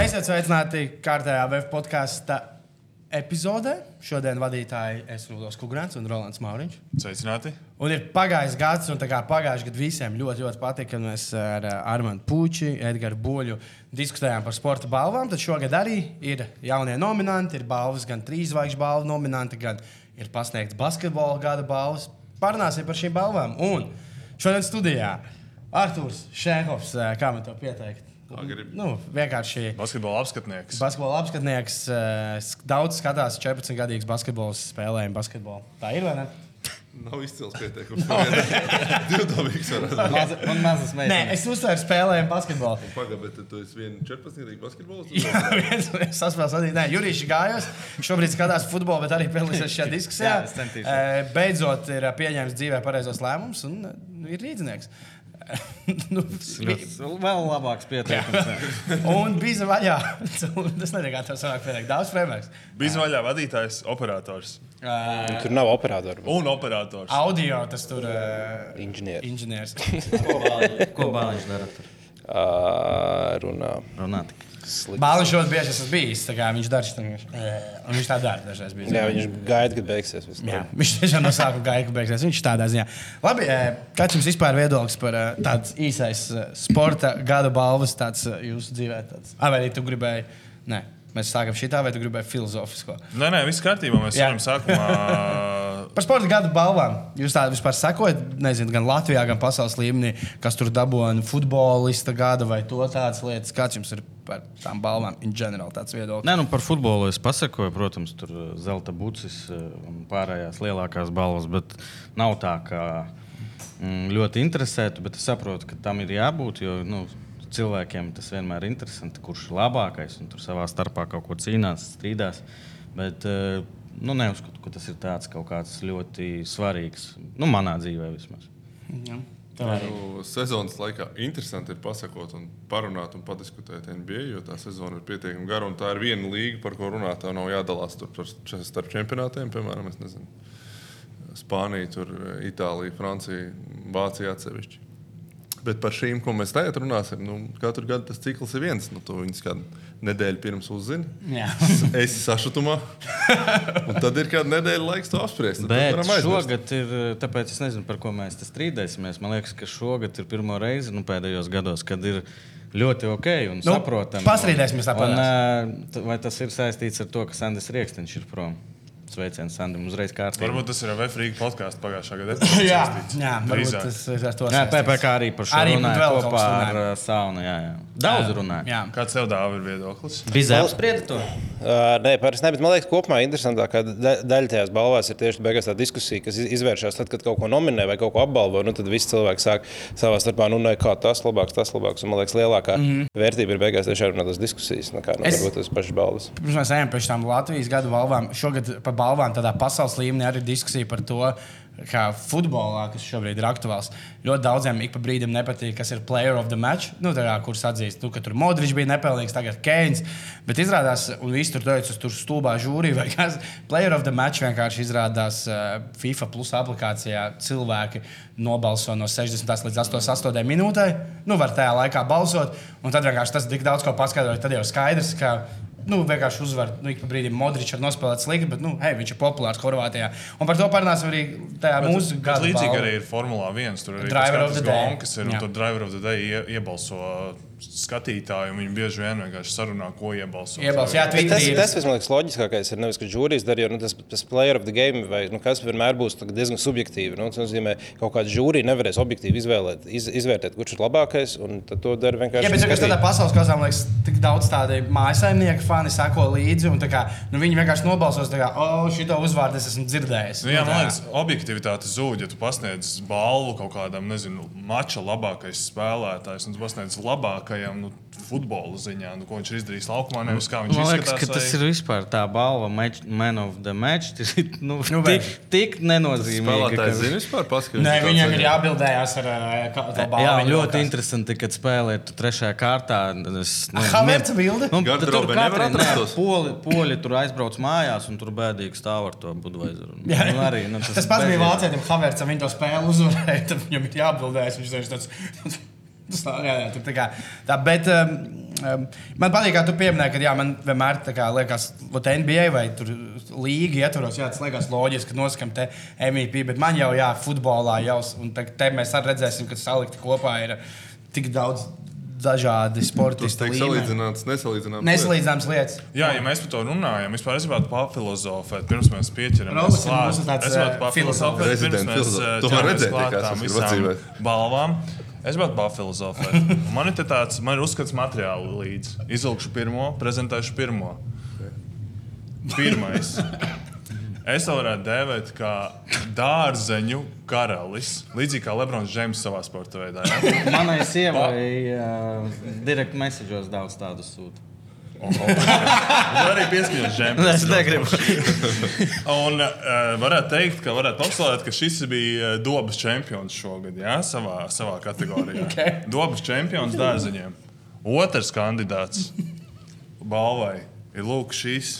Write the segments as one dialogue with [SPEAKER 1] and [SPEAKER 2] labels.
[SPEAKER 1] Esiet sveicināti kārtējā VF podkāstu epizodē. Šodien vadītāji es Rudolf Kungrants un Rolands Mauriņš.
[SPEAKER 2] Sveicināti!
[SPEAKER 1] Un ir pagājis gads, un tā kā pagājušajā gadā visiem ļoti, ļoti patika, kad mēs ar eh, Armānu Puķi, Edgars Buļļu diskutējām par sporta balvām. Tad šogad arī ir jaunie nominanti, ir balvas, gan trīsvaigžņu balvu nominanti, gan ir pasniegts basketbola gada balvas. Parunāsim par šīm balvām. Un šodien studijā Arthurs Šēhovs, kā man to pieteikt?
[SPEAKER 2] Kā gribi.
[SPEAKER 1] Nu, vienkārši.
[SPEAKER 2] Basketbola apskatnieks.
[SPEAKER 1] Basketbola apskatnieks eh, sk- daudz skatās 14-gadīgas basketbola spēlējumu. Basketbolu. Tā ir vai ne?
[SPEAKER 3] Nav izcils pieteikums. Divdomīgs varētu būt.
[SPEAKER 4] Maza, un mazas
[SPEAKER 1] Nē,
[SPEAKER 4] meitenes.
[SPEAKER 1] es uzsveru spēlējumu basketbolu.
[SPEAKER 3] Pagaid, bet tu esi vien 14 gadīgi basketbolists?
[SPEAKER 1] Jā, viens saspēles vadītājs. Nē, Jurijs Gājos šobrīd skatās futbolu, bet arī piedalīsies šajā diskusijā.
[SPEAKER 4] Jā, es centīšos.
[SPEAKER 1] Eh, Beidzot, ir eh, pieņēmis dzīvē pareizos lēmumus un eh, ir rīznieks. nu, vi-
[SPEAKER 4] Tas Vēl labāks pieteikums.
[SPEAKER 1] un bija vaļā. Tas nebija kā tas vairāk pietiek. Daudz premjeras.
[SPEAKER 2] Bija zvaigžā vadītājs, operators
[SPEAKER 5] Tur nav operātora.
[SPEAKER 2] un operators.
[SPEAKER 1] Audio tas tur uh,
[SPEAKER 5] Inženieris
[SPEAKER 1] inženieris.
[SPEAKER 4] Ko bāliņš dara tur?
[SPEAKER 5] Ā, runā.
[SPEAKER 4] Runā tik.
[SPEAKER 1] Bāliņš ļoti bieži esmu bijis. tā kā Viņš darīja to jāsaka. Viņš tā dara dažreiz. Bijis,
[SPEAKER 5] Jā, viņš gaida, kad beigsies. viss.
[SPEAKER 1] Jā, viņš tiešām no sākuma gāja beigās. Viņš tādā ziņā. Labi, eh, kāds jums vispār ir viedoklis par eh, tāds īsais eh, sporta gada balvas, tāds eh, jūsu dzīvē? Tāds? Ai, vai arī tu gribēji? Nē, mēs sākam šitā, vai tu gribēji filozofisko?
[SPEAKER 2] Nē, nē, viss kārtībā. Mēs
[SPEAKER 1] Jā.
[SPEAKER 2] jau sākumā
[SPEAKER 1] Par sporta gada balvām. Jūs tādā vispār sekojat, nezinu, gan Latvijā, gan pasaules līmenī, kas tur dabūja futbolista gada vai to tādas lietas. Kāds jums ir par tām balvām in general tāds viedoklis?
[SPEAKER 4] Nē, nu par futbolu es pasakoju, protams, tur eh, zelta bucis eh, un pārējās lielākās balvas, bet nav tā, ka mm, ļoti interesētu, bet es saprotu, ka tam ir jābūt, jo nu, cilvēkiem tas vienmēr ir interesanti, kurš ir labākais un tur savā starpā kaut ko cīnās, strīdās. Bet eh, nu, neuzskatu, ka tas ir tāds kaut kāds ļoti svarīgs, nu, manā dzīvē vismaz.
[SPEAKER 1] Jā.
[SPEAKER 3] Nu, Sezonas laikā interesanti ir pasakot, un parunāt un padiskutēt NBA, jo tā sezona ir pietiekami gara. un Tā ir viena līga, par ko runāt. Tev nav jādalās tur par, če- starp čempionātiem, piemēram, es nezinu, Spānija, tur, Itālija, Francija, Vācija atsevišķi. Bet par šīm, ko mēs tagad runāsim, nu, katru gadu tas cikls ir viens. Nu, to viņas kādu nedēļu pirms uzzina.
[SPEAKER 1] Jā.
[SPEAKER 3] Es esmu sašutumā. Un tad ir kāda nedēļa laiks to apspriest. Tad
[SPEAKER 4] Bet
[SPEAKER 3] varam aizmirst.
[SPEAKER 4] šogad ir, tāpēc es nezinu, par ko mēs te strīdēsimies. Man liekas, ka šogad ir pirmo reizi nu, pēdējos gados, kad ir ļoti ok un
[SPEAKER 1] Nu,
[SPEAKER 4] saprotami.
[SPEAKER 1] pastrīdēsimies tā
[SPEAKER 4] Un, ā, t- Vai tas ir saistīts ar to, ka Sandis Rieksniņš ir prom? Sveiciens Sandim uzreiz kārtībā.
[SPEAKER 2] varbūt tas ir Vēfrīga podkāsts pagājušā gada.
[SPEAKER 1] Jā, jā varbūt
[SPEAKER 2] drīzāk.
[SPEAKER 1] tas ir ar to
[SPEAKER 4] Jā,
[SPEAKER 1] saistīts.
[SPEAKER 4] PPC arī par šo
[SPEAKER 1] Arī vēl
[SPEAKER 4] runāja
[SPEAKER 1] kaut
[SPEAKER 4] kopā
[SPEAKER 1] kas
[SPEAKER 4] ar
[SPEAKER 1] runāja.
[SPEAKER 4] ā, saunu. Jā, jā. Daudz runāja.
[SPEAKER 1] Jā.
[SPEAKER 2] Kāds tev dāvā ir viedoklis?
[SPEAKER 4] Bizēl sprieda to.
[SPEAKER 5] Ā, Nē, parasti ne, bet man liekas, kopumā interesantākā da- daļa tajās balvās ir tieši beigās tā diskusija, kas iz- izvēršas tad, kad kaut ko nominē vai kaut ko apbalvo. Nu, tad visi cilvēki sāk savā starpā, nu, ne, kā tas labāks, tas labāks. Un, man liekas, lielākā mm -hmm. vērtība ir beigās tieši runāt tās diskusijas, nekā nu,
[SPEAKER 1] Mhm. Es-
[SPEAKER 5] varbūt tas pašas balvas.
[SPEAKER 1] Pirms mēs ejam pie šīm Latvijas gada balvām, šogad par balvām tādā pasaules līmenī arī ir diskusija par to, kā futbolā, kas šobrīd ir aktuāls, ļoti daudziem ik pa brīdim nepatīk, kas ir player of the match. Nu, tā kā kurš atzīst, nu, ka tur Modričs bija nepelnīgs, tagad Keins. Bet izrādās, un viss tur teica, tur stulbā žūrī vai kas. Player of the match vienkārši izrādās eh, FIFA plus aplikācijā cilvēki nobalso no 60 līdz 88 minūtē. Nu, var tajā laikā balsot, un tad vienkārši tas tik daudz ko paskaidroja. Tad jau skaidrs, ka Nu, vienkārši uzvar. Nu, ik pa brīdim Modričs ir nospēlēts slikti, bet nu, hei, viņš ir populārs Horvātijā. Un par to parunāsim arī tajā mūsu
[SPEAKER 2] Bet
[SPEAKER 1] gada
[SPEAKER 2] Līdzīgi
[SPEAKER 1] balvā.
[SPEAKER 2] arī ir Formula 1. Tur arī
[SPEAKER 1] Driver
[SPEAKER 2] tas
[SPEAKER 1] of
[SPEAKER 2] katrs
[SPEAKER 1] the day.
[SPEAKER 2] gonk, kas ir
[SPEAKER 1] Jā.
[SPEAKER 2] un tur Driver of the Day ie, iebalso skatītāju. un Viņi bieži vien vienkārši sarunā, ko iebalso.
[SPEAKER 1] Iebalsts, jā,
[SPEAKER 5] Bet Tas,
[SPEAKER 1] Twitterī ir-
[SPEAKER 5] tas viss, man liekas, loģiskākais ir nevis, ka žūrijas darīja, jo nu, tas, tas player of the game, vai nu, kas vienmēr būs tā kā diezgan subjektīvi. Nu, tas nozīmē, ka kaut kāda žūrija nevarēs objektīvi izvēlēt, iz, izvērtēt, kurš ir labākais. un tad To dara vienkārši.
[SPEAKER 1] Jā, bet tagad tādā
[SPEAKER 5] skatītāji.
[SPEAKER 1] pasaules kosmā, man liekas, tik daudz tādu mājasemnieku fani sako līdzi. un tā Kā, nu, viņi vienkārši nobalsos, ka, oh, šito uzvārdu es esmu dzirdējis.
[SPEAKER 2] Nu, jā,
[SPEAKER 1] Nu, tā.
[SPEAKER 2] man liekas, objektivitāte zūd, ja tu pasniedz balvu kaut kādam, nezinu, mača labākais spēlētājs, un tu pasniedz labākajam nu, futbola ziņā, nu, ko viņš ir izdarījis laukumā, nevis kā viņš
[SPEAKER 4] Nu, Man liekas,
[SPEAKER 2] izskatās.
[SPEAKER 4] ka tas ir vispār tā balva, match- man of the match. Tas ir nu,
[SPEAKER 1] Nu,
[SPEAKER 4] nu,
[SPEAKER 1] vai-
[SPEAKER 4] tik, tik nenozīmīgi. ka-
[SPEAKER 3] Spēlētājs zina vispār paskatīties.
[SPEAKER 1] Nē, viņiem ir jāatbildējās ar eh, kā- to balvu.
[SPEAKER 4] Jā, un ļoti interesanti, kad spēlē tu trešajā kārtā. Es, nu,
[SPEAKER 1] Aha, Verca bilde?
[SPEAKER 4] tad tur
[SPEAKER 3] Garderobē nevar
[SPEAKER 4] katrai-
[SPEAKER 3] atrast
[SPEAKER 4] nē,
[SPEAKER 3] tos?
[SPEAKER 4] Poli, poli tur aizbrauc mājās, un tur bēdīgi stāv ar to budveizeru.
[SPEAKER 1] Jā,
[SPEAKER 4] nu, arī, nu,
[SPEAKER 1] tas, tas pats bija Vācijam, Havertzam, viņa to spēli uzvarēja. Tad viņam ir jāatbildēs. Viņš ir tāds - tā, jā, jā, tur tā kā. Tā, bet um, Um, man patīk, kā tu pieminēji, ka jā, man vienmēr tā kā liekas, ka NBA vai līga ietvaros, jā, tas liekas loģiski, ka noskam te MVP, bet man jau, jā, futbolā jau, un te, te mēs arī redzēsim, ka salikti kopā ir tik daudz
[SPEAKER 4] Nu,
[SPEAKER 1] dažādi
[SPEAKER 3] Tas
[SPEAKER 1] sportisti.
[SPEAKER 3] tiek salīdzināts, nesalīdzināms.
[SPEAKER 1] Nesalīdzināmas lietas.
[SPEAKER 2] Jā, ja mēs par to runājam, vispār es gribētu papilozofēt, pirms mēs pieķeramies
[SPEAKER 1] Roberts ir mūsu tāds,
[SPEAKER 2] Es gribētu
[SPEAKER 1] eh, filozofs.
[SPEAKER 2] papilozofēt, pirms
[SPEAKER 3] Rezidents
[SPEAKER 2] mēs
[SPEAKER 3] filozofs.
[SPEAKER 2] eh,
[SPEAKER 3] Tu vari
[SPEAKER 2] ķeramies
[SPEAKER 3] redzēt,
[SPEAKER 2] klāt
[SPEAKER 3] kā es
[SPEAKER 2] tām
[SPEAKER 3] esmu
[SPEAKER 2] visām
[SPEAKER 3] dzīvē.
[SPEAKER 2] balvām. Es gribētu papilozofēt. Man ir te tāds, man ir uzskats materiāli līdzi. Izvilkšu pirmo, prezentēšu pirmo. Pirmais. Es to varētu dēvēt kā dārzeņu karalis. Līdzīgi kā Lebrons Džeims savā sporta veidā. Ja?
[SPEAKER 4] Manai sievai uh, direkt message'os daudz tādu sūtu.
[SPEAKER 2] Tu arī pieskaņot žēmēs.
[SPEAKER 4] Es negribu.
[SPEAKER 2] Un uh, varētu teikt, ka, varētu apsolēt, ka šis bija eh, dobas čempions šogad, jā, savā, savā kategorijā. Okay. Dobas čempions dārziņiem. Otrs kandidāts balvai ir lūk šis.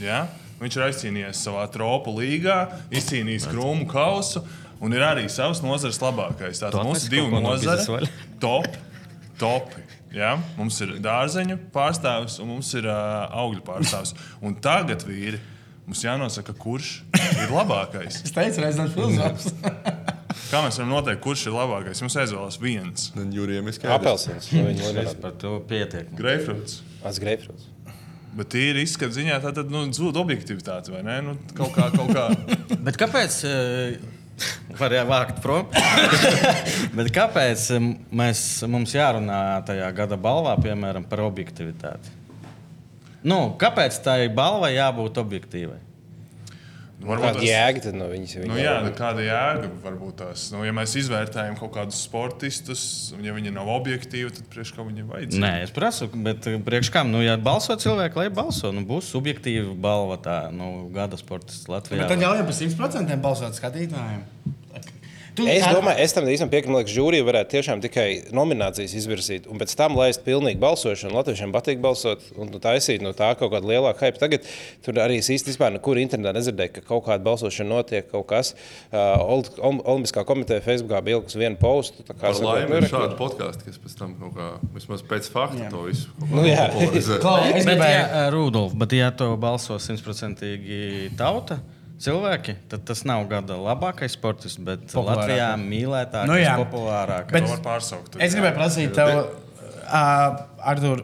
[SPEAKER 2] Jā? Viņš ir aizcīnījies savā tropu līgā, izcīnījis krūmu kausu un ir arī savas nozares labākais.
[SPEAKER 4] Tu
[SPEAKER 2] Tātad mums
[SPEAKER 4] atnesi
[SPEAKER 2] ir divi
[SPEAKER 4] kaut ko no biznesa vaļā?
[SPEAKER 2] nozari. Top, topi. Jā? Mums ir dārzeņu pārstāvis un mums ir uh, augļu pārstāvis. Un tagad, vīri, mums jānosaka, kurš ir labākais.
[SPEAKER 1] Es teicu, reizes filozofs.
[SPEAKER 2] Kā mēs varam noteikt, kurš ir labākais? Mums aizvēlās viens.
[SPEAKER 3] Tad Jurijam ir skaidrs.
[SPEAKER 5] Apelsīns. Viņa
[SPEAKER 4] Es
[SPEAKER 5] ir
[SPEAKER 4] par to pietiek.
[SPEAKER 2] Greifrūts.
[SPEAKER 5] atgriežas.
[SPEAKER 2] Bet tīri izskatu ziņā, tā tad nu, zūd objektivitāte, vai ne? Nu, kaut kā, kaut kā.
[SPEAKER 4] Bet kāpēc? Uh, Varēja vākt prom. Bet kāpēc eh, mēs, mums jārunā tajā gada balvā, piemēram, par objektivitāti? Nu, kāpēc tai balvai jābūt objektīvai?
[SPEAKER 2] Nu, varbūt
[SPEAKER 5] Kāda
[SPEAKER 2] tas-
[SPEAKER 5] jēga tad no viņas ir?
[SPEAKER 2] Nu, jā, nu, kāda jēga varbūt tās. Nu, ja mēs izvērtējam kaut kādus sportistus, un ja viņi nav objektīvi, tad priekš kā viņiem vajadzētu.
[SPEAKER 4] Nē, es prasu, bet eh, priekš kam? Nu, ja balso cilvēki, lai balso, nu, būs subjektīva balva tā, nu, gada sports Latvijā.
[SPEAKER 1] Bet tad ļaujam par 100% balsot skatītājiem. Tu,
[SPEAKER 5] Es
[SPEAKER 1] tā-
[SPEAKER 5] domāju, es tam īstenībā piekrītu, man liekas, jūrija varētu tiešām tikai nominācijas izvirzīt, un pēc tam laist pilnīgi balsošanu. Latviešiem patīk balsot, un nu, taisīt no tā kaut kādu lielāku hype. Tagad tur arī es īstenībā nekur internetā nedzirdēju, ka kaut kāda balsošana notiek, kaut kas. Uh, Old- Ol- Olimpiskā komiteja Facebookā bija ilgs vienu postu. tā kā
[SPEAKER 3] Par
[SPEAKER 5] es saprotu,
[SPEAKER 3] laimi
[SPEAKER 5] nu,
[SPEAKER 3] ir
[SPEAKER 5] re,
[SPEAKER 3] šādi podkāsti, kas pēc tam kaut kā, vismaz pēc fakta to visu kaut kā
[SPEAKER 5] Nu, jā.
[SPEAKER 3] popularizē.
[SPEAKER 1] Klau,
[SPEAKER 4] Bet,
[SPEAKER 1] es
[SPEAKER 4] bet,
[SPEAKER 1] gribēju-
[SPEAKER 4] ja, eh, Rudolf, bet ja to balso simtprocentīgi tauta, cilvēki, tad tas nav gada labākais sports, bet
[SPEAKER 1] Populārākais.
[SPEAKER 4] Latvijā mīlētākais,
[SPEAKER 1] Nu
[SPEAKER 4] nu,
[SPEAKER 1] jā.
[SPEAKER 4] populārākais.
[SPEAKER 2] To
[SPEAKER 1] Bet-
[SPEAKER 2] var pārsaukt.
[SPEAKER 1] Es gribēju prasīt tev, uh, Artur,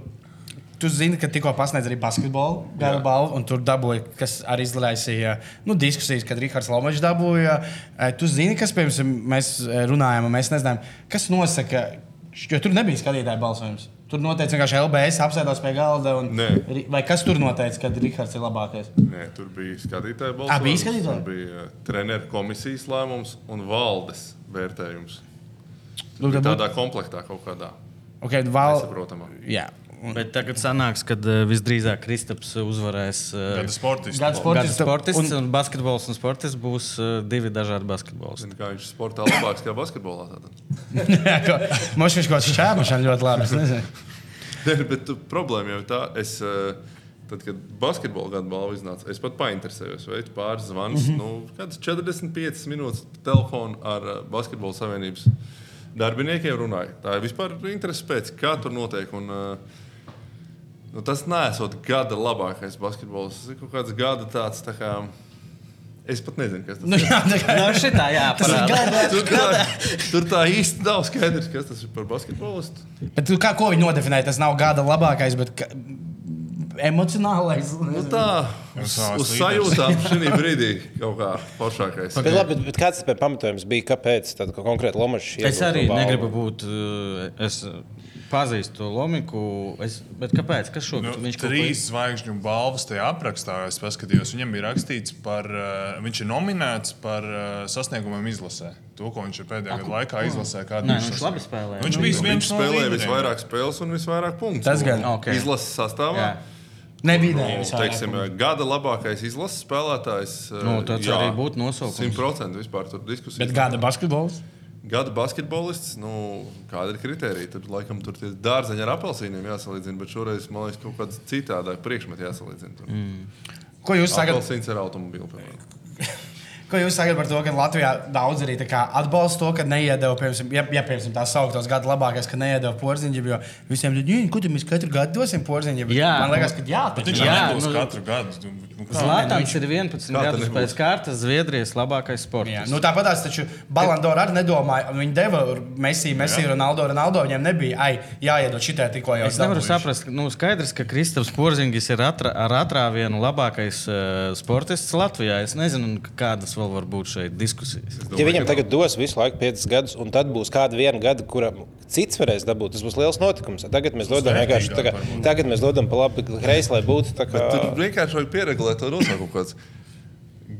[SPEAKER 1] tu zini, ka tikko pasniedz arī basketbolu gala balvu, un tur dabūja, kas arī izraisīja nu, diskusijas, kad Rīgards Lomačs dabūja. Uh, tu zini, kas pirms mēs eh, runājām, un mēs nezinājām, kas nosaka, š- jo tur nebija skatītāju balsojums. Tur noteikti vienkārši LBS apsēdās pie galda. Un,
[SPEAKER 3] Nē.
[SPEAKER 1] Ri- vai kas tur noteica, ka Rīgards ir labākais?
[SPEAKER 3] Nē, tur bija skatītāja balss.
[SPEAKER 1] Ā, Ah, bija skatītāji?
[SPEAKER 3] Tur bija eh, treneru komisijas lēmums un valdes vērtējums.
[SPEAKER 1] Lūk,
[SPEAKER 3] Bija
[SPEAKER 1] dabūt-
[SPEAKER 3] tādā komplektā kaut kādā
[SPEAKER 1] okay, val...
[SPEAKER 3] nesaprotamā.
[SPEAKER 1] Jā, un-
[SPEAKER 4] Bet tagad sanāks, ka visdrīzāk Kristaps uzvarēs. eh,
[SPEAKER 2] Gada sportists.
[SPEAKER 1] Gada
[SPEAKER 4] Gada
[SPEAKER 1] sportistu-
[SPEAKER 4] sportists
[SPEAKER 1] un-
[SPEAKER 4] un, un basketbols un sportists būs eh, divi dažādi basketbols.
[SPEAKER 3] Zini, Kā viņš sportā labāks kā basketbolā. Tātad.
[SPEAKER 1] Mums viņš kaut kāds čēmašs ļoti labi. es nezinu.
[SPEAKER 3] Nē, bet tu, problēma jau ir tā, es, eh, tad, kad basketbola gada balva iznāca, es pat painteresējos, vai tu pāris zvans, mm -hmm. nu, kāds 45 minūtes pa telefonu ar eh, basketbola savienības darbiniekiem runāju. Tā ir vispār interesi pēc, kā tur notiek. Un, eh, nu, tas nesot gada labākais basketbols. Tas ir kaut kāds gada tāds, tā kā, es pat nezinu, kas tas
[SPEAKER 1] Nu,
[SPEAKER 3] ir.
[SPEAKER 1] jā, tā kā-
[SPEAKER 4] Nu, šitā jāparāda.
[SPEAKER 3] Tur tā, tur tā īsti nav skaidrs, kas tas ir par basketbolistu.
[SPEAKER 1] Bet tu kā, ko viņi nodefinēja? Tas nav gada labākais, bet ka... emocionālais.
[SPEAKER 3] Nu tā, uz,
[SPEAKER 2] savas
[SPEAKER 3] uz
[SPEAKER 2] līderes.
[SPEAKER 3] sajūtām šī brīdī kaut kā foršākais.
[SPEAKER 5] Bet, labi, bet, bet kāds ir pamatojums bija, kāpēc tad, ka konkrēti Lomačs
[SPEAKER 4] Es arī negribu būt. eh, Es eh, pazīstu Lomiku. Es, bet kāpēc? Kas
[SPEAKER 2] Nu,
[SPEAKER 4] šogad?
[SPEAKER 2] viņš
[SPEAKER 4] kaut ko-
[SPEAKER 2] trīs zvaigžņu balvas tajā aprakstā, es paskatījos. Viņam ir rakstīts, par, uh, viņš ir nominēts par uh, sasniegumiem izlasē. To, ko viņš ir pēdējā gada laikā izlasē, kāda
[SPEAKER 4] Nē, viņš labi spēlēja.
[SPEAKER 2] Viņš
[SPEAKER 4] Nu,
[SPEAKER 2] bija
[SPEAKER 3] Viņš
[SPEAKER 2] viens no
[SPEAKER 3] spēlēja
[SPEAKER 2] līderiem.
[SPEAKER 3] visvairāk spēles un visvairāk punktu.
[SPEAKER 1] Tas gan.
[SPEAKER 3] Un
[SPEAKER 4] Ok.
[SPEAKER 3] Izlases sastāvā.
[SPEAKER 4] Jā.
[SPEAKER 1] Nebija
[SPEAKER 3] Nu,
[SPEAKER 1] ideja.
[SPEAKER 3] teiksim, gada labākais izlases spēlētājs.
[SPEAKER 4] Nu, tāds arī būtu nosaukums.
[SPEAKER 3] 100% vispār tur diskusija.
[SPEAKER 1] Bet gada basketbols.
[SPEAKER 3] Gada basketbolists, nu, kāda ir kriterija? Tad, laikam, tur tie dārzeņi ar apelsīniem jāsalīdzina, bet šoreiz, man liekas, kaut kāds citādāk priekšmets jāsalīdzina. Mm.
[SPEAKER 1] Ko jūs sagat...
[SPEAKER 3] Apelsīns ar automobīlu, piemēram.
[SPEAKER 1] Ko jūs sakat par to, ka Latvijā daudz arī tā kā atbalsta to, ka neiedeva, piemēram, ja, ja piemēram, tā sauktos gadu labākais, ka neiedeva porziņģi, jo visiem ir ģiņķi, kur mēs katru gadu dosim porziņģi.
[SPEAKER 4] Jā.
[SPEAKER 1] Man liekas, ka jā,
[SPEAKER 2] Bet
[SPEAKER 1] taču.
[SPEAKER 2] viņš
[SPEAKER 4] Jā,
[SPEAKER 2] jau nebūs
[SPEAKER 4] nu-
[SPEAKER 2] katru gadu. Nu, kā?
[SPEAKER 4] Zlatāns ir
[SPEAKER 3] Kā
[SPEAKER 4] 11
[SPEAKER 3] tad
[SPEAKER 4] gadus
[SPEAKER 3] nebūs?
[SPEAKER 4] pēc kārtas Zviedrijas labākais
[SPEAKER 1] Jā,
[SPEAKER 4] sports.
[SPEAKER 1] Nu, Tāpat tās taču Balandora arī nedomāja. Viņi deva Messi, Messi, Ronaldo, Ronaldo. Viņiem nebija, ai, jāiedod šitai tikko jau.
[SPEAKER 4] Es nevaru
[SPEAKER 1] dabūjuši."
[SPEAKER 4] saprast, ka, nu, skaidrs, ka Kristofers Porzingis ir atrā, ar atrāvienu labākais uh, sportists Latvijā. Es nezinu, k- kādas vēl var būt šeit diskusijas.
[SPEAKER 3] Nu,
[SPEAKER 5] Ja viņam tagad dos visu laiku 5 gadus, un tad būs kāda viena gada, kuram cits varēs dabūt, tas būs liels notikums. Tagad mēs dodam vienkārši tā kā, tagad mēs dodam pa labi kreisi, lai būtu tā kā.
[SPEAKER 3] Bet tur vienkārši vajag pieregulēt to nosaukumu kaut kāds.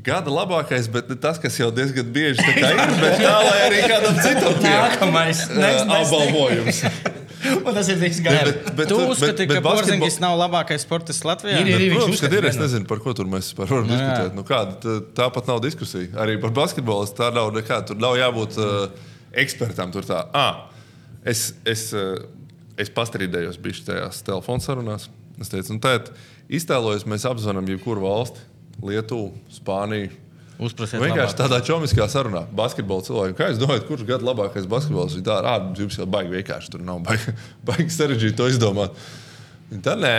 [SPEAKER 3] Gada labākais, bet ne tas, kas jau diezgan bieži tā kā ir, bet tā lai arī kādam citam tiek
[SPEAKER 1] Nākamais.
[SPEAKER 3] eh,
[SPEAKER 1] Next, next,
[SPEAKER 3] apbalvojums.
[SPEAKER 1] next. Un tas ir tik
[SPEAKER 3] Ne,
[SPEAKER 1] skaisti.
[SPEAKER 3] bet- bet
[SPEAKER 4] Tu
[SPEAKER 3] tur- bet-
[SPEAKER 4] uzskati,
[SPEAKER 3] bet
[SPEAKER 4] ka
[SPEAKER 3] basketbol-
[SPEAKER 4] Porzingis nav labākais sportists Latvijā?
[SPEAKER 1] Ir, ir, ir. viņš
[SPEAKER 3] Protams, ka ir. Es
[SPEAKER 1] uzskata
[SPEAKER 3] nezinu, par ko tur mēs par varam diskutēt. Nu, kāda, tā- tā pat nav diskusija. Arī par basketbolu es tā nav nekāda. Tur nav jābūt uh, ekspertam. Tur tā, ah, es, es, uh, es pastrīdējos bijuši tajās telefonu sarunās. Es teicu, nu, tēt, iztēlojos, mēs apzvanām jebkuru valsti. Lietuvu, Spāniju.
[SPEAKER 4] Uzprasiet
[SPEAKER 3] Vienkārši
[SPEAKER 4] labāk.
[SPEAKER 3] tādā čomiskā sarunā, basketbola cilvēku. Kā jūs domājat, kurš gada labākais basketbols ir? Tā ir ārā, jums jau baigi vienkārši tur nav baigi, baigi sarežģīti to izdomāt. Tā nē,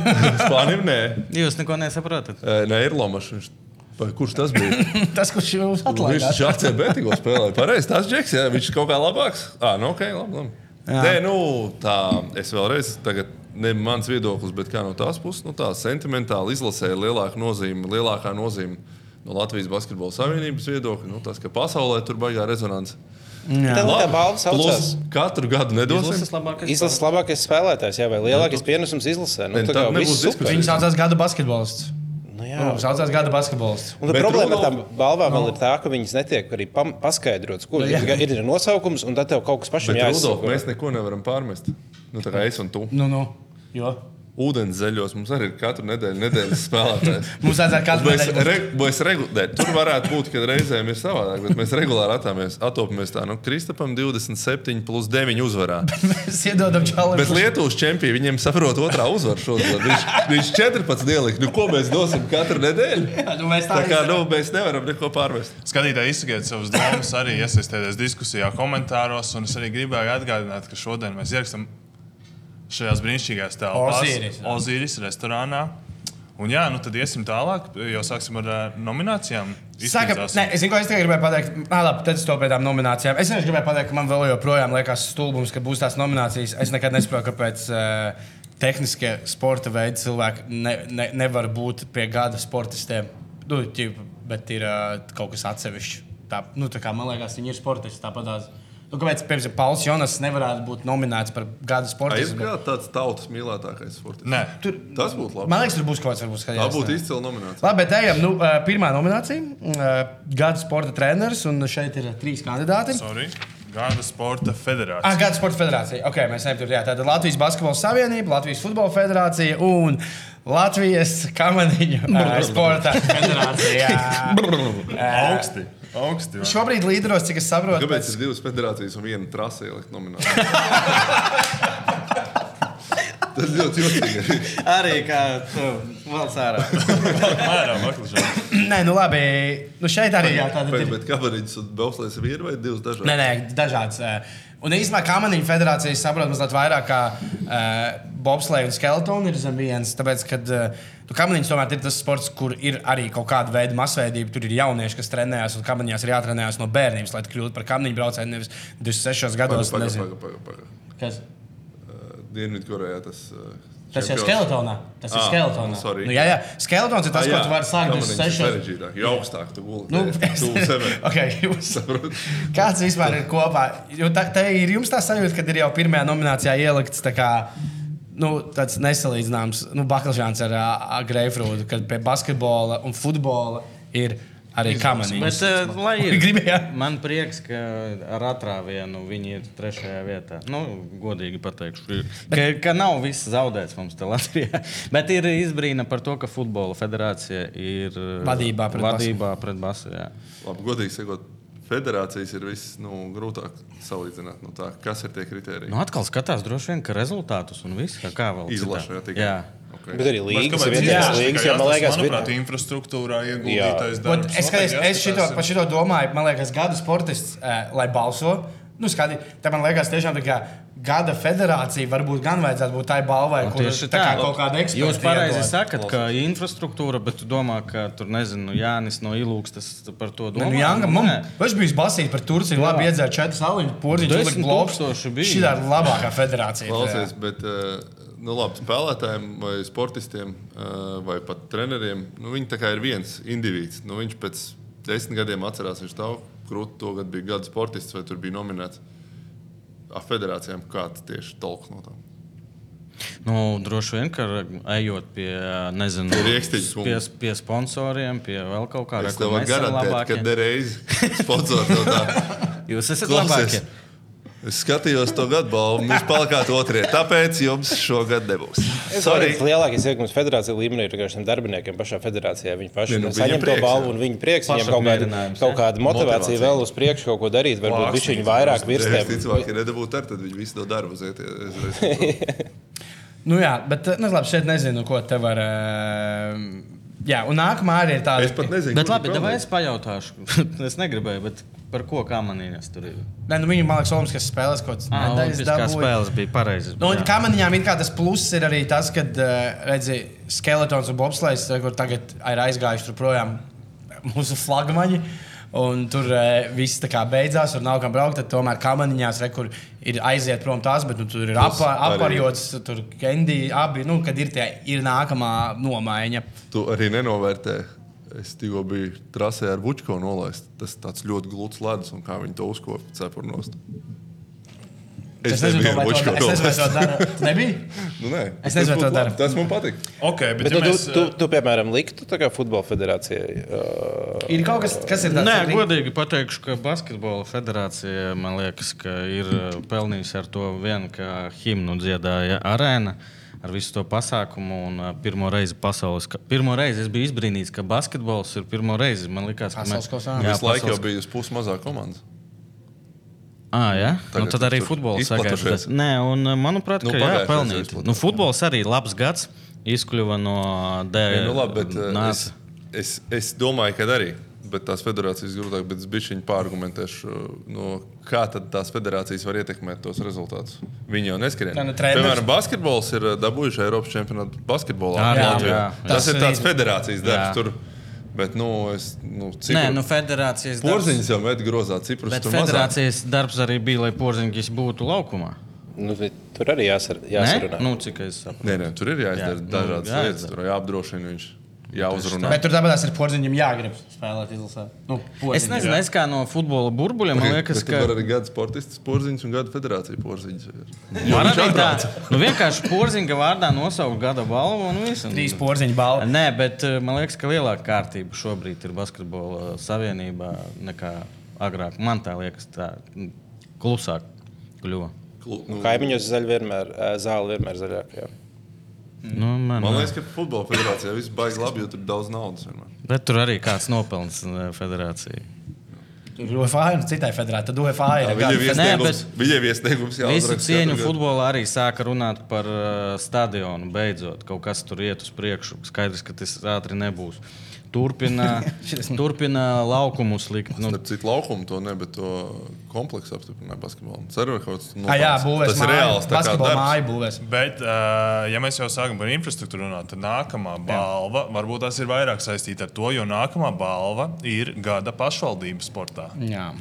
[SPEAKER 3] Spānijam nē.
[SPEAKER 4] Jūs neko nesaprotat.
[SPEAKER 3] Ē, Nē, ir Lomas. Viņš... Vai kurš tas bija?
[SPEAKER 1] Tas, kurš jums
[SPEAKER 3] viņš
[SPEAKER 1] atlaidās.
[SPEAKER 3] taču ACB tikko spēlēja. Pareizi, tas Džeks, jā, viņš kaut kā labāks. Ah, nu, ok, labi. labi. Nē, nu, tā, es vēlreiz, tagad ne mans viedoklis, bet kā no tās puses, nu, tā sentimentāli izlasēja lielāka nozīme, lielākā nozīme no Latvijas Basketbola Savienības viedokļa. Nu, tas, ka pasaulē tur baigā rezonance.
[SPEAKER 5] Tā nu tā balva saucās.
[SPEAKER 3] plus katru gadu nedosim.
[SPEAKER 4] Izlases labākais.
[SPEAKER 5] Izlases labākais spēlētājs, jā, vai
[SPEAKER 3] Nu,
[SPEAKER 5] lielākais pienesums izlasē. Nu,
[SPEAKER 3] Nē,
[SPEAKER 5] tā
[SPEAKER 3] tad
[SPEAKER 5] kā
[SPEAKER 3] nebūs
[SPEAKER 5] viss super.
[SPEAKER 3] diskusijas.
[SPEAKER 1] Viņš saucās gada basketbolists.
[SPEAKER 5] Nu, jā,
[SPEAKER 1] Viņš saucās gada basketbolists.
[SPEAKER 5] Un tad
[SPEAKER 3] Bet Nu.
[SPEAKER 5] problēma ar
[SPEAKER 3] Ronaldu-
[SPEAKER 5] tām balvām vēl ir tā, ka viņas netiek arī pam- paskaidrotas.
[SPEAKER 3] Nu,
[SPEAKER 5] Kur
[SPEAKER 1] jā.
[SPEAKER 5] ir, ir nosaukums, un tad tev kaut kas pašam
[SPEAKER 3] Bet, Rudolf,
[SPEAKER 5] jāizsaka.
[SPEAKER 3] mēs neko nevaram pārmest. Nu, tā kā es un tu.
[SPEAKER 1] Nu, nu. Jo.
[SPEAKER 3] Ūdens zeļos mums arī ir katru nedēļu nedēļas spēlētājs.
[SPEAKER 1] Mums vajadzētu katru
[SPEAKER 3] Mēs
[SPEAKER 1] nedēļu.
[SPEAKER 3] re, mēs regu, ne, tur varētu būt, ka reizēm ir savādāk, bet mēs regulāri atāmies, atopamies tā, nu, Kristapam 27 plus 9 uzvarā.
[SPEAKER 1] Mēs iedodam čalam.
[SPEAKER 3] Bet Lietuvas čempioni viņiem saprot otrā uzvaru šodien. Viņš, viņš 14 ielika, nu, ko mēs dosim katru nedēļu?
[SPEAKER 1] Nu, mēs tā
[SPEAKER 3] Tā kā,
[SPEAKER 1] izdarām.
[SPEAKER 3] nu, mēs nevaram neko pārmest.
[SPEAKER 2] Skatītāji, izsakiet savas domas, arī iesaistieties diskusijā, komentāros. Un es arī gribēju atgādināt, ka šodien mēs ierakstām šajās brīnišķīgajās
[SPEAKER 1] Osiris,
[SPEAKER 2] telpās,
[SPEAKER 1] jā.
[SPEAKER 2] Ozīris restorānā. Un jā, nu tad iesim tālāk, jau sāksim ar ā, nominācijām.
[SPEAKER 1] Saka,
[SPEAKER 2] Izteicās.
[SPEAKER 1] nē, es zinu, ko es tikai gribēju pateikt. Nē, labi, tad es to pie tām nominācijām. Es vienkārši gribēju pateikt, ka man vēl joprojām liekas stulbums, ka būs tās nominācijas. Es nekad nesaprotu, kāpēc uh, tehniskie sporta veidi cilvēki ne, ne, nevar būt pie gada sportistiem. Nu, ķip, bet ir uh, kaut kas atsevišķs. Tā, nu, tā kā man liekas, viņi ir sportisti. Tāpat tās. Nu, kāpēc, piemēram, Pauls Jonas nevarētu būt nominēts par gada sportistu?
[SPEAKER 3] Aizgājot tāds tautas mīlētākais sports.
[SPEAKER 2] Nē,
[SPEAKER 1] Tur,
[SPEAKER 3] Tas būtu labi.
[SPEAKER 1] man liekas, tur būs kaut kas, kas
[SPEAKER 3] Tā būtu izcila nominācija.
[SPEAKER 1] Labi, bet ejam. Nu, uh, pirmā nominācija - gada sporta treneris, un šeit ir trīs kandidāti.
[SPEAKER 2] sorry. Gada sporta
[SPEAKER 1] Ah,
[SPEAKER 2] federācija.
[SPEAKER 1] Gada sporta federācija. Okay, mēs ejam tur. Jā, tātad Latvijas Basketbola Savienība, Latvijas Futbola Federācija un Latvijas Kamaniņu uh, sporta federācija. jā.
[SPEAKER 2] Augsti. Augsti vai?
[SPEAKER 1] Šobrīd līderos, cik es saprotu,
[SPEAKER 3] Kāpēc ir divas federācijas un viena trasē ielikt nominācijā? Tas ļoti jūtīgi.
[SPEAKER 4] Arī kā valsts ārā.
[SPEAKER 2] Mēram, aklažā.
[SPEAKER 1] Nē, nu labi. Nu šeit arī jā, tātad
[SPEAKER 3] Pēc,
[SPEAKER 1] ir.
[SPEAKER 3] bet kabariņas un bauslēs ir viena vai divas dažādas?
[SPEAKER 1] Nē, nē, dažādas. eh. Un īstenībā kamaniņu federācija saprot mazliet vairāk, kā uh, bobslēga un skeletona ir zem viens. Tāpēc, kad uh, kamaniņš tomēr ir tas sports, kur ir arī kaut kāda veida masveidība, tur ir jaunieši, kas trenējās, un kamaniņās ir jātrenējās no bērnības, lai kļūtu par kamaniņu braucēju nevis
[SPEAKER 3] nu
[SPEAKER 1] 26 gados. nezinu.
[SPEAKER 3] pagaidi, pagaidi. Paga.
[SPEAKER 1] Kas?
[SPEAKER 3] Dienvidkorejā tas uh, ir.
[SPEAKER 1] Tas ir skeletonā. Tas ir
[SPEAKER 3] Ah,
[SPEAKER 1] skeletonā.
[SPEAKER 3] nu, sorry. Ah,
[SPEAKER 1] Nu, jā, jā, skeletons ir tas, ko tu vari sākt 26.
[SPEAKER 3] sarežģītāk, jo augstāk tu gulēji.
[SPEAKER 1] Nu,
[SPEAKER 3] tu sevi.
[SPEAKER 1] okay, jūs...
[SPEAKER 3] Saproti?
[SPEAKER 1] Kāds vispār ir kopā? Jo tā, tā ir jums tā sajūta, kad ir jau pirmajā nominācijā ielikts tā kā, nu, tāds nesalīdzināms nu, baklažāns ar uh, greifrūdu, kad pie basketbola un futbola ir arī
[SPEAKER 4] Bet,
[SPEAKER 1] kamaniņš.
[SPEAKER 4] eh, lai ir.
[SPEAKER 1] Gribējāt?
[SPEAKER 4] Man prieks, ka ar atrāvienu viņi ir trešajā vietā. Nu, godīgi pateikšu, ka, ka nav viss zaudēts mums te Latvijā. Bet ir izbrīna par to, ka futbola federācija ir eh,
[SPEAKER 1] Vadībā pret
[SPEAKER 4] vadībā pret Basu. jā.
[SPEAKER 3] Labi, godīgi sakot, federācijas ir viss nu, grūtāk salīdzināt. Nu, tā, kas ir tie kriteriji?
[SPEAKER 4] Nu, atkal skatās droši vien, ka rezultātus un viss kā, kā vēl. citā.
[SPEAKER 3] Izlaša, jā, tikai.
[SPEAKER 4] Jā.
[SPEAKER 3] Ok. ka
[SPEAKER 5] Bet arī līgas ir
[SPEAKER 2] kāpēc
[SPEAKER 5] vienīgās
[SPEAKER 2] izlaist?
[SPEAKER 5] līgas,
[SPEAKER 2] Tikai
[SPEAKER 5] jo man
[SPEAKER 2] jāstāsta,
[SPEAKER 5] liekas,
[SPEAKER 2] manuprāt,
[SPEAKER 5] vi-
[SPEAKER 2] infrastruktūrā ieguldītais
[SPEAKER 1] Ot,
[SPEAKER 2] darbs. Nu,
[SPEAKER 1] Es, kad, es,
[SPEAKER 2] Noteikti
[SPEAKER 1] es šito,
[SPEAKER 2] jāskatās.
[SPEAKER 1] par šito domāju, man liekas, gada sportists, eh, lai balso. Nu, skati, tā man liekas, tiešām tā kā gada federācija varbūt gan vajadzētu būt tai balvai, kur
[SPEAKER 4] Nu, Tieši
[SPEAKER 1] tā kā
[SPEAKER 4] tā.
[SPEAKER 1] kaut kāda eksperta.
[SPEAKER 4] Jūs pareizi sakat, ka infrastruktūra, bet tu domā, ka tur, nezinu, nu, Jānis no Ilūkstas par to
[SPEAKER 1] Nu,
[SPEAKER 4] domā.
[SPEAKER 1] jā,
[SPEAKER 4] Nu,
[SPEAKER 1] man
[SPEAKER 4] nē.
[SPEAKER 1] viņš bija basīts par Turciju. Labi, iedzēra četras aliņas, porziņš,
[SPEAKER 4] Desmit
[SPEAKER 1] uzlika blokus.
[SPEAKER 4] tūkstoši bija.
[SPEAKER 1] Šī ir labākā federācija.
[SPEAKER 3] Klausies, bet eh, nu, labi, spēlētājiem vai sportistiem eh, vai pat treneriem nu, viņi tā kā ir viens indivīds. Nu, viņš pēc desmit gadiem atcerās, viņš tavu krūtu to gadu bija gada sportists vai tur bija nominēts. Ar federācijām kāds tieši talks no tām.
[SPEAKER 4] Nu, droši vien, ka ejot pie, nezinu,
[SPEAKER 3] Pie rīkstiņas kungu.
[SPEAKER 4] pie, pie sponsoriem, pie vēl kaut kāda
[SPEAKER 3] Es tev varu garantēt, ka dereiz sponsors no tā.
[SPEAKER 4] Jūs esat
[SPEAKER 3] Klausies,
[SPEAKER 4] labākie.
[SPEAKER 3] es skatījos to nu gadu balvu, jūs palikāt otrie. Tāpēc jums šogad nebūs.
[SPEAKER 5] Es
[SPEAKER 3] Sorry.
[SPEAKER 5] domāju, ka lielākais ieguvums federācijas līmenī ir vienkārši tiem darbiniekiem pašā federācijā. Viņi paši
[SPEAKER 3] Ne, nu,
[SPEAKER 5] nu,
[SPEAKER 3] viņiem
[SPEAKER 5] saņem to
[SPEAKER 3] prieks, jā.
[SPEAKER 5] balvu, un viņi prieks, viņiem kaut kāda,
[SPEAKER 4] Pašapmierinājums,
[SPEAKER 5] kaut
[SPEAKER 4] jā.
[SPEAKER 5] kāda motivācija
[SPEAKER 3] Motivācija.
[SPEAKER 5] vēl uz priekšu kaut ko darīt. Varbūt viņš viņu vairāk virs
[SPEAKER 3] Es
[SPEAKER 5] tevis.
[SPEAKER 3] ticu, ka nedabūtu ar, tad viņi visi no darba aiziet. Es- es-
[SPEAKER 1] Nu, jā, bet nu, labi, šeit nezinu, ko te var. eh, Jā, un nākamā arī ir tāda.
[SPEAKER 3] Es pat nezinu.
[SPEAKER 4] Bet
[SPEAKER 3] kur
[SPEAKER 4] labi,
[SPEAKER 3] viņi
[SPEAKER 4] tad
[SPEAKER 3] pelnīja.
[SPEAKER 4] es pajautāšu. es negribēju, bet par ko kā manīnās tur ir?
[SPEAKER 1] Nē, nu, viņa, man liekas, Olimpiskās spēles kaut kādas
[SPEAKER 4] Ah,
[SPEAKER 1] medaļas
[SPEAKER 4] Olimpiskās
[SPEAKER 1] dabūja.
[SPEAKER 4] spēles bija pareizas.
[SPEAKER 1] Nu, un kā manījām, ir kā tas pluss ir arī tas, ka, redziet, skeletons un bobslēgs, kur tagad ir aizgājuši tur projām mūsu flagmaņi. Un tur eh, viss tā kā beidzās, tur nav kam braukt. Tad tomēr kamaniņās re, kur ir aiziet prom tās, bet nu, tur ir
[SPEAKER 3] Tas
[SPEAKER 1] apa-
[SPEAKER 3] arī-
[SPEAKER 1] aparjots, tur kendī, abi, nu, kad ir tie, ir nākamā nomaiņa.
[SPEAKER 3] Tu arī nenovērtē. Es tikko biju trasē ar buļbuļsaktu nolaist. Tas tāds ļoti glūts ledus, un kā viņi to uzkopa cepurnos.
[SPEAKER 1] Es nezinu,
[SPEAKER 3] nevienu
[SPEAKER 1] kāpēc
[SPEAKER 3] bučku
[SPEAKER 1] tā bija. Es nezinu,
[SPEAKER 3] nolaistu.
[SPEAKER 1] vai to dara. Nebija?
[SPEAKER 3] Nu, nē,
[SPEAKER 1] Es
[SPEAKER 3] tas
[SPEAKER 1] nezinu,
[SPEAKER 3] būtu
[SPEAKER 1] to
[SPEAKER 3] labi.
[SPEAKER 1] dara.
[SPEAKER 3] Tas man patīk.
[SPEAKER 2] Ok, bet,
[SPEAKER 5] Bet
[SPEAKER 2] bet
[SPEAKER 5] nu,
[SPEAKER 2] ja mēs,
[SPEAKER 5] tu, tu, tu, piemēram, liktu tā kā futbola federācijai. Uh,
[SPEAKER 1] Ir kaut kas, kas ir tāds.
[SPEAKER 4] Nē,
[SPEAKER 1] ir-
[SPEAKER 4] godīgi pateikšu, ka Basketbola federācija man liekas, ka ir eh, pelnījusi ar to vienu, ka himnu dziedāja arēna. Ar visu to pasākumu, un eh, pirmo reizi pasaules. ka- Pirmo reizi es biju izbrīnīts, ka basketbols ir pirmo reizi. Man liekas, ka
[SPEAKER 1] Pasaules kausā.
[SPEAKER 3] Visu laiku jau
[SPEAKER 4] pasaules-
[SPEAKER 3] bija uz puses mazā komandas.
[SPEAKER 4] Ah, jā, nu,
[SPEAKER 3] Tagad
[SPEAKER 4] tad arī
[SPEAKER 3] tur
[SPEAKER 4] futbols
[SPEAKER 3] izplatušies.
[SPEAKER 4] sagaidās. Nē, un eh, manuprāt,
[SPEAKER 3] Nu,
[SPEAKER 4] ka jā,
[SPEAKER 3] pagājušajā reizē
[SPEAKER 4] pelnīt.
[SPEAKER 3] izplatušies.
[SPEAKER 4] Nu, futbols arī labs gads. Izkļuva no
[SPEAKER 3] Ei,
[SPEAKER 4] D.
[SPEAKER 3] nu, labi, bet, eh,
[SPEAKER 4] nāca.
[SPEAKER 3] es, es, es domāju, ka arī. Bet tās federācijas grūtāk, bet es bijuši viņa pārargumentēšu, no kā tad tās federācijas var ietekmēt tos rezultātus. Viņi jau neskrien.
[SPEAKER 1] Nē, nu, treneris-
[SPEAKER 3] Piemēram, basketbols ir eh, dabūjuši Eiropas čempionātu basketbolā.
[SPEAKER 1] jā,
[SPEAKER 4] Jā,
[SPEAKER 3] Latvijā.
[SPEAKER 4] nu, jā, jā.
[SPEAKER 3] Tas
[SPEAKER 1] Tas
[SPEAKER 3] ir tāds
[SPEAKER 1] arī-
[SPEAKER 3] federācijas
[SPEAKER 4] Jā.
[SPEAKER 3] darbs. Tur, bet, nu, es, nu, cik
[SPEAKER 4] Nē, nu, federācijas darbs-
[SPEAKER 3] Porziņš jau met grozā, Ciprus
[SPEAKER 4] Bet
[SPEAKER 3] tur mazāk.
[SPEAKER 4] federācijas darbs arī bija, lai porziņķis būtu laukumā.
[SPEAKER 5] nu, tur arī jāsar,
[SPEAKER 4] Nē,
[SPEAKER 5] jāsarunā.
[SPEAKER 4] nu, cik es saprotu.
[SPEAKER 3] Nē, nē, tur ir
[SPEAKER 4] Jā,
[SPEAKER 3] jāizdara
[SPEAKER 4] nu,
[SPEAKER 3] dažādas
[SPEAKER 4] jāizdara.
[SPEAKER 3] lietas, tur jāapdrošina viņš, jāuzrunā.
[SPEAKER 1] Bet tur tāpēc ir porziņam jāgrib spēlēt izlasē. Nu,
[SPEAKER 4] Es
[SPEAKER 1] porziņam.
[SPEAKER 4] nezinu, es kā no futbola burbuļa, man
[SPEAKER 3] Bet
[SPEAKER 4] liekas,
[SPEAKER 3] tur
[SPEAKER 4] ka
[SPEAKER 3] var arī gada sportists porziņš un gada federācija porziņš. Jo
[SPEAKER 4] man
[SPEAKER 3] viņš
[SPEAKER 4] arī tā.
[SPEAKER 3] atbrauc.
[SPEAKER 4] Nu, vienkārši porziņa vārdā nosaukt gada balvu un visu.
[SPEAKER 1] Trīs porziņu balvu.
[SPEAKER 4] Nē, bet eh, man liekas, ka lielāka kārtība šobrīd ir basketbola savienībā nekā agrāk. Man tā liekas, tā mm, klusāk kļuva.
[SPEAKER 3] Klu- nu,
[SPEAKER 5] Kaimiņos zaļ vienmēr, ā, zāle vienmēr zaļākajā.
[SPEAKER 4] Nu, man,
[SPEAKER 3] Man liekas, ka futbola federācijā viss baigs labi, jo tur ir daudz naudas. vienmēr.
[SPEAKER 4] Bet tur arī kāds nopelns eh, federācijai.
[SPEAKER 1] Tur UFA ir nu, citai federācijai. Tad UFA ir.
[SPEAKER 3] Viņai
[SPEAKER 1] gada
[SPEAKER 3] ir
[SPEAKER 1] federācija.
[SPEAKER 4] Nē,
[SPEAKER 3] iesniegums, viņa ir iesniegums
[SPEAKER 4] Visu
[SPEAKER 3] jāuzraksta.
[SPEAKER 4] cieņu
[SPEAKER 3] katru gadu.
[SPEAKER 4] futbolā arī sāka runāt par uh, stadionu. Beidzot, kaut kas tur iet uz priekšu. Skaidrs, ka tas ātri nebūs. Turpina, turpina laukumus likt. Nu,
[SPEAKER 3] Starp citu, laukumu to ne, bet to kompleksu apstiprināja basketbolam. Ceru, ka kaut kas
[SPEAKER 1] Ā, Ah, Jā,
[SPEAKER 3] nopelns.
[SPEAKER 1] būvēs.
[SPEAKER 3] Tas ir reāls. tā kā
[SPEAKER 1] Basketbola
[SPEAKER 3] darbs.
[SPEAKER 1] māju būvēs.
[SPEAKER 2] bet uh, ja mēs jau sākam par infrastruktūru runāt, tad nākamā balva, varbūt tas ir vairāk saistīta ar to, jo nākamā balva ir gada pašvaldība sportā.
[SPEAKER 1] Jā.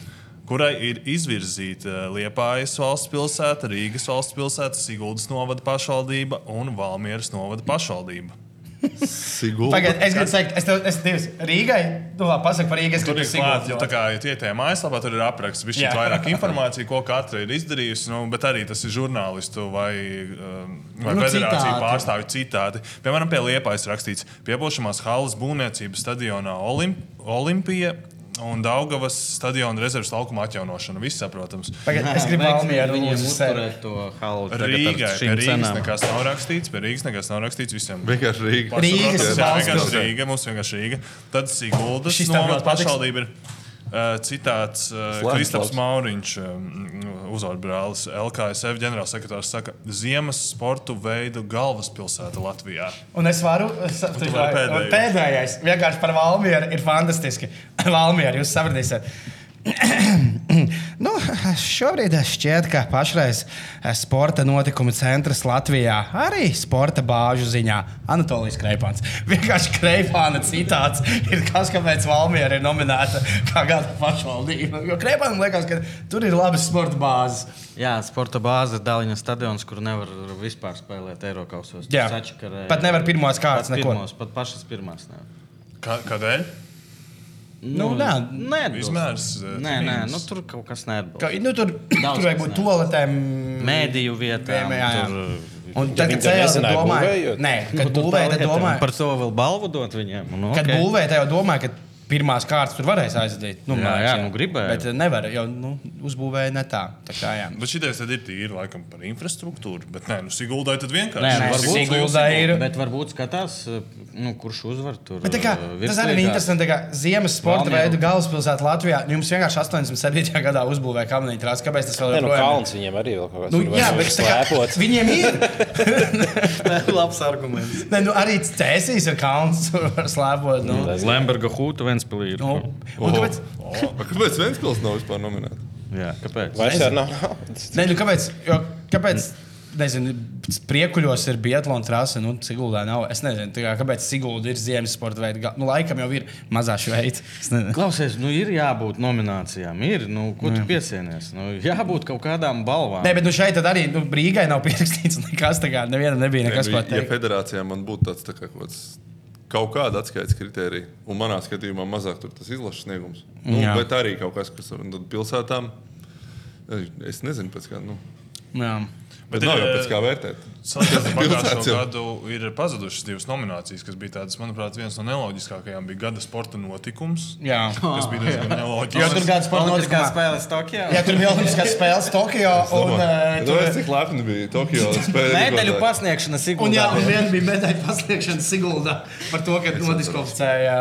[SPEAKER 2] kurai ir izvirzīta Liepājas valsts pilsēta, Rīgas valsts pilsēta, Siguldas novada pašvaldība un Valmieras novada pašvaldība.
[SPEAKER 3] Sigulda.
[SPEAKER 1] Pagaid, es gribu teikt, es tev esmu divs. Rīgai, nu labi, pasaka par Rīgas
[SPEAKER 2] Tur ir klāts, jo tā kā ja tie tajā mājaslapā tur ir apraksts, viņš
[SPEAKER 1] Jā.
[SPEAKER 2] ir vairāk informācija, ko katra ir izdarījusi, nu, bet arī tas ir žurnālistu vai, um, vai
[SPEAKER 1] Nu,
[SPEAKER 2] nu, federāciju
[SPEAKER 1] citāti.
[SPEAKER 2] pārstāvju citāti. Piemēram, pie Liepājas rakstīts, piepošamās halas būvniecības stadionā Olim Olimpija un Daugavas stadiona rezerves laukuma atjaunošana. Viss saprotams.
[SPEAKER 1] Pagaid, es gribu
[SPEAKER 4] vajag
[SPEAKER 1] Valmieru
[SPEAKER 4] viņiem
[SPEAKER 1] lūdzu sevi.
[SPEAKER 4] uzturēt to halu. tagad ar
[SPEAKER 2] Rīgai pie
[SPEAKER 4] šīm
[SPEAKER 2] Rīgas
[SPEAKER 4] cenām.
[SPEAKER 2] nekas nav rakstīts, pie Rīgas nekas nav rakstīts visiem.
[SPEAKER 3] Vienkārši Rīga.
[SPEAKER 1] Rīgas
[SPEAKER 2] Rīgas
[SPEAKER 1] valsts
[SPEAKER 2] valsts
[SPEAKER 3] pilsēta.
[SPEAKER 2] Rīga, mums vienkārši Rīga. Tad Siguldas
[SPEAKER 1] Šis tā
[SPEAKER 2] novada
[SPEAKER 1] ļoti patiks.
[SPEAKER 2] pašvaldība ir. eh, citāts eh,
[SPEAKER 3] Slēdz,
[SPEAKER 2] Kristaps
[SPEAKER 3] slēdz.
[SPEAKER 2] Mauriņš, eh, uzvārds brālis, LKSF ģenerālsekretārs, saka, ziemas sportu veidu galvaspilsēta Latvijā.
[SPEAKER 1] Un es varu saprast,
[SPEAKER 2] tu vari pēdējo.
[SPEAKER 1] pēdējais. Vienkārši par Valmjeru ir fantastiski. Valmjeru jūs sapratīsiet. nu, šobrīd šķiet, ka pašreiz eh, sporta notikumu centrs Latvijā arī sporta bāžu ziņā Anatolijas Kreipāns. Vienkārši Kreipāna citāts ir tas, kāpēc Valmiera ir nominēta kā gada pašvaldība. Jo Kreipānam liekas, ka tur ir labas sporta bāzes.
[SPEAKER 4] Jā, sporta bāze ir Dāļiņa stadions, kur nevar vispār spēlēt Eiropasos.
[SPEAKER 1] Jā. Pat nevar pirmās kārtas
[SPEAKER 4] pat
[SPEAKER 1] neko.
[SPEAKER 4] Pirmos, pat pašas pirmās. Nevar.
[SPEAKER 2] Kā, kādēļ?
[SPEAKER 1] Nu, nē,
[SPEAKER 4] nē, neatbilst.
[SPEAKER 2] Izmērs, eh,
[SPEAKER 4] Nē, nē,
[SPEAKER 2] trīnis.
[SPEAKER 4] nu, tur kaut kas neatbilst.
[SPEAKER 1] Ka, nu, tur
[SPEAKER 4] Daudz
[SPEAKER 1] tur vajag
[SPEAKER 4] kas
[SPEAKER 1] būt
[SPEAKER 4] ne.
[SPEAKER 1] toaletēm,
[SPEAKER 4] Mēdīju vietām,
[SPEAKER 1] Jā, jā.
[SPEAKER 4] tur,
[SPEAKER 1] Un tad, kad
[SPEAKER 5] viņi to
[SPEAKER 1] cēlā, tad
[SPEAKER 5] nezināja
[SPEAKER 1] domāju,
[SPEAKER 5] būvējot?
[SPEAKER 1] nē, kad
[SPEAKER 4] Nu,
[SPEAKER 1] būvēja,
[SPEAKER 4] tā
[SPEAKER 1] tad
[SPEAKER 4] lieta, un
[SPEAKER 1] domāju,
[SPEAKER 4] par to vēl balvu dot viņiem. Nu,
[SPEAKER 1] kad
[SPEAKER 4] okei.
[SPEAKER 1] būvēja, tad jau domāju, ka pirmās kārtas tur varēs aizdot. Nu,
[SPEAKER 4] Jā,
[SPEAKER 1] man liekas,
[SPEAKER 4] jā, nu, gribēju.
[SPEAKER 1] Bet eh, nevar, jo nu, uzbūvēja ne tā. tā kā, jā.
[SPEAKER 2] Bet šī ideja ir tīra laikam par infrastruktūru. Bet nē, nu, Siguldai tad vienkārši.
[SPEAKER 4] Nē,
[SPEAKER 2] Nu,
[SPEAKER 4] nu, varbūt
[SPEAKER 2] Sigulda,
[SPEAKER 1] Sigulda
[SPEAKER 2] Sigulda.
[SPEAKER 1] ir.
[SPEAKER 4] Bet varbūt skatās, nu, kurš uzvar tur.
[SPEAKER 1] Bet, tā kā,
[SPEAKER 4] uh,
[SPEAKER 1] tas arī ir
[SPEAKER 4] virslīgā.
[SPEAKER 1] interesanti. tā Kā, ziemas sporta
[SPEAKER 4] Valmieru.
[SPEAKER 1] veidu galvaspilsēta Latvijā. nu, Jums vienkārši 87. gadā uzbūvēja kamieņa trāsas. Kāpēc tas vēl
[SPEAKER 5] Nē,
[SPEAKER 1] ir?
[SPEAKER 5] nu,
[SPEAKER 1] projām?
[SPEAKER 5] kalns viņiem arī vēl kaut kāds.
[SPEAKER 1] Nu,
[SPEAKER 5] tur
[SPEAKER 1] jā,
[SPEAKER 5] vajag
[SPEAKER 1] bet tā kā,
[SPEAKER 5] slēpot.
[SPEAKER 1] viņiem ir.
[SPEAKER 4] Labs arguments.
[SPEAKER 1] Nē, nu, arī cēsīs ir kalns, kur var slēpot. Nu.
[SPEAKER 4] Lemberga hūta Ventspēlī ir.
[SPEAKER 1] Nu, un kāpēc?
[SPEAKER 3] Bet Kāpēc Vēnspils nav vispār nominēts?
[SPEAKER 4] Jā, kāpēc?
[SPEAKER 5] Vairs jau nav naudas.
[SPEAKER 1] Nē, nu kāpēc? Jo, kāpēc? Nezinu, priekuļos ir Bietlāna trase, nu, Siguldā nav. Es nezinu, tā kā, kāpēc Sigulda ir ziemas sporta veids. Nu, laikam jau ir mazā šveita. Es nezinu.
[SPEAKER 4] Klausies, nu ir jābūt nominācijām. Ir, nu, ko tu piesienies? Nu, jābūt kaut kādām balvām.
[SPEAKER 1] Nē, bet nu šeit tad arī nu, Rīgai nav pierakstīts nekas. tā Kā, nevienam nebija nekas
[SPEAKER 3] Ja
[SPEAKER 1] pateikt.
[SPEAKER 3] federācijā man būtu tāds tā kā kaut kāds. Kaut kāda atskaites kriterija, un manā skatījumā mazāk tur tas izlases sniegums. Nu,
[SPEAKER 1] Jā.
[SPEAKER 3] bet arī kaut kas, kas un tad pilsētām, eh, es nezinu, pēc kā. Nu,
[SPEAKER 1] Jā.
[SPEAKER 3] bet
[SPEAKER 2] ir,
[SPEAKER 3] nav jau pēc
[SPEAKER 2] eh,
[SPEAKER 3] kā vērtēt.
[SPEAKER 2] Salīdzinot ar
[SPEAKER 3] Pilsēts
[SPEAKER 2] Pagājušo
[SPEAKER 3] jau.
[SPEAKER 2] gadu ir pazudušas divas nominācijas, kas bija tādas, manuprāt, viens no neloģiskākajām. Bija gada sporta notikums,
[SPEAKER 1] Ah, Jā.
[SPEAKER 2] kas bija diezgan
[SPEAKER 1] Jo tur
[SPEAKER 2] neloģisks.
[SPEAKER 1] gada sporta notikumā.
[SPEAKER 4] spēles Tokijā.
[SPEAKER 1] Jā, tur bija Olimpiskās spēles Tokijā. Un, eh,
[SPEAKER 3] Domāju,
[SPEAKER 1] tur,
[SPEAKER 3] es cik lepni bija Tokijā spēlēt.
[SPEAKER 4] Medaļu pasniegšana Sigūda.
[SPEAKER 1] un jā, un viena bija medaļa pasniegšana Siguldā par to, ka nodiskvalificēja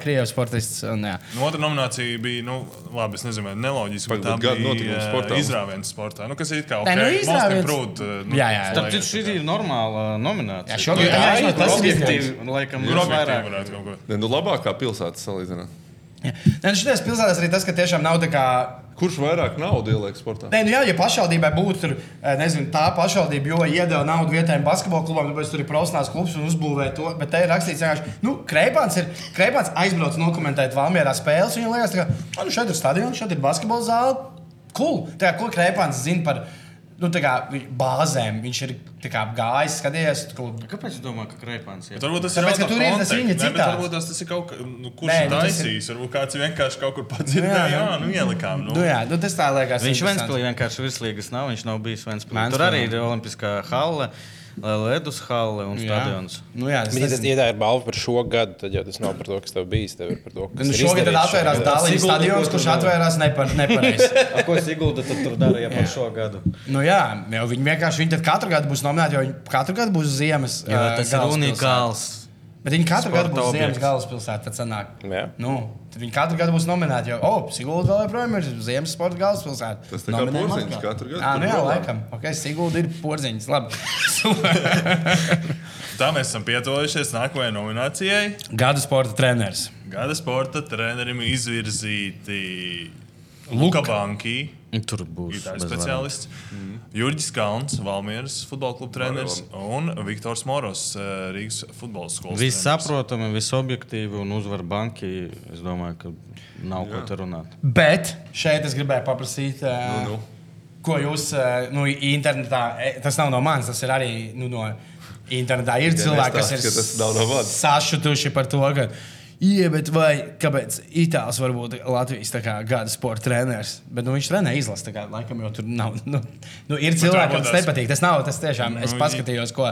[SPEAKER 1] Krievijas sportists. Un, jā.
[SPEAKER 2] Nu, Otra nominācija bija, nu, labi, es nezinu, vai neloģiski, bet
[SPEAKER 3] Pagaid,
[SPEAKER 2] tā
[SPEAKER 3] bet gada
[SPEAKER 2] bija
[SPEAKER 3] notikums sportā.
[SPEAKER 2] eh, izrāviens sportā. Nu, kas ir it kā
[SPEAKER 1] Nē, nu,
[SPEAKER 2] okay, most
[SPEAKER 1] izrāviens-
[SPEAKER 2] improved, eh, nu,
[SPEAKER 1] Jā, jā, jā.
[SPEAKER 4] Tad šī ir normāla nominācija.
[SPEAKER 1] Jā, šogad-
[SPEAKER 4] tā
[SPEAKER 1] jā, jā,
[SPEAKER 4] ir
[SPEAKER 1] tas ir
[SPEAKER 4] objektīvi. Laikam,
[SPEAKER 2] Tur
[SPEAKER 4] ir
[SPEAKER 2] objektīvi
[SPEAKER 4] vairāk.
[SPEAKER 2] Nu, varētu kaut ko.
[SPEAKER 3] Ne, nu, labākā pilsēta salīdzināt.
[SPEAKER 1] Nē, nu, šajās pilsētās arī tas, ka tiešām nav tā kā
[SPEAKER 3] Kurš vairāk naudu ieliek sportā?
[SPEAKER 1] Nē, nu jā, ja pašvaldībai būtu tur, eh, nezinu, tā pašvaldība, jo iedeva naudu vietējiem basketbola klubam, tāpēc tur ir profesionāls klubs un uzbūvēja to. Bet te ir rakstīts, ka nu, Kreipāns, ir- Kreipāns aizbrauc nokomentēt Valmjerā spēles. Viņam liekas, ka "Ah, nu, šeit ir stadions, šeit ir basketbola zāle. Cool. Tā kā, ko Kreipāns zina par nu, tā kā, vi- bāzēm? Viņš ir tā kā, gājis, skatījies. Klub.
[SPEAKER 4] Kāpēc jūs domājat, ka Kreipāns ir?
[SPEAKER 2] Bet Varbūt tas
[SPEAKER 1] Tāpēc,
[SPEAKER 2] ir
[SPEAKER 1] ka tur ir tas viņa citāts.
[SPEAKER 2] Varbūt tas, tas ir kaut kas, nu, kurš
[SPEAKER 1] Nē,
[SPEAKER 2] Nē,
[SPEAKER 1] nu, tas ir-
[SPEAKER 2] taisīs. Varbūt kāds vienkārši kaut kur padzirdēja,
[SPEAKER 1] Nu, jā,
[SPEAKER 2] jā, nu, ielikām. Nu.
[SPEAKER 1] Nu, jā, nu, tas tā liekas.
[SPEAKER 4] Viņš
[SPEAKER 1] interesanti.
[SPEAKER 4] Vēnspēlī vienkārši virslīgas nav, viņš nav bijis Vēnspēlī. Tur
[SPEAKER 1] Ventspilī,
[SPEAKER 4] arī
[SPEAKER 1] jā.
[SPEAKER 4] ir Olimpiskā hale, Ledus hale un stadions.
[SPEAKER 1] Jā. Nu, jā, tas,
[SPEAKER 5] Bet, ja
[SPEAKER 1] tas,
[SPEAKER 5] tas- ja tā ir balva par šo gadu, tad jau tas nav par to, kas tev bijis. Tev ir par to, kas
[SPEAKER 1] nu,
[SPEAKER 5] ir
[SPEAKER 1] šogad tad
[SPEAKER 5] izdarīts
[SPEAKER 1] atvērās
[SPEAKER 5] šogad.
[SPEAKER 1] Dāvidas
[SPEAKER 4] Sigulda
[SPEAKER 1] stadions,
[SPEAKER 4] būtu
[SPEAKER 1] kurš
[SPEAKER 4] vēl.
[SPEAKER 1] atvērās nepar, nepareizi.
[SPEAKER 4] A, Ko Sigūda tad tur darīja par šo gadu?
[SPEAKER 1] Nu jā, jau viņi vienkārši viņi tad katru gadu būs nominēti, jo viņi katru gadu būs ziemas.
[SPEAKER 4] Jā,
[SPEAKER 1] eh,
[SPEAKER 4] tas ir
[SPEAKER 1] galvaspilsēta.
[SPEAKER 4] unikāls.
[SPEAKER 1] Bet viņi katru gadu būs
[SPEAKER 4] sporta
[SPEAKER 1] ziemas
[SPEAKER 4] objekts.
[SPEAKER 1] galvaspilsētā. Tad sanāk.
[SPEAKER 5] Jā.
[SPEAKER 1] Nu, tad viņi katru gadu būs nominēti, jo, oh, Sigūda vēl joprojām ir ziemas sporta galvaspilsēta.
[SPEAKER 3] Tas tā kā
[SPEAKER 1] Nominējam
[SPEAKER 3] Porziņš
[SPEAKER 1] atkal.
[SPEAKER 3] katru gadu
[SPEAKER 1] Jā, nu
[SPEAKER 3] tur
[SPEAKER 1] jā,
[SPEAKER 3] galā.
[SPEAKER 1] laikam. Ok, Sigūda ir porziņš. Labi. Super.
[SPEAKER 2] Tā mēs esam pietuvojušies nākamajai nominācijai.
[SPEAKER 1] Gadu sporta treneris.
[SPEAKER 2] Gada sporta trenerim izvirzīti Luka Banki,
[SPEAKER 4] Nu, Tur būs
[SPEAKER 2] gitāra
[SPEAKER 4] bez variantiem.
[SPEAKER 2] speciālists, Jurģis Kalns, Valmieras futbola kluba treneris un Viktors Moros, eh, Rīgas futbola skolas.
[SPEAKER 4] Viss
[SPEAKER 2] treneris.
[SPEAKER 4] saprotami, viss objektīvi un uzvar banki. Es domāju, ka nav ko te runāt.
[SPEAKER 1] Bet šeit es gribēju paprasīt. eh,
[SPEAKER 3] Nu, nu.
[SPEAKER 1] Ko jūs eh, nu, internetā, eh, tas nav no manis, tas ir arī nu, no internetā. Ir cilvēki, kas ir
[SPEAKER 3] nestāsti, ka tas nav no manis.
[SPEAKER 1] sašutuši par to, ka, jā, bet vai, kāpēc Itālijas var būt Latvijas tā kā, gada sporta treneris? Bet nu, viņš trenē izlasi, tā kā laikam jau tur nav. Nu, nu, ir cilvēki, kam tas
[SPEAKER 2] varbūt tas-
[SPEAKER 1] nepatīk. Tas nav tas tiešām. Es
[SPEAKER 2] Nu,
[SPEAKER 1] paskatījos, ko.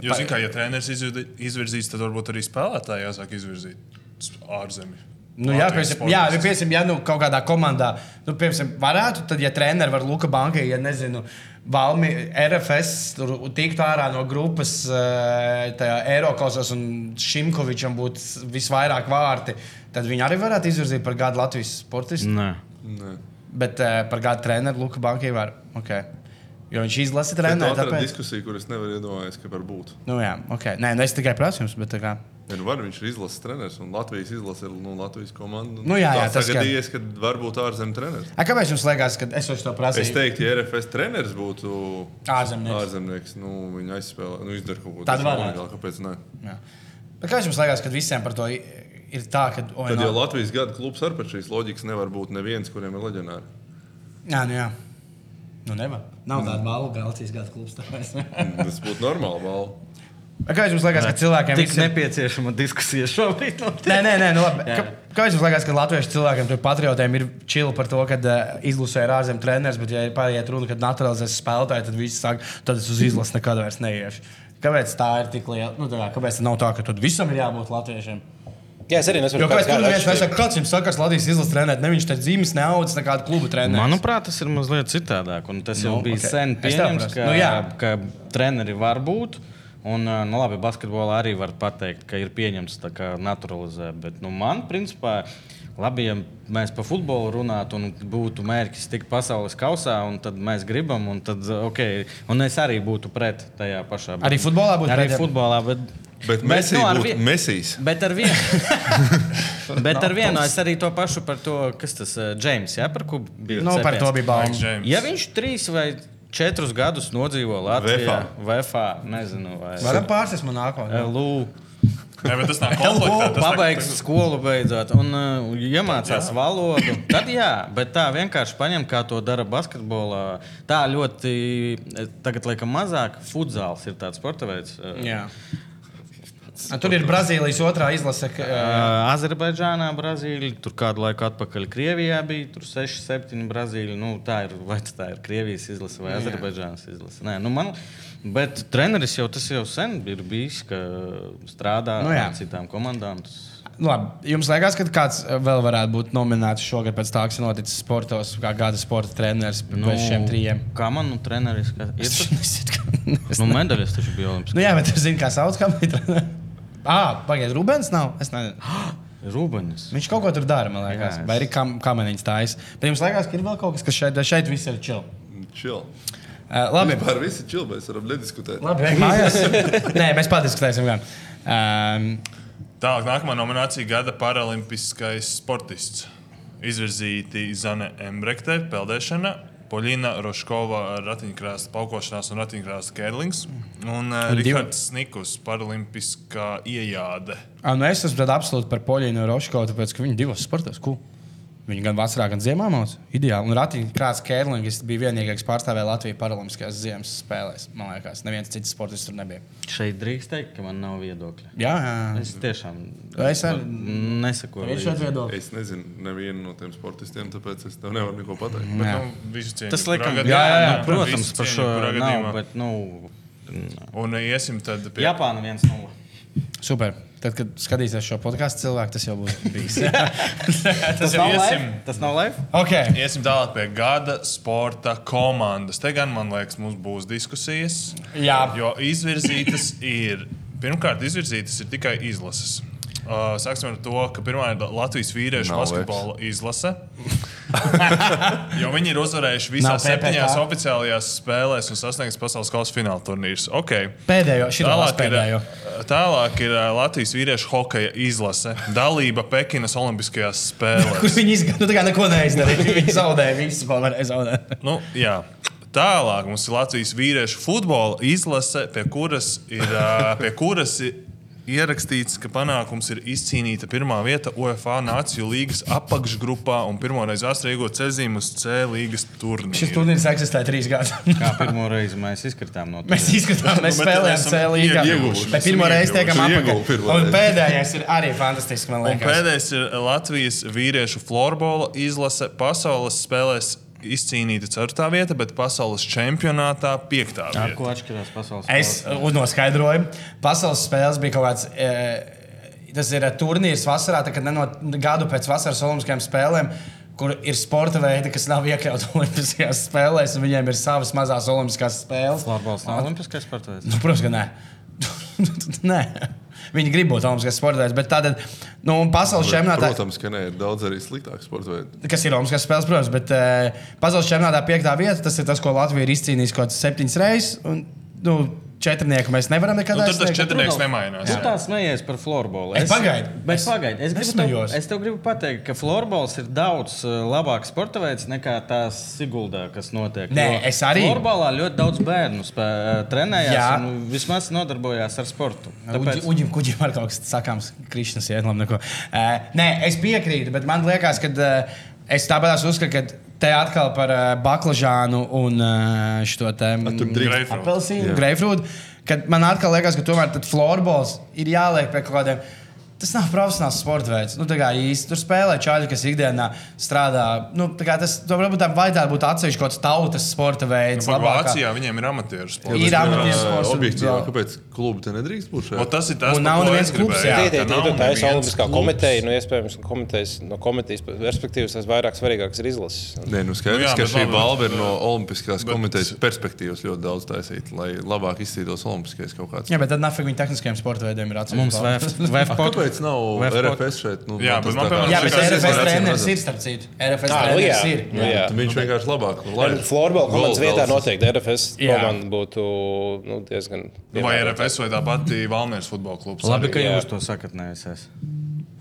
[SPEAKER 2] Jo, zin, kā, ja treneris izvirdi- izvirzīs, tad varbūt arī spēlētāji jāsāk izvirzīt s- ārzemi.
[SPEAKER 1] Nu, jā,
[SPEAKER 2] Latvijas
[SPEAKER 1] piemēram, jā, ja,
[SPEAKER 2] sportistus.
[SPEAKER 1] piemēram, ja nu, kaut kādā komandā, nu, piemēram, varētu, tad, ja treneris var Luka Bankai, ja nezinu, Valmi RFS tur tiktu ārā no grupas eh, tajā Eiropasos un Šimkovičam būtu visvairāk vārti, tad viņi arī varētu izvirzīt par gadu Latvijas sportistu.
[SPEAKER 4] Nē.
[SPEAKER 3] Nē.
[SPEAKER 1] Bet eh, par gadu treneru Luka Bankai var. Okay. Jo viņš izlasa
[SPEAKER 3] Tā ir
[SPEAKER 1] treniņu.
[SPEAKER 3] otrā
[SPEAKER 1] Tāpēc...
[SPEAKER 3] diskusija, kuras nevar iedomāties, ka var būt.
[SPEAKER 1] Nu, jā, okay. Nē, nu, es tikai prasu jums, bet tā kā.
[SPEAKER 3] Ir var, viņš ir izlases treneris, un Latvijas izlase ir nu, Latvijas komanda. un
[SPEAKER 1] Nu jā, jā,
[SPEAKER 3] tā
[SPEAKER 1] tas gan.
[SPEAKER 3] gadījies, ka var būt ārzemju treneris.
[SPEAKER 1] A, kāpēc jums liekas, ka es jau to prasīju?
[SPEAKER 3] Es teiktu, ja RFS treneris būtu
[SPEAKER 1] Ārzemnieks.
[SPEAKER 3] ārzemnieks nu, viņa aizspēlē, nu, izdara kaut ko
[SPEAKER 1] Tad
[SPEAKER 3] tādu
[SPEAKER 1] varētu.
[SPEAKER 3] unikālu. Kāpēc? Ne?
[SPEAKER 1] Jā. Bet Kāpēc jums liekas, ka visiem par to i- ir tā, ka. oi,
[SPEAKER 3] Tad
[SPEAKER 1] no-
[SPEAKER 3] jau Latvijas gada klubs ar pēc šīs loģikas nevar būt neviens, kuriem ir leģionāri.
[SPEAKER 1] Jā, nu jā. Nu, nevar. Nav tāda balva, kā Latvijas gada klubs. tāpēc.
[SPEAKER 3] Tas būtu normāli. Val.
[SPEAKER 1] A, Kāpēc jums liekas, ka cilvēkiem
[SPEAKER 4] Tik
[SPEAKER 1] visiem-
[SPEAKER 4] nepieciešama diskusija šobrīd.
[SPEAKER 1] Nē, nē, nē, nu labi. Kā- Kāpēc jums liekas, ka latviešu cilvēkiem, tur patriotiem, ir čili par to, ka uh, izlasē ir ārzemju treneris, bet, ja ir pārējie runa, kad naturalizēs spēlētāji, tad visi saka, tad es uz izlasi nekad vairs neiešu. Kāpēc tā ir tik liela? Nu, tā kā, kāpēc tā nav tā, ka tur visam ir jābūt latviešiem?
[SPEAKER 5] Jā, es arī
[SPEAKER 3] Nu,
[SPEAKER 1] Jo
[SPEAKER 5] nesaprotu,
[SPEAKER 1] kāpēc tur
[SPEAKER 5] kāda ir
[SPEAKER 1] viens
[SPEAKER 5] atšķirība.
[SPEAKER 1] nesaka, kāds jums sakars Latvijas izlases trenēt, ne viņš te dzīves neaudzis nekādu klubu trenēt.
[SPEAKER 4] Manuprāt, tas ir mazliet citādāk. un Tas jau
[SPEAKER 1] Nu,
[SPEAKER 4] bija
[SPEAKER 1] ok. Es
[SPEAKER 4] sen
[SPEAKER 1] tev
[SPEAKER 4] pieņemts,
[SPEAKER 1] prasu.
[SPEAKER 4] ka,
[SPEAKER 1] Nu, jā.
[SPEAKER 4] ka treneri var būt. Un, ā, nu, labi, basketbolā arī var teikt, ka ir pieņemts tā kā naturalizē. Bet, nu, man, principā, labi, ja mēs par futbolu runātu un būtu mērķis tikt pasaules kausā, un tad mēs gribam, un, tad, okay, un es arī būtu pret tajā pašā.
[SPEAKER 1] Arī futbolā būtu
[SPEAKER 4] Arī
[SPEAKER 1] pret, jā.
[SPEAKER 4] futbolā, bet,
[SPEAKER 3] Bet Messi
[SPEAKER 4] nu, ar
[SPEAKER 3] būtu
[SPEAKER 4] vi-
[SPEAKER 3] Messijs.
[SPEAKER 4] Bet ar vienu, bet ar vienu es arī to pašu par to, kas tas ir Džeims, ja, par ko bija.
[SPEAKER 1] Nu, par
[SPEAKER 4] cepiens.
[SPEAKER 1] to bija bauma.
[SPEAKER 2] James.
[SPEAKER 4] Ja viņš trīs vai četrus gadus nodzīvo Latvijā, Vēfā, nezinu, vai Eh,
[SPEAKER 1] Varam pārsēst man nākotnē.
[SPEAKER 4] LU,
[SPEAKER 2] Nē, bet tas nav konfliktā. tas nav-
[SPEAKER 4] pabeigs skolu beidzot un uh, iemācās valodu, tad jā, bet tā vienkārši paņem, kā to dara basketbolā. Tā ļoti, eh, tagad laikam mazāk, futzāls ir tāds sporta veids. eh,
[SPEAKER 1] Jā. A, Tur ir Brazīlijas otrā izlase. ka, eh,
[SPEAKER 4] Ā, Azerbaidžānā, Brazīlijā, tur kādu laiku atpakaļ Krievijā bija 6, 7 Brazīlijā. Nu, tā ir vai tas tā ir Krievijas izlase vai Azerbaidžānas izlase. Nē, nu man, bet treneris jau tas jau sen ir bijis, ka strādā
[SPEAKER 1] Nu
[SPEAKER 4] nu,
[SPEAKER 1] jā.
[SPEAKER 4] ar citām komandām. Tas...
[SPEAKER 1] nu, Labi, jums liekas, ka kāds eh, vēl varētu būt nominēts šogad pēc tā, kas ir noticis sportos, kā gada sporta treneris nu, pēc šiem trījiem?
[SPEAKER 4] Kā man nu, treneris? Ka... Ir tas...
[SPEAKER 1] Nezinu, kā-
[SPEAKER 4] nu, medaļas taču bija Olimpiskā.
[SPEAKER 1] nu, jā, bet jūs zināt, kā sauc kamerā. Ah, pagaidiet, Rubens nav. Es nezinu.
[SPEAKER 4] Rūbenis.
[SPEAKER 1] Viņš kaut ko tur dara, man liekas.
[SPEAKER 4] Jā,
[SPEAKER 1] Jā,
[SPEAKER 4] es-
[SPEAKER 1] Vai arī kam, kameniņš tājas. Bet jums liekas, ka ir vēl kaut kas, kas šeit, šeit viss ir čil.
[SPEAKER 3] Čil.
[SPEAKER 1] Uh, labi,
[SPEAKER 3] Vispār visi čil, mēs varam nediskutēt.
[SPEAKER 1] labi. ej Mājās. Nē, mēs padiskutēsim gan. Um,
[SPEAKER 2] Tālāk, nākamā nominācija gada paralimpiskais sportists. Izvirzīti Zane Embrekte, peldēšana, Polina Roškova, ratiņkrāsa paukošanās un ratiņkrāsa kērlings, un uh,
[SPEAKER 1] divi.
[SPEAKER 2] Rikards Snikus, paralimpiskā iejāde.
[SPEAKER 1] Ah, nu es esmu tad absolūti par Poļinu Roškovu, tāpēc ka viņi divos sportos. Cool. Viņi gan vasarā, gan ziemā mācās. Ideāli. Un Ratiņš Krāsa Kērlings bija vienīgais, kas pārstāvēja Latviju paralimpiskajās ziemas spēlēs. Man liekas, neviens cits sportists tur nebija.
[SPEAKER 4] Šeit drīkst teikt, ka man nav viedokļa.
[SPEAKER 1] Jā, jā.
[SPEAKER 4] Es tiešām
[SPEAKER 1] Es ar-
[SPEAKER 4] nesaku.
[SPEAKER 1] ir šāds viedoklis.
[SPEAKER 3] Es nezinu, nevienu no tiem sportistiem, tāpēc es tev nevaru neko pateikt.
[SPEAKER 2] Bet, nu, visu cieņu
[SPEAKER 4] Tas
[SPEAKER 2] kurā
[SPEAKER 4] laikam, jā,
[SPEAKER 2] gadījumā,
[SPEAKER 4] jā, jā,
[SPEAKER 2] nu,
[SPEAKER 4] protams,
[SPEAKER 2] visu
[SPEAKER 4] par
[SPEAKER 2] cieņu
[SPEAKER 4] šo
[SPEAKER 2] kurā
[SPEAKER 4] nav,
[SPEAKER 2] gadījumā.
[SPEAKER 4] bet, nu,
[SPEAKER 2] Un uh, iesim tad pie
[SPEAKER 4] Japāna 1-0.
[SPEAKER 1] Super. Tad, kad skatīsies šo podkāstu, cilvēku tas jau būs bijis.
[SPEAKER 4] Tas
[SPEAKER 2] jau
[SPEAKER 4] nav
[SPEAKER 2] iesim.
[SPEAKER 4] live? Tas nav live?
[SPEAKER 1] okay.
[SPEAKER 2] Iesim tālāk pie gada sporta komandas. Te gan, man liekas, mums būs diskusijas.
[SPEAKER 1] Jā.
[SPEAKER 2] Jo izvirzītas ir, pirmkārt, izvirzītas ir tikai izlases. Uh, sāksim ar to, ka pirmā ir Latvijas vīriešu Nav
[SPEAKER 3] Nav
[SPEAKER 2] basketbola vairs. izlase. jo viņi ir uzvarējuši
[SPEAKER 1] Nav
[SPEAKER 2] visās
[SPEAKER 1] PPK.
[SPEAKER 2] septiņās oficiālajās spēlēs un sasnieguši pasaules kausa fināla turnīrus. Okay.
[SPEAKER 1] Pēdējo, šī
[SPEAKER 2] Tālāk ir,
[SPEAKER 1] pēdējo.
[SPEAKER 2] tālāk ir uh, Latvijas vīriešu hokeja izlase. Dalība Pekinas Olimpiskajās spēlēs.
[SPEAKER 1] Kur viņi izgāja? Nu, tā kā neko neizdarīja. Viņi zaudēja visu, ko varēja zaudēt.
[SPEAKER 2] Nu, jā. Tālāk mums ir Latvijas vīriešu futbola izlase, pie kuras ir, ā, pie kuras ir ierakstīts, ka panākums ir izcīnīta pirmā vieta UEFA Nāciju līnijas apakšgrupā un pirmoreiz astriegot ceļzīmu uz C līnijas
[SPEAKER 1] Šis
[SPEAKER 2] turnīru.
[SPEAKER 1] turnīrs eksistē trīs gadus.
[SPEAKER 4] Kā pirmo reizi mēs izkritām no
[SPEAKER 1] Mēs izskatām, mēs
[SPEAKER 2] bet
[SPEAKER 1] spēlējām
[SPEAKER 2] esam
[SPEAKER 1] CLīgā.
[SPEAKER 3] Nu, ieguvuši,
[SPEAKER 1] Bet pirmo
[SPEAKER 2] esam
[SPEAKER 1] reizi tiekam
[SPEAKER 3] ieguvuši.
[SPEAKER 1] apakaļ.
[SPEAKER 3] Ieguvu pirmo
[SPEAKER 1] Un
[SPEAKER 3] reizi.
[SPEAKER 1] pēdējais ir arī fantastisks, man
[SPEAKER 2] Un
[SPEAKER 1] liekas.
[SPEAKER 2] pēdējais ir Latvijas vīriešu florbola izlase pasaules spēlēs. Izcīnīta 4. vieta, bet pasaules čempionātā 5.
[SPEAKER 4] Ar
[SPEAKER 2] vietā.
[SPEAKER 4] ko atšķirās pasaules
[SPEAKER 1] Es
[SPEAKER 4] kausa?
[SPEAKER 1] uh, noskaidroju, pasaules spēles bija kaut kāds. E, Tas ir eh, turnīrs vasarā, tā, kad nenot, gadu pēc vasaras olimpiskajām spēlēm kur ir sporta veidi, kas nav iekļauti Olimpiskajās spēlēs, un viņiem ir savas mazas Olimpiskās spēles.
[SPEAKER 4] Florbols nav olimpiskais sports veids.
[SPEAKER 1] Nu, protams, ka nē. nē. Viņi grib būt Olimpiskās sportēs, bet tādā nu, un pasaules čempionātā.
[SPEAKER 3] Protams, ka nē, ir daudz arī sliktāku sporta veidu.
[SPEAKER 1] Kas ir Olimpiskās spēles, protams, bet uh, pasaules čempionātā piektā vieta, tas ir tas, ko Latvija ir izcīnījusi kaut kādas septiņas reizes. Un, nu, Četrnieku mēs nevaram nekad
[SPEAKER 2] Nu, tur tas
[SPEAKER 1] aizsniegt.
[SPEAKER 2] četrnieks nemainās. jā.
[SPEAKER 4] Tu tā smejies Nu, par floorbola.
[SPEAKER 1] Es pagaidu.
[SPEAKER 4] Bet
[SPEAKER 1] Es-
[SPEAKER 4] pagaidi, es,
[SPEAKER 1] es
[SPEAKER 4] gribu tev,
[SPEAKER 1] smejos.
[SPEAKER 4] es tev gribu pateikt, ka floorbols ir daudz uh, labāks sporta veids nekā tās Siguldā, kas notiek.
[SPEAKER 1] Nē,
[SPEAKER 4] Jo
[SPEAKER 1] es arī-
[SPEAKER 4] Floorbolā ļoti daudz bērnu spē, uh, trenējās
[SPEAKER 1] Jā.
[SPEAKER 4] un vismaz nodarbojās ar sportu.
[SPEAKER 1] Tāpēc... Uģim, kuģim ar kaut kas sakāms, Krišņas ietlam neko. Uh, nē, es piekrītu, bet man liekas, ka uh, es tāpēc uzskatu, ka te atkal par uh, baklažānu un uh, šo te
[SPEAKER 3] tur drīkst.
[SPEAKER 2] Grapefruit.
[SPEAKER 1] apelsīnu, greifrūdu. Kad man atkal liekas, ka tomēr tad florbols ir jāliek pie kaut kādiem. Tas nav profesionāls sports veids. Nu, tā kā īsti tur spēlē čāļi, kas ikdienā strādā. Nu, tā kā tas tam varbūt tam vajadzētu būt atsevišķi kaut kāds tautas sporta veids.
[SPEAKER 2] Nu, Par
[SPEAKER 1] labākā-
[SPEAKER 2] Vācijā viņiem ir amatieru sports.
[SPEAKER 1] Ir
[SPEAKER 3] Bet,
[SPEAKER 1] amatieru
[SPEAKER 3] ā,
[SPEAKER 1] sports un-
[SPEAKER 3] Objektīvi,
[SPEAKER 1] jā.
[SPEAKER 3] kāpēc klubi te nedrīkst būt
[SPEAKER 2] Un
[SPEAKER 3] šeit?
[SPEAKER 2] tas ir tas,
[SPEAKER 1] Un nav
[SPEAKER 2] par ko
[SPEAKER 1] neviens
[SPEAKER 2] es
[SPEAKER 1] klubs,
[SPEAKER 2] gribēju,
[SPEAKER 1] jā.
[SPEAKER 2] ka
[SPEAKER 1] Tā
[SPEAKER 5] Tie ir
[SPEAKER 2] nav
[SPEAKER 5] tā ir
[SPEAKER 2] neviens
[SPEAKER 5] Olimpiskā
[SPEAKER 2] klubs.
[SPEAKER 5] komiteja, nu, iespējams, komitejas, no komitejas perspektīvas tas vairāk svarīgāks ir izlases.
[SPEAKER 3] Nē, nu
[SPEAKER 2] Nu
[SPEAKER 3] skaidrs,
[SPEAKER 2] jā,
[SPEAKER 3] jā, ka
[SPEAKER 2] bet
[SPEAKER 3] šī
[SPEAKER 2] labi,
[SPEAKER 3] balva ir
[SPEAKER 2] jā.
[SPEAKER 3] no Olimpiskās
[SPEAKER 2] Bet-
[SPEAKER 3] komitejas perspektīvas ļoti daudz taisīta, lai labāk izcīnītos Olimpiskais kaut kāds.
[SPEAKER 1] Jā, bet tad nafig viņa tehniskajiem sporta veidiem ir atsevišķi.
[SPEAKER 4] Mums
[SPEAKER 1] balva.
[SPEAKER 4] VF
[SPEAKER 3] Kāpēc nav
[SPEAKER 4] Vēf-
[SPEAKER 3] RFS šeit? Nu,
[SPEAKER 2] Jā,
[SPEAKER 3] tas
[SPEAKER 2] bet man
[SPEAKER 3] tā kā-
[SPEAKER 2] piemēram
[SPEAKER 1] Jā, bet
[SPEAKER 2] Šī kāds
[SPEAKER 1] RFS
[SPEAKER 2] ir
[SPEAKER 1] treneris ir starp citu. RFS
[SPEAKER 5] Tā, nu jā.
[SPEAKER 1] treneris ir.
[SPEAKER 5] Nu jā.
[SPEAKER 3] Tu Viņš vienkārši labāk.
[SPEAKER 5] Florbola komandas vietā noteikti RFS
[SPEAKER 1] Jā.
[SPEAKER 5] komanda būtu nu, diezgan.
[SPEAKER 2] Vai RFS vai tā pati Valmēras futbola klubs.
[SPEAKER 4] Labi,
[SPEAKER 2] arī.
[SPEAKER 4] ka
[SPEAKER 5] jā.
[SPEAKER 4] jūs to sakat, ne es esmu.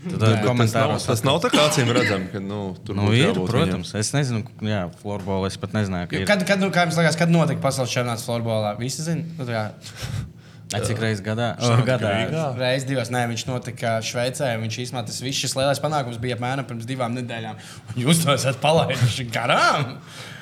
[SPEAKER 4] Tad komentāros.
[SPEAKER 3] Tas nav tā kā acīm redzami, ka nu, tur
[SPEAKER 4] Nu,
[SPEAKER 3] būtu
[SPEAKER 4] ir,
[SPEAKER 3] jābūt viņam.
[SPEAKER 4] protams, es nezinu, k- jā, floorbola es pat nezināju, ka
[SPEAKER 1] Jo
[SPEAKER 4] ir.
[SPEAKER 1] Kad, kad, nu, kā jums liekas, kad notika pasaules čempionāts florbolā? Visi zina, nu, tā kā
[SPEAKER 4] Ai, Cik reizes gadā?
[SPEAKER 2] Šādi
[SPEAKER 4] Gadā.
[SPEAKER 2] Rīgā?
[SPEAKER 1] reizes divas. Nē, viņš notika Šveicē. Viņš īstenībā tas viss šis lielais panākums bija apmēram pirms divām nedēļām. Un Jūs to esat palaiduši garām!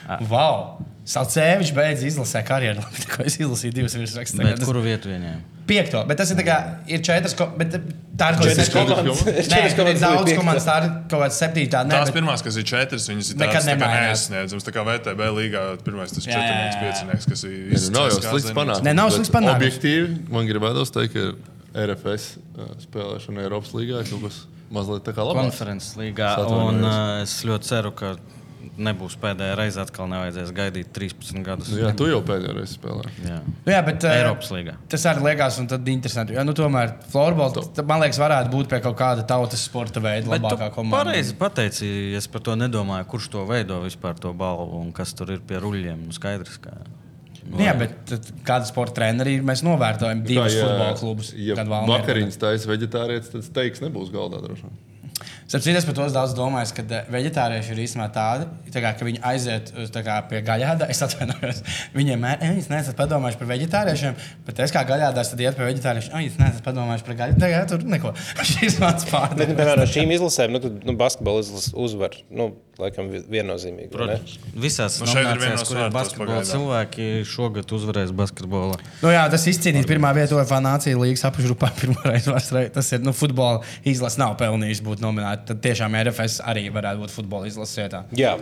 [SPEAKER 5] Ah.
[SPEAKER 1] Wow! Salcēvičs beidz izlasīt karjeru. Labi, ko es izlasīju divas virsrakstus.
[SPEAKER 4] Bet
[SPEAKER 1] tagad.
[SPEAKER 4] kuru vietu viņiem?
[SPEAKER 1] Piekto, bet tas ir tā kā ir četras, ko, bet eh, tā ir kaut
[SPEAKER 5] Četras
[SPEAKER 1] kāda
[SPEAKER 5] komandas.
[SPEAKER 1] Nē,
[SPEAKER 5] Četras
[SPEAKER 1] ir
[SPEAKER 5] komandas
[SPEAKER 1] daudz
[SPEAKER 5] bija piekto.
[SPEAKER 1] komandas, tā ir kaut kāda septītā. Nē,
[SPEAKER 2] Tās
[SPEAKER 1] bet-
[SPEAKER 2] pirmās, kas ir četras, viņas ir
[SPEAKER 1] Nekad
[SPEAKER 2] tādas tā kā
[SPEAKER 1] nemainās.
[SPEAKER 2] neaizsniedzams. Tā kā VTB līgā pirmais tas
[SPEAKER 1] Jā, jā, jā.
[SPEAKER 2] četrnieks, piecinieks, kas ir
[SPEAKER 3] Nē, nu, Nav jau
[SPEAKER 2] izcēlās
[SPEAKER 3] slikts
[SPEAKER 2] Kazanīts.
[SPEAKER 3] panākums.
[SPEAKER 1] Nē, nav
[SPEAKER 3] bet
[SPEAKER 1] slikts panākums.
[SPEAKER 3] Objektīvi man gribētos teikt, ka RFS uh, spēlēšana Eiropas līgā ir kaut kas mazliet tā kā labāks.
[SPEAKER 4] Konferences līgā.
[SPEAKER 3] Satvainojos.
[SPEAKER 4] Un uh, es ļoti ceru, ka nebūs pēdējā reize, atkal nevajadzēs gaidīt 13 gadus.
[SPEAKER 3] Nu, jā, tu jau pēdējo reizi spēlēji.
[SPEAKER 4] Jā.
[SPEAKER 1] Nu Jā, bet, eh,
[SPEAKER 4] Eiropas līgā.
[SPEAKER 1] Tas arī liekas, un tad interesanti. Jo, nu, tomēr florbola, t- man liekas, varētu būt pie kaut kāda tautas sporta veida
[SPEAKER 4] Bet tu
[SPEAKER 1] labākā komanda.
[SPEAKER 4] pareizi pateici, es par to nedomāju, kurš to veido vispār to balvu un kas tur ir pie ruļļiem. Nu, skaidrs, ka
[SPEAKER 1] Nu, jā, bet tad kāda sporta treneri ir, mēs novērtējam divus futbola klubus.
[SPEAKER 3] ja
[SPEAKER 1] kad Valmiera-
[SPEAKER 3] vakariņas taisa veģetārietis, tad steiks nebūs galdā droši vien.
[SPEAKER 1] Starp citu, es par to esmu daudz domāju, ka eh, vegetārieši ir īstenībā tādi, tā kā, ka viņi aiziet uz, tā kā, pie gaļāda. Es atvainojos, viņiem ir, "Ei, jūs neesat padomājuši par vegetāriešiem, bet es kā gaļādās tad iet pie vegetāriešiem, "Ei, jūs neesat padomājuši par gaļu. Tagad tur neko. Šis mans
[SPEAKER 5] Bet, nu,
[SPEAKER 1] pārdevis.
[SPEAKER 5] piemēram, no šīm izlasēm, nu, tad nu, basketbola izlase uzvar. Nu, laikam, vi- viennozīmīgi. vai ne?
[SPEAKER 4] visās
[SPEAKER 2] Nu,
[SPEAKER 4] nu,
[SPEAKER 2] šeit ir viena no
[SPEAKER 4] nominācijās, kur ir
[SPEAKER 2] svārtos
[SPEAKER 4] basketbola
[SPEAKER 2] pagaidām.
[SPEAKER 4] cilvēki, šogad uzvarēs basketbolu.
[SPEAKER 1] Nu, jā, tas izcīnīt pirmā vietu UEFA Nācijas līnijas apakšgrupā. Pirmā reize, vēsturē. tas ir nu, futbola izlases nav pelnījis būt nominēta. Tad tiešām RFS arī varētu būt futbola izlases vietā.
[SPEAKER 5] Jā,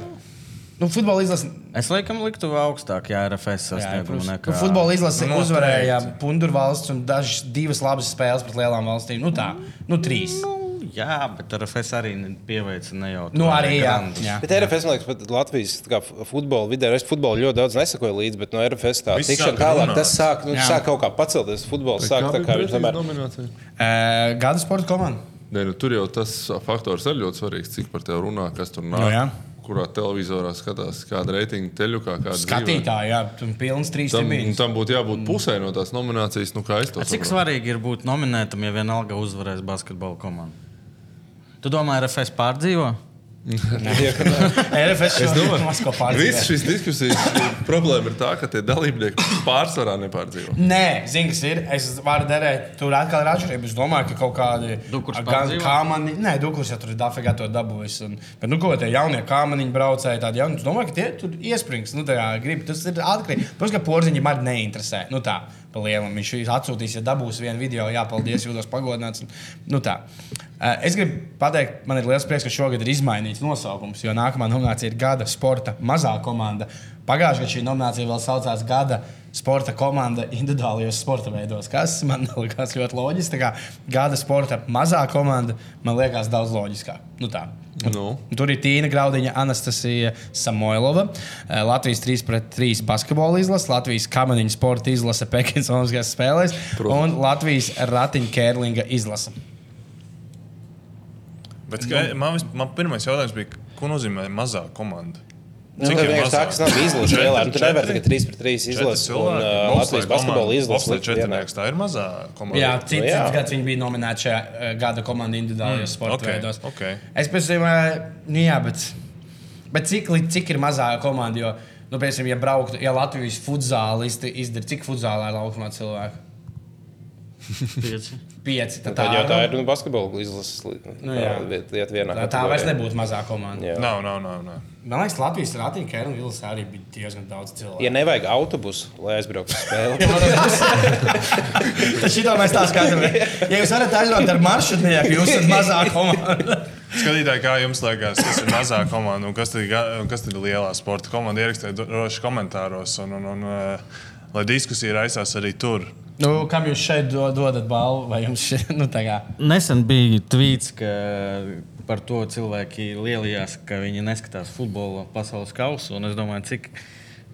[SPEAKER 1] Nu, futbola izlase
[SPEAKER 4] Es laikam liktu augstāk, ja RFS sasniegumu
[SPEAKER 1] protams.
[SPEAKER 4] nekā
[SPEAKER 1] Nu, Futbola izlase
[SPEAKER 2] Nu,
[SPEAKER 1] uzvarēja Punkas valsts un dažas divas labas spēles pret lielām valstīm. Nu, tā, nu, trīs.
[SPEAKER 4] Nu, Jā, bet RFS arī ne- pieveica nejauši.
[SPEAKER 1] Nu, arī jā. jā.
[SPEAKER 5] bet RFS, man liekas, pat Latvijas tā kā, f- futbola vidē, es futbolu ļoti daudz nesakoju līdzi, bet no RFS tā
[SPEAKER 2] Viss
[SPEAKER 5] tikšana
[SPEAKER 2] sāk
[SPEAKER 5] tālāk,
[SPEAKER 2] runāt.
[SPEAKER 5] tas sāk, nu,
[SPEAKER 1] Jā.
[SPEAKER 5] sāk kaut kā pacelties. Futbols sāk tā kā viņš tomēr.
[SPEAKER 3] nominācija.
[SPEAKER 1] Uh, gada sporta komanda.
[SPEAKER 3] Nē, nu, tur jau tas faktors arī ļoti svarīgs, cik par tevi runā, kas tur nāk.
[SPEAKER 1] Nu, jā.
[SPEAKER 3] kurā televizorā skatās, kāda reitinga teļukā, kāda dzīvē.
[SPEAKER 1] Skatītāji, jā, tur bija pilns trīs
[SPEAKER 3] Tam, nu,
[SPEAKER 1] simti.
[SPEAKER 3] tam būtu jābūt pusē no tās nominācijas, nu kā es to
[SPEAKER 4] Cik
[SPEAKER 3] saprotu.
[SPEAKER 4] svarīgi ir būt nominētam, ja vienalga uzvarēs basketbola komandu? Tu domā, RFS pārdzīvo?
[SPEAKER 1] RFS jau ir Moskva
[SPEAKER 3] Visas
[SPEAKER 1] pārspēlē.
[SPEAKER 3] šīs diskusijas problēma ir tā, ka tie dalībnieki pārsvarā nepārdzīvo.
[SPEAKER 1] Nē, zini, kas ir. Es varu derēt, tur atkal ir atšķirība. Es domāju, ka kaut kādi
[SPEAKER 4] Dukurs
[SPEAKER 1] gan
[SPEAKER 4] pārdzīvo?
[SPEAKER 1] kāmani, nē, dukurs jau tur ir dafigā to dabūjis. Un, bet, nu, ko tie jaunie kāmaniņi braucēji, tādi jauni, es domāju, ka tie tur iesprings. Nu, tā kā grib, tas ir atkarīgs. Protams, ka porziņam arī neinteresē. Nu, tā, pa lielam viņš atsūtīs, ja dabūs vienu video, jā, paldies, jūtos pagodināts. Un, nu, tā. Eh, Es gribu pateikt, man ir liels prieks, ka šogad ir izmainīts nosaukums, jo nākamā nominācija ir gada sporta mazā komanda. Pagājušajā gadā šī nominācija vēl saucās gada sporta komanda individuālajos sporta veidos, kas man liekas ļoti loģiski. Tā kā Gada sporta mazā komanda man liekas daudz loģiskāk. Nu, tā.
[SPEAKER 3] Nu.
[SPEAKER 1] Tur ir Tīna Graudiņa, Anastasija Samoilova, eh, Latvijas 3-3 basketbola izlase, Latvijas kamaniņu sporta izlase Pekinas Olimpiskajās spēlēs
[SPEAKER 3] Protams.
[SPEAKER 1] un Latvijas ratiņķērlinga izlase.
[SPEAKER 2] Bet kā- man, vis- man pirmais jautājums bija, ko nozīmē mazā komanda?
[SPEAKER 5] Nu, tā
[SPEAKER 2] ir
[SPEAKER 5] vienkārši tā,
[SPEAKER 2] mazā?
[SPEAKER 5] kas nav izlases
[SPEAKER 2] Četri-
[SPEAKER 5] lielā. Nu, Tu nevari
[SPEAKER 2] četri-
[SPEAKER 5] tagad 3 pret 3
[SPEAKER 2] četri
[SPEAKER 5] izlases un
[SPEAKER 2] cilvēki?
[SPEAKER 5] uh,
[SPEAKER 2] Bobslēja
[SPEAKER 5] Latvijas basketbola
[SPEAKER 2] komanda-
[SPEAKER 5] izlases.
[SPEAKER 2] Bobslēja
[SPEAKER 5] likt vienā.
[SPEAKER 2] četrnieks, Tā ir mazā komanda.
[SPEAKER 1] Jā, cits,
[SPEAKER 5] Nu, jā.
[SPEAKER 1] cits gads viņa bija nominēta šajā eh, gada komandā individuālajos mm, sporta
[SPEAKER 2] ok,
[SPEAKER 1] veidos.
[SPEAKER 2] ok.
[SPEAKER 1] Es domāju, nu jā, bet, bet cik, li- cik ir mazā komanda? Jo, nu, piemēram, ja brauktu, ja Latvijas futzāli izd- izdara, cik futzālā ir laukumā cilvēku?
[SPEAKER 4] Pieci.
[SPEAKER 1] Pieci. Tad
[SPEAKER 5] Tad jau tā
[SPEAKER 1] nu,
[SPEAKER 5] ir nu, basketbola izlases li-
[SPEAKER 1] Nu, jā.
[SPEAKER 5] lieta lieta vienā.
[SPEAKER 1] Tā, tā vairs nebūtu mazā komanda.
[SPEAKER 5] Jā.
[SPEAKER 2] Nav, nav, nav. nav.
[SPEAKER 1] Man liekas, Latvijas rāpīgi, ka Erlīds arī bija diezgan daudz cilvēku.
[SPEAKER 5] Ja nevajag autobusu, lai aizbrauktu uz spēli, nu-
[SPEAKER 1] Tad šī tā mēs tā skatāmies. Ja jūs varat aizbraukt ar maršrutnieku, jūs esat mazā komanda.
[SPEAKER 2] Skatītāji, kā jums liekas, kas ir mazā komanda un kas tad ir, ga- un kas tad ir lielā sporta komanda? Ierakstiet dro- droši komentāros, un, un, un eh, lai diskusija raisās arī tur.
[SPEAKER 1] Nu, kam jūs šeit do, dodat balvu? Vai jums šeit, nu, tā kā?
[SPEAKER 4] Nesen bija tvīts, ka par to cilvēki lielījās, ka viņi neskatās futbola pasaules kausu. un Es domāju, cik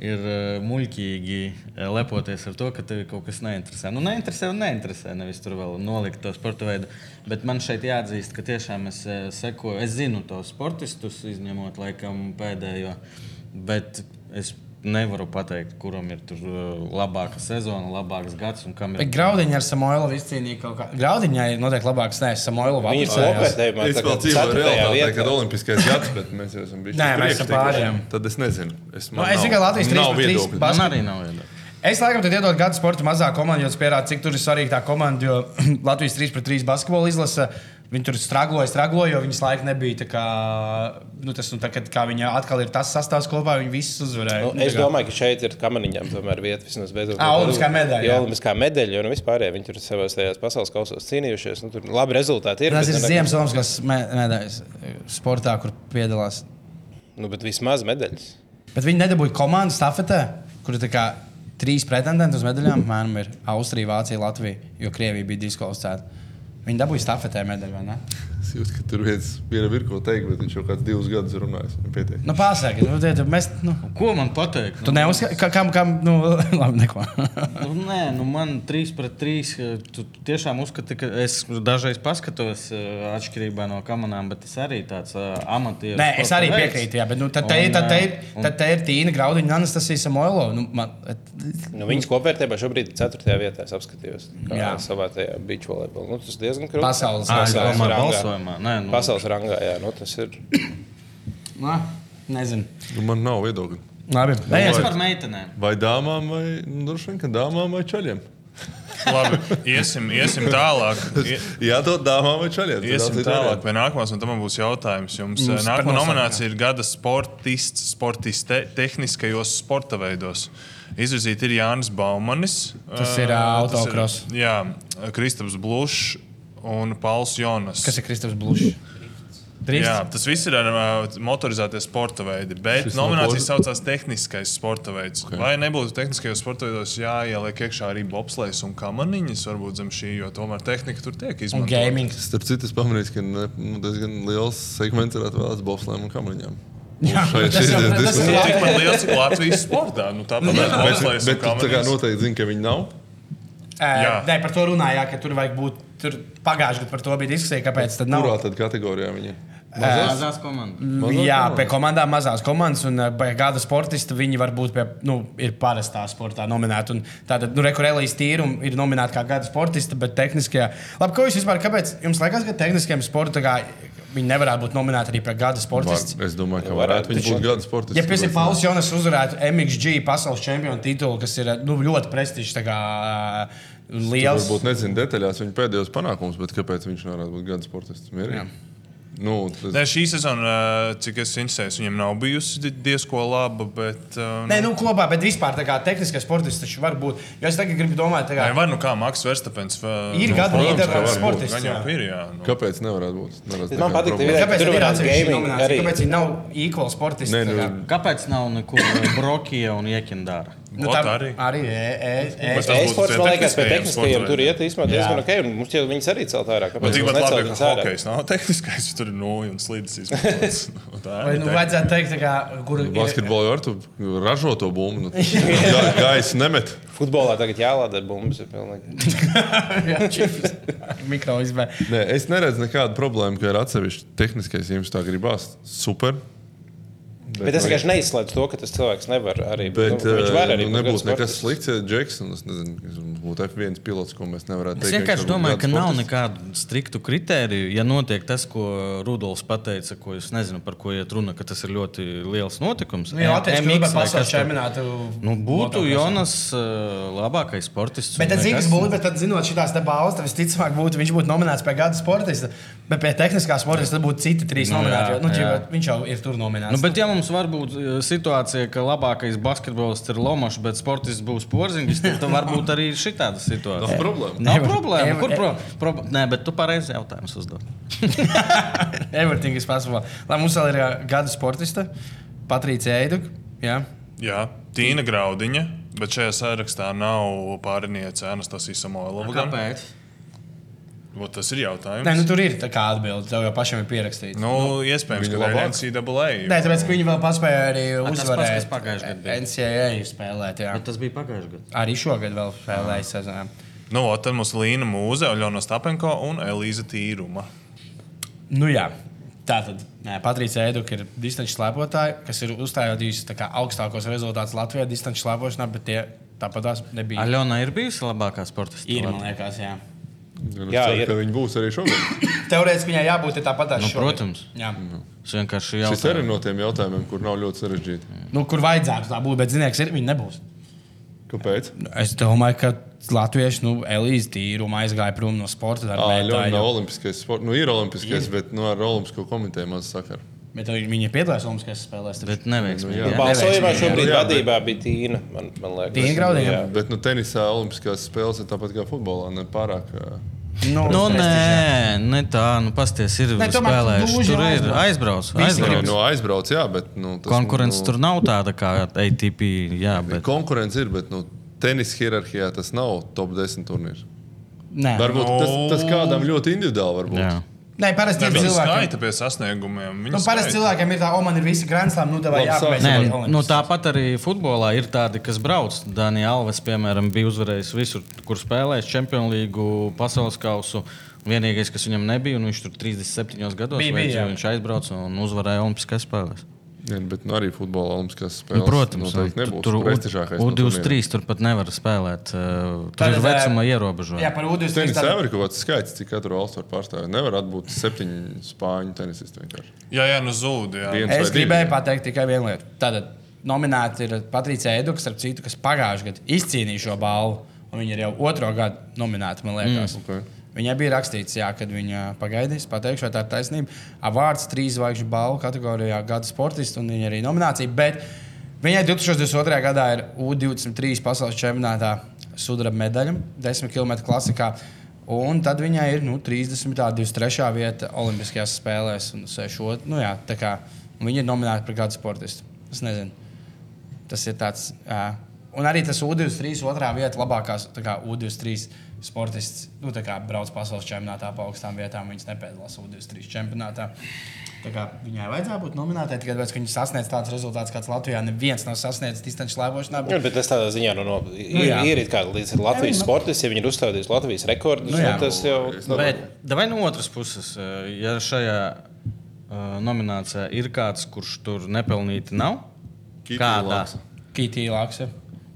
[SPEAKER 4] ir eh, muļķīgi eh, lepoties ar to, ka tev kaut kas neinteresē. Nu, neinteresē, un neinteresē. Nevis tur vēl nolikt to sporta veidu. Bet man šeit jāatzīst, ka tiešām es eh, sekoju, es zinu tos sportistus, izņemot laikam pēdējo. Bet es nevaru pateikt, kuram ir tur eh, labāka sezona, labāks gads un kam ir.
[SPEAKER 1] Bet graudiņa ar Samoilovu izcīnīja kaut kā. Graudiņai noteikti labāks, nē, Samoilovu
[SPEAKER 5] viņi ir slopētēji.
[SPEAKER 3] Es vēl dzīvoju realitātē, kad olimpiskais gads, bet mēs jau esam bijuši.
[SPEAKER 1] Nē, mēs esam pārējiem.
[SPEAKER 3] Tad es nezinu. Es,
[SPEAKER 1] Nu, es tikai Latvijas 3 pret 3
[SPEAKER 3] Bas...
[SPEAKER 1] bas-
[SPEAKER 4] Man arī nav viedokļa.
[SPEAKER 1] Es laikam tad iedodu gada sporta mazā komandā, jo tas pierāda, cik tur ir svarīga tā komanda. Jo Latvijas 3 pret 3 basketbola izlase. Viņi tur strāgoja, strāgoja, jo viņas laika nebija. tā Kā, nu, tas, nu, tā, kad, kā viņa atkal ir tas sastāvs kopā, viņi visus uzvarēja.
[SPEAKER 5] Nu,
[SPEAKER 1] Nu,
[SPEAKER 5] es
[SPEAKER 1] tā kā-
[SPEAKER 5] domāju, ka šeit ir kamaniņām tomēr vieta vismaz beidzot.
[SPEAKER 1] Ā, olimpiskā medaļa, jā.
[SPEAKER 5] Jā, olimpiskā medaļa, un vispār viņi tur savās tajās pasaules kausos cīnījušies. Nu, tur labi rezultāti ir.
[SPEAKER 1] Tas ir
[SPEAKER 5] bet nu, ne-
[SPEAKER 1] Ziemassvētku medaļas sportā, kur piedalās.
[SPEAKER 5] Nu, bet vismaz medaļas.
[SPEAKER 1] Bet viņi nedabūja komandu stafetē, kur ir tā kā trīs pretendenti uz medaļām. Mēram ir Austrija, Vācija, Latvija, jo Krievija bija diskvalificēta. Viņi dabūja stafetē medaļu, vai ne?
[SPEAKER 3] Es jūtu, ka tur viens viena ir ko teikt, bet viņš jau kāds divus gadus ir runājis. Viņam pietiek.
[SPEAKER 1] Nu, pasaki, nu, tie- tu- mēs. Nu,
[SPEAKER 4] Ko man pateikt?
[SPEAKER 1] tu neuzskati, ka kam, kam, nu, labi, neko.
[SPEAKER 4] Nu, nē, nu man 3 pret 3. eh, Tu tiešām uzskati, ka es dažreiz paskatos eh, atšķirībā no kamerām, bet es arī tāds eh, amatieris.
[SPEAKER 1] Nē, es arī
[SPEAKER 4] sporta
[SPEAKER 1] piekrītu,
[SPEAKER 4] veids.
[SPEAKER 1] jā, bet nu, tad te,
[SPEAKER 4] Un,
[SPEAKER 1] tad te,
[SPEAKER 4] eh,
[SPEAKER 1] ir- tad te ir Tīna Graudiņa, Anastasija Samoilova. Nu, man-
[SPEAKER 5] Nu, viņas kopvērtībā šobrīd ir 4. vietā. Es apskatījos, kā
[SPEAKER 1] Jā.
[SPEAKER 5] savā tajā beach volejbolā. Nu, tas diezgan krūti.
[SPEAKER 1] Pasaules
[SPEAKER 4] Ā, es
[SPEAKER 5] Pasaules
[SPEAKER 4] domāju,
[SPEAKER 5] rangā.
[SPEAKER 4] balsojumā. Nē, nu,
[SPEAKER 5] Pasaules rangā, jā, nu, tas ir.
[SPEAKER 1] Nā, nezinu.
[SPEAKER 3] Nu, man nav viedokļa.
[SPEAKER 1] Labi.
[SPEAKER 4] Nē,
[SPEAKER 1] Nē,
[SPEAKER 4] es
[SPEAKER 1] es,
[SPEAKER 4] par meitenēm.
[SPEAKER 3] Vai dāmām, vai nu, droši vien, ka dāmām vai čaļiem?
[SPEAKER 2] Labi, iesim, iesim tālāk. Ie-
[SPEAKER 3] Jā, to dāmām vai čaļiem. tad
[SPEAKER 2] Iesim
[SPEAKER 3] daudz ir
[SPEAKER 2] tālāk
[SPEAKER 3] varianti.
[SPEAKER 2] pie nākamās, un tam man būs jautājums. Jums eh,
[SPEAKER 1] Mums par
[SPEAKER 2] nākamā
[SPEAKER 1] nosaukumu.
[SPEAKER 2] nominācija ir gada sportists, sportiste tehniskajos sporta veidos. Izvirzīt ir Jānis Baumanis.
[SPEAKER 1] Tas
[SPEAKER 2] eh,
[SPEAKER 1] ir, eh,
[SPEAKER 2] tas ir-
[SPEAKER 1] autokross.
[SPEAKER 2] Jā, eh, Kristaps Blušs un Pauls Jonas.
[SPEAKER 1] kas ir Kristofers Blušs?
[SPEAKER 2] Jā,
[SPEAKER 1] Drīz.
[SPEAKER 2] tas viss ir ar ā, motorizētie sporta veidi. Bet
[SPEAKER 3] Šis
[SPEAKER 2] nominācija
[SPEAKER 3] motor-
[SPEAKER 2] saucās tehniskais sporta veids. Okay. Vai nebūtu tehniskajos sporta veidos jāieliek iekšā arī bobslēs un kamaniņas, varbūt zem šī, jo tomēr tehnika tur tiek
[SPEAKER 1] Un
[SPEAKER 2] izmantota.
[SPEAKER 1] gaming.
[SPEAKER 3] Starp citu, es pamanīju, ka ne- nu, diezgan liels segments ir atvēlēts bobslēm un kamariņām. Jā,
[SPEAKER 1] tas jau- tas
[SPEAKER 2] Tas ir
[SPEAKER 1] Jā.
[SPEAKER 2] tikpat liels, cik Latvijas sportā. Nu, tāpat kā bobslēs un
[SPEAKER 3] Bet tu tā kā
[SPEAKER 2] kamaniņas.
[SPEAKER 3] noteikti zini, ka viņi nav.
[SPEAKER 1] Jā,
[SPEAKER 2] Jā.
[SPEAKER 1] nē, par to runājām, ka tur vajag būt. Tur pagājušajā gadā par to bija diskusija, kāpēc tā nav.
[SPEAKER 3] Kurā tad kategorijā viņi ir?
[SPEAKER 4] Mazās komandas.
[SPEAKER 3] Mazās
[SPEAKER 1] Jā,
[SPEAKER 3] komandas?
[SPEAKER 1] pie komandām mazās komandas un eh, pie gada sportista viņi varbūt pie, nu, ir parastā sportā nominēti. Un Tātad, nu, rekurēlīs tīrumi ir nominēti kā gada sportista, bet tehniskajā. Labi, ko jūs vispār, kāpēc jums liekas, ka tehniskajam sportam viņi nevarētu būt nominēti arī pie gada sportista?
[SPEAKER 3] Var- Es domāju, ka
[SPEAKER 5] Nu,
[SPEAKER 3] varētu
[SPEAKER 5] Varētu,
[SPEAKER 3] viņš
[SPEAKER 5] taču-
[SPEAKER 3] būt gada sportists.
[SPEAKER 1] Ja, piemēram, Pauls Jonas uzvarētu MXG pasaules čempionu titulu, kas ir nu, ļoti prestižs, tā kā eh, liels.
[SPEAKER 3] Varbūt nezinu detaļās viņa pēdējos panākumus, bet kāpēc viņš nevarētu būt gada sportists? Mierīgi. Nu, tas...
[SPEAKER 2] Nē, šī sezona, ā, cik es interesējos, viņam nav bijusi di- diezko laba, bet. uh, ā,
[SPEAKER 1] Nē, nu kopā, bet vispār tā kā tehniskais sportists taču var būt. Jo es tagad gribu domāt, tā kā
[SPEAKER 2] Nē, var nu kā Maks Verstapens. uh, nu,
[SPEAKER 1] Ir gada
[SPEAKER 3] protams, ka
[SPEAKER 1] līderis
[SPEAKER 3] var būt.
[SPEAKER 1] sportists.
[SPEAKER 2] Viņam
[SPEAKER 1] jā.
[SPEAKER 2] ir jā. Nu.
[SPEAKER 3] Kāpēc nevarētu būt? Neredz
[SPEAKER 5] Man
[SPEAKER 3] nekādu
[SPEAKER 5] patīk,
[SPEAKER 3] problēmu.
[SPEAKER 5] ka
[SPEAKER 1] Kāpēc
[SPEAKER 5] Tur
[SPEAKER 1] viņi ir
[SPEAKER 5] varētu
[SPEAKER 1] atsevišķi
[SPEAKER 5] gaming
[SPEAKER 1] nominācija?
[SPEAKER 5] arī.
[SPEAKER 1] Kāpēc viņi nav equal sportisti?
[SPEAKER 3] Nē,
[SPEAKER 1] tā
[SPEAKER 3] nu,
[SPEAKER 1] kā?
[SPEAKER 4] Kāpēc nav nekur eh, Brokija un Iekindāra?
[SPEAKER 1] Nu,
[SPEAKER 2] Ot
[SPEAKER 1] tā
[SPEAKER 2] arī.
[SPEAKER 1] arī e- e- e- e-
[SPEAKER 2] Bet tas būtu
[SPEAKER 5] E-sports,
[SPEAKER 2] tie
[SPEAKER 5] man liekas, pie
[SPEAKER 2] tehniskajiem
[SPEAKER 5] tehniskajiem
[SPEAKER 2] sportiem,
[SPEAKER 5] tur
[SPEAKER 2] jā.
[SPEAKER 5] iet īstenībā diezgan ok. un Mums jau viņas arī celt vairāk.
[SPEAKER 2] Bet
[SPEAKER 5] Kāpēc
[SPEAKER 2] cik
[SPEAKER 5] mēs
[SPEAKER 2] pat labi,
[SPEAKER 5] neceltas
[SPEAKER 2] ka
[SPEAKER 5] ārā?
[SPEAKER 2] hokejs nav tehniskais, tur ir nulli un slīdis izpildījums.
[SPEAKER 1] Vai
[SPEAKER 2] Tā ir
[SPEAKER 1] nu,
[SPEAKER 2] tehniski.
[SPEAKER 1] vajadzētu teikt, tā kā, kur ir
[SPEAKER 3] Basketbolā jau ar to ražo to bumbu. Nu, Ga- Gaisa nemet.
[SPEAKER 5] Futbolā tagad jālādē bumbas. ir pilnīgi.
[SPEAKER 1] mikro izmē.
[SPEAKER 3] Nē, es neredzu nekādu problēmu, ka ir atsevišķi tehniskais, ja jums tā gribās. Super.
[SPEAKER 5] Bet es vienkārši neizslēdzu to, ka tas cilvēks nevar arī.
[SPEAKER 3] Bet nu,
[SPEAKER 5] viņš var arī
[SPEAKER 3] nu,
[SPEAKER 5] kaut kāds
[SPEAKER 3] nebūs nekas
[SPEAKER 5] sportists.
[SPEAKER 3] slikts. ja Džeksons, es nezinu, kas būtu F1 pilots, ko mēs nevarētu
[SPEAKER 4] Es
[SPEAKER 3] teikt. viņš
[SPEAKER 4] vienkārši
[SPEAKER 3] varbūt
[SPEAKER 4] domāju,
[SPEAKER 3] kāds
[SPEAKER 4] ka nav
[SPEAKER 3] sportists.
[SPEAKER 4] nekādu striktu kritēriju. Ja notiek tas, ko Rudolfs pateica, ko es nezinu, par ko iet runa, ka tas ir ļoti liels notikums.
[SPEAKER 1] Nu, Jā, tas ir
[SPEAKER 4] MX
[SPEAKER 1] grūti
[SPEAKER 4] E, vai
[SPEAKER 1] pasaules
[SPEAKER 4] kas tur.
[SPEAKER 1] čempionātu.
[SPEAKER 4] Nu, būtu
[SPEAKER 1] motocrossā.
[SPEAKER 4] Jonas uh, labākais sportists.
[SPEAKER 1] Bet
[SPEAKER 4] un
[SPEAKER 1] tad,
[SPEAKER 4] nekas.
[SPEAKER 1] zinās, būtu, bet tad zinot šīs balvas, tad visticamāk būtu, viņš būtu nominēts pie gada sportista. Bet pie tehniskā sportista tad būtu citi trīs
[SPEAKER 4] Nu,
[SPEAKER 1] nominēti.
[SPEAKER 4] jā,
[SPEAKER 1] jo, Nu,
[SPEAKER 4] jā.
[SPEAKER 1] ķipa, viņš jau ir tur nominēts.
[SPEAKER 4] Nu, bet, ja mums var būt e, situācija, ka labākais basketbolists ir Lomačs, bet sportists būs porziņš, tad tā var būt arī šī tāda situācija.
[SPEAKER 3] Nav problēma.
[SPEAKER 4] Nav
[SPEAKER 1] Nevar.
[SPEAKER 4] problēma.
[SPEAKER 1] Nevar.
[SPEAKER 4] Kur pro, pro, nē, bet tu pareizi jautājumus uzdod.
[SPEAKER 1] Everything is possible. Lai mums vēl ir jā, gada sportista, Patricija Eiduk. Jā.
[SPEAKER 2] Jā, Tīna Graudiņa, bet šajā sarakstā nav pārniece Anastasija Samoilova. gan. Vot Tas ir jautājums.
[SPEAKER 1] Nē, nu, tur ir tā kā atbilde, tev jau pašam ir pierakstīts.
[SPEAKER 2] nu, iespējams,
[SPEAKER 3] Viņa
[SPEAKER 2] ka
[SPEAKER 3] labāk.
[SPEAKER 2] NCAA.
[SPEAKER 1] Nē, tāpēc, ka viņi vēl paspēja arī
[SPEAKER 4] tas pats,
[SPEAKER 1] uzvarēt
[SPEAKER 4] kas pagājušajā gadā bija.
[SPEAKER 1] NCAA spēlēt. Jā.
[SPEAKER 4] Bet Ah. tas bija pagājušajā gadā.
[SPEAKER 1] Arī šogad vēl spēlēja sezonā.
[SPEAKER 2] Nu, vot, tad mums ir Līna Mūze, Oļona Stapenko un Elīza Tīruma.
[SPEAKER 1] Nu, jā. Tā tad Patricija Eduka ir distanču slēpotāja, kas ir uzstājījusi tā kā augstākos rezultātus Latvijā distanču slēpošanā, bet tie tāpat tās nebija.
[SPEAKER 4] Aļona ir bijusi labākā sportista.
[SPEAKER 1] Ir, man liekas, jā.
[SPEAKER 3] Jā,
[SPEAKER 5] Jā,
[SPEAKER 3] Nu, ceru,
[SPEAKER 5] ir.
[SPEAKER 3] ka viņi būs arī šogad.
[SPEAKER 1] Teorētiski viņai jābūt tāpat tās
[SPEAKER 4] Nu, protams.
[SPEAKER 1] Jā.
[SPEAKER 4] Es vienkārši
[SPEAKER 3] Šis
[SPEAKER 4] jautāju.
[SPEAKER 3] arī no tiem jautājumiem, kur nav ļoti sarežģīti.
[SPEAKER 1] Nu, kur vajadzētu tā būt, bet zinieks, ir, viņa nebūs.
[SPEAKER 3] Kāpēc?
[SPEAKER 4] Nu,
[SPEAKER 1] Es domāju, ka latvieši, nu, Elīze tīrumā aizgāja prom no sporta
[SPEAKER 3] Ā,
[SPEAKER 1] darbiem.
[SPEAKER 3] Ļoti nav olimpiskais sports. Nu, ir olimpiskais, bet nu, ar olimpisko komiteju maz sakara.
[SPEAKER 1] Bet viņa piedalās Olimpiskajās spēlēs.
[SPEAKER 4] Bet neveiksmīgi.
[SPEAKER 3] Nu,
[SPEAKER 4] jā.
[SPEAKER 3] jā.
[SPEAKER 5] Balsojumā
[SPEAKER 1] neveiksmīgi, jā.
[SPEAKER 5] šobrīd
[SPEAKER 3] Jā, bet-
[SPEAKER 5] vadībā bija Tīna. Man, man liekas,
[SPEAKER 1] Tīna Graudiņa?
[SPEAKER 5] Jā.
[SPEAKER 3] Bet nu, tenisā olimpiskās spēles ir tāpat kā futbolā. Ne pārāk. ā,
[SPEAKER 1] Nu,
[SPEAKER 4] Nu,
[SPEAKER 1] prestižā.
[SPEAKER 4] nē, ne tā, nu, pasties, ir
[SPEAKER 1] Nē, tomēr
[SPEAKER 4] spēlējuši.
[SPEAKER 1] gluži
[SPEAKER 4] Tur ir
[SPEAKER 1] aizbrauc.
[SPEAKER 4] aizbrauc.
[SPEAKER 1] Visi
[SPEAKER 4] aizbrauc.
[SPEAKER 1] grib.
[SPEAKER 3] Nu, aizbrauc, jā, bet. Nu, tas,
[SPEAKER 4] Konkurence
[SPEAKER 3] nu,
[SPEAKER 4] tur nav tāda kā ATP. Jā, bet
[SPEAKER 3] Konkurence ir, bet nu, tenisa hierarhijā tas nav top 10 turnīrs.
[SPEAKER 1] Nē,
[SPEAKER 3] Varbūt
[SPEAKER 2] Nu.
[SPEAKER 3] tas, tas kādam ļoti individuāli var būt.
[SPEAKER 4] jā.
[SPEAKER 1] nē parasti
[SPEAKER 2] Viņa
[SPEAKER 1] cilvēki.
[SPEAKER 2] skaita pie sasniegumiem. Viņa
[SPEAKER 1] Nu, parasti
[SPEAKER 2] skaita.
[SPEAKER 1] cilvēkiem ir tā, o, man ir visi grāmatām, nu, tā vai
[SPEAKER 3] Labi,
[SPEAKER 1] jāpabeidz.
[SPEAKER 4] Nē,
[SPEAKER 1] vēl Olimpiskās.
[SPEAKER 4] nu, tāpat arī futbolā ir tādi, kas brauc. Dānijas Alves, piemēram, bija uzvarējis visur, kur spēlējis Champions League, pasaules kausu. Vienīgais, kas viņam nebija, un viņš tur 37 gados
[SPEAKER 1] Bija, bija,
[SPEAKER 4] veica,
[SPEAKER 1] jā.
[SPEAKER 4] viņš aizbrauca un uzvarēja Olimpiskās spēles.
[SPEAKER 3] Jā, bet nu, arī futbolā olimpiskās
[SPEAKER 4] Nu,
[SPEAKER 3] spēles.
[SPEAKER 4] protams,
[SPEAKER 3] noteikti
[SPEAKER 4] nu,
[SPEAKER 3] nebūs
[SPEAKER 4] tur U-
[SPEAKER 3] prestižākais. no turnīra.
[SPEAKER 4] U23 turpat nevar spēlēt. eh, Tur
[SPEAKER 1] Tad,
[SPEAKER 4] ir
[SPEAKER 1] eh,
[SPEAKER 4] vecuma
[SPEAKER 1] Jā,
[SPEAKER 4] ierobežojumi.
[SPEAKER 1] par ūdens
[SPEAKER 3] Tenis jau ir kaut kāds skaits, cik katru valstu var pārstāvēt. Nevar atbūt septiņu spāņu tenisistu vienkārši.
[SPEAKER 2] Jā, jā, nu zūd. Jā.
[SPEAKER 3] Viens vai
[SPEAKER 1] Es
[SPEAKER 3] divi.
[SPEAKER 1] gribēju pateikt tikai vienu lietu. Tātad nominēta ir Patricija Edukas, starp citu, kas pagājušajā gadā izcīnīja šo balvu. un Viņa ir jau otro gadu nominēta, man liekas. Mm,
[SPEAKER 3] ok.
[SPEAKER 1] Viņai bija rakstīts, jā, kad viņa pagaidīs, pateikšu, vai tā ir taisnība. Avārds trīs zvaigžņu balvu kategorijā gada sportists, un viņa arī nominācija. Bet viņai 2022. gadā ir U23 pasaules čempionātā sudraba medaļa 10 km klasikā. Un tad viņai ir nu, 30. un 23. vieta Olimpiskajās spēlēs. Un sešot, nu, jā, tā kā, un viņa ir nominēta par gada sportistu. Es nezinu. Tas ir tāds. Uh, un arī tas U23, otrā vieta, labākās tā kā U23 sportists, nu, tā kā brauc pasaules čempionātā pa augstām vietām, viņas nepiedalās U23 čempionātā. Tā kā Viņai vajadzēja būt nominētai tikai tāpēc, ka viņa sasniedz tādus rezultātus, kāds Latvijā neviens nav sasniedzis distanču slēpošanā.
[SPEAKER 5] Jā, bet tas tādā ziņā nu, no, ir,
[SPEAKER 1] jā.
[SPEAKER 5] ir it kā līdz Latvijas sportistam, ja viņi ir uzstādījuši Latvijas rekordus.
[SPEAKER 1] Nu
[SPEAKER 5] Nu,
[SPEAKER 1] jā.
[SPEAKER 5] tas jau
[SPEAKER 4] Bet vai no otras puses, eh, ja šajā eh, nominācijā ir kāds, kurš tur nepelnīti nav?
[SPEAKER 3] Kiti
[SPEAKER 4] Kādā?
[SPEAKER 3] Laksa.
[SPEAKER 1] Kitī Laksa.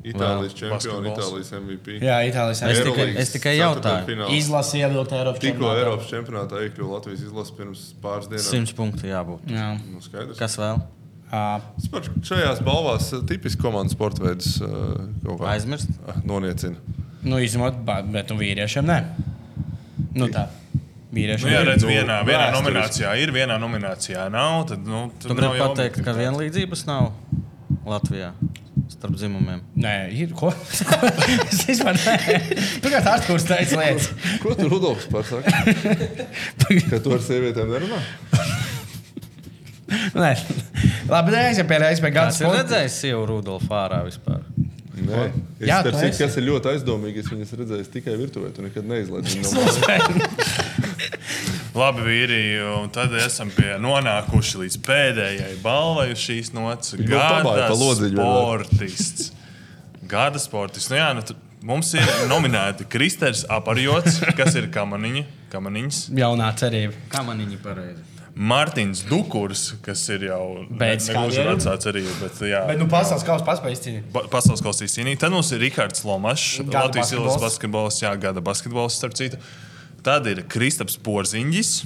[SPEAKER 3] Itālijas čempioni,
[SPEAKER 2] basketbols.
[SPEAKER 3] Itālijas MVP.
[SPEAKER 1] Jā, Itālijas
[SPEAKER 4] Es
[SPEAKER 1] arī.
[SPEAKER 4] tikai- es tikai jautāju.
[SPEAKER 1] Izlasīja ievilkt Eiropas
[SPEAKER 3] Tikko
[SPEAKER 1] čempionātā.
[SPEAKER 3] Eiropas čempionātā iekļuva Latvijas izlase pirms pāris dienām.
[SPEAKER 4] 100 punktu jābūt.
[SPEAKER 1] Jā.
[SPEAKER 3] Nu, skaidrs.
[SPEAKER 4] Kas vēl?
[SPEAKER 1] Uh,
[SPEAKER 3] Spar- Šajās balvās eh, tipiski komandas sporta veids eh, kaut kā
[SPEAKER 4] Aizmirst.
[SPEAKER 3] eh, noniecina.
[SPEAKER 1] nu, izņemot, ba- bet nu, vīriešiem nē. Nu tā.
[SPEAKER 2] Nu,
[SPEAKER 1] Vīriešiem.
[SPEAKER 2] jā,
[SPEAKER 1] ir.
[SPEAKER 2] redz,
[SPEAKER 3] Nu,
[SPEAKER 2] vienā, vienā
[SPEAKER 3] vēsturiski.
[SPEAKER 2] nominācijā ir, vienā nominācijā nav. Tad, nu, tad
[SPEAKER 4] Tu
[SPEAKER 2] nav
[SPEAKER 4] gribi
[SPEAKER 2] jau
[SPEAKER 4] pateikt, ka vienlīdzības nav Latvijā starp dzimumiem.
[SPEAKER 1] Nē, ir ko. es vispār neesmu. Tur kā tāds kurs teica lietas.
[SPEAKER 3] Ko tu Rudolfs pasaki? Ka tu ar sievietēm nerunā?
[SPEAKER 1] Nē, labi, nē, es jau pēdējais pie gada
[SPEAKER 4] Kāds ir
[SPEAKER 1] sporta.
[SPEAKER 4] redzējis sievu Rudolfu ārā vispār?
[SPEAKER 3] Nē, es
[SPEAKER 1] Jā,
[SPEAKER 3] starp
[SPEAKER 1] tu
[SPEAKER 3] citu,
[SPEAKER 1] esi.
[SPEAKER 3] kas ir ļoti aizdomīgi. Es viņas redzēju tikai virtuvē, tu nekad neizlaiž viņu no malas.
[SPEAKER 2] Labi, vīri, un tad esam pie nonākuši līdz pēdējai balvai uz šīs nots.
[SPEAKER 3] vēl pabāja
[SPEAKER 2] Gada
[SPEAKER 3] pa lodziņu vienmēr.
[SPEAKER 2] sportists. Gada sportists. Nu jā, nu, tu, mums ir nominēti Kristers Aparjots, kas ir kamaniņa, kamaniņas.
[SPEAKER 1] Jaunā cerība.
[SPEAKER 4] Kā man viņa pareizi?
[SPEAKER 2] Mārtiņš Dukurs, kas ir jau
[SPEAKER 1] Beidz
[SPEAKER 2] gluži
[SPEAKER 1] karjeru.
[SPEAKER 2] vecāks arī, bet jā.
[SPEAKER 1] Bet, nu, pasaules kausa paspējas cīnīties.
[SPEAKER 2] Ba- Pasaules kausā cīnīja. Tad mums ir Rikārds Lomašs,
[SPEAKER 1] Gada
[SPEAKER 2] Latvijas Banka basketbols, jā, gada basketbols, starp citu. Tad ir Kristaps Porziņģis,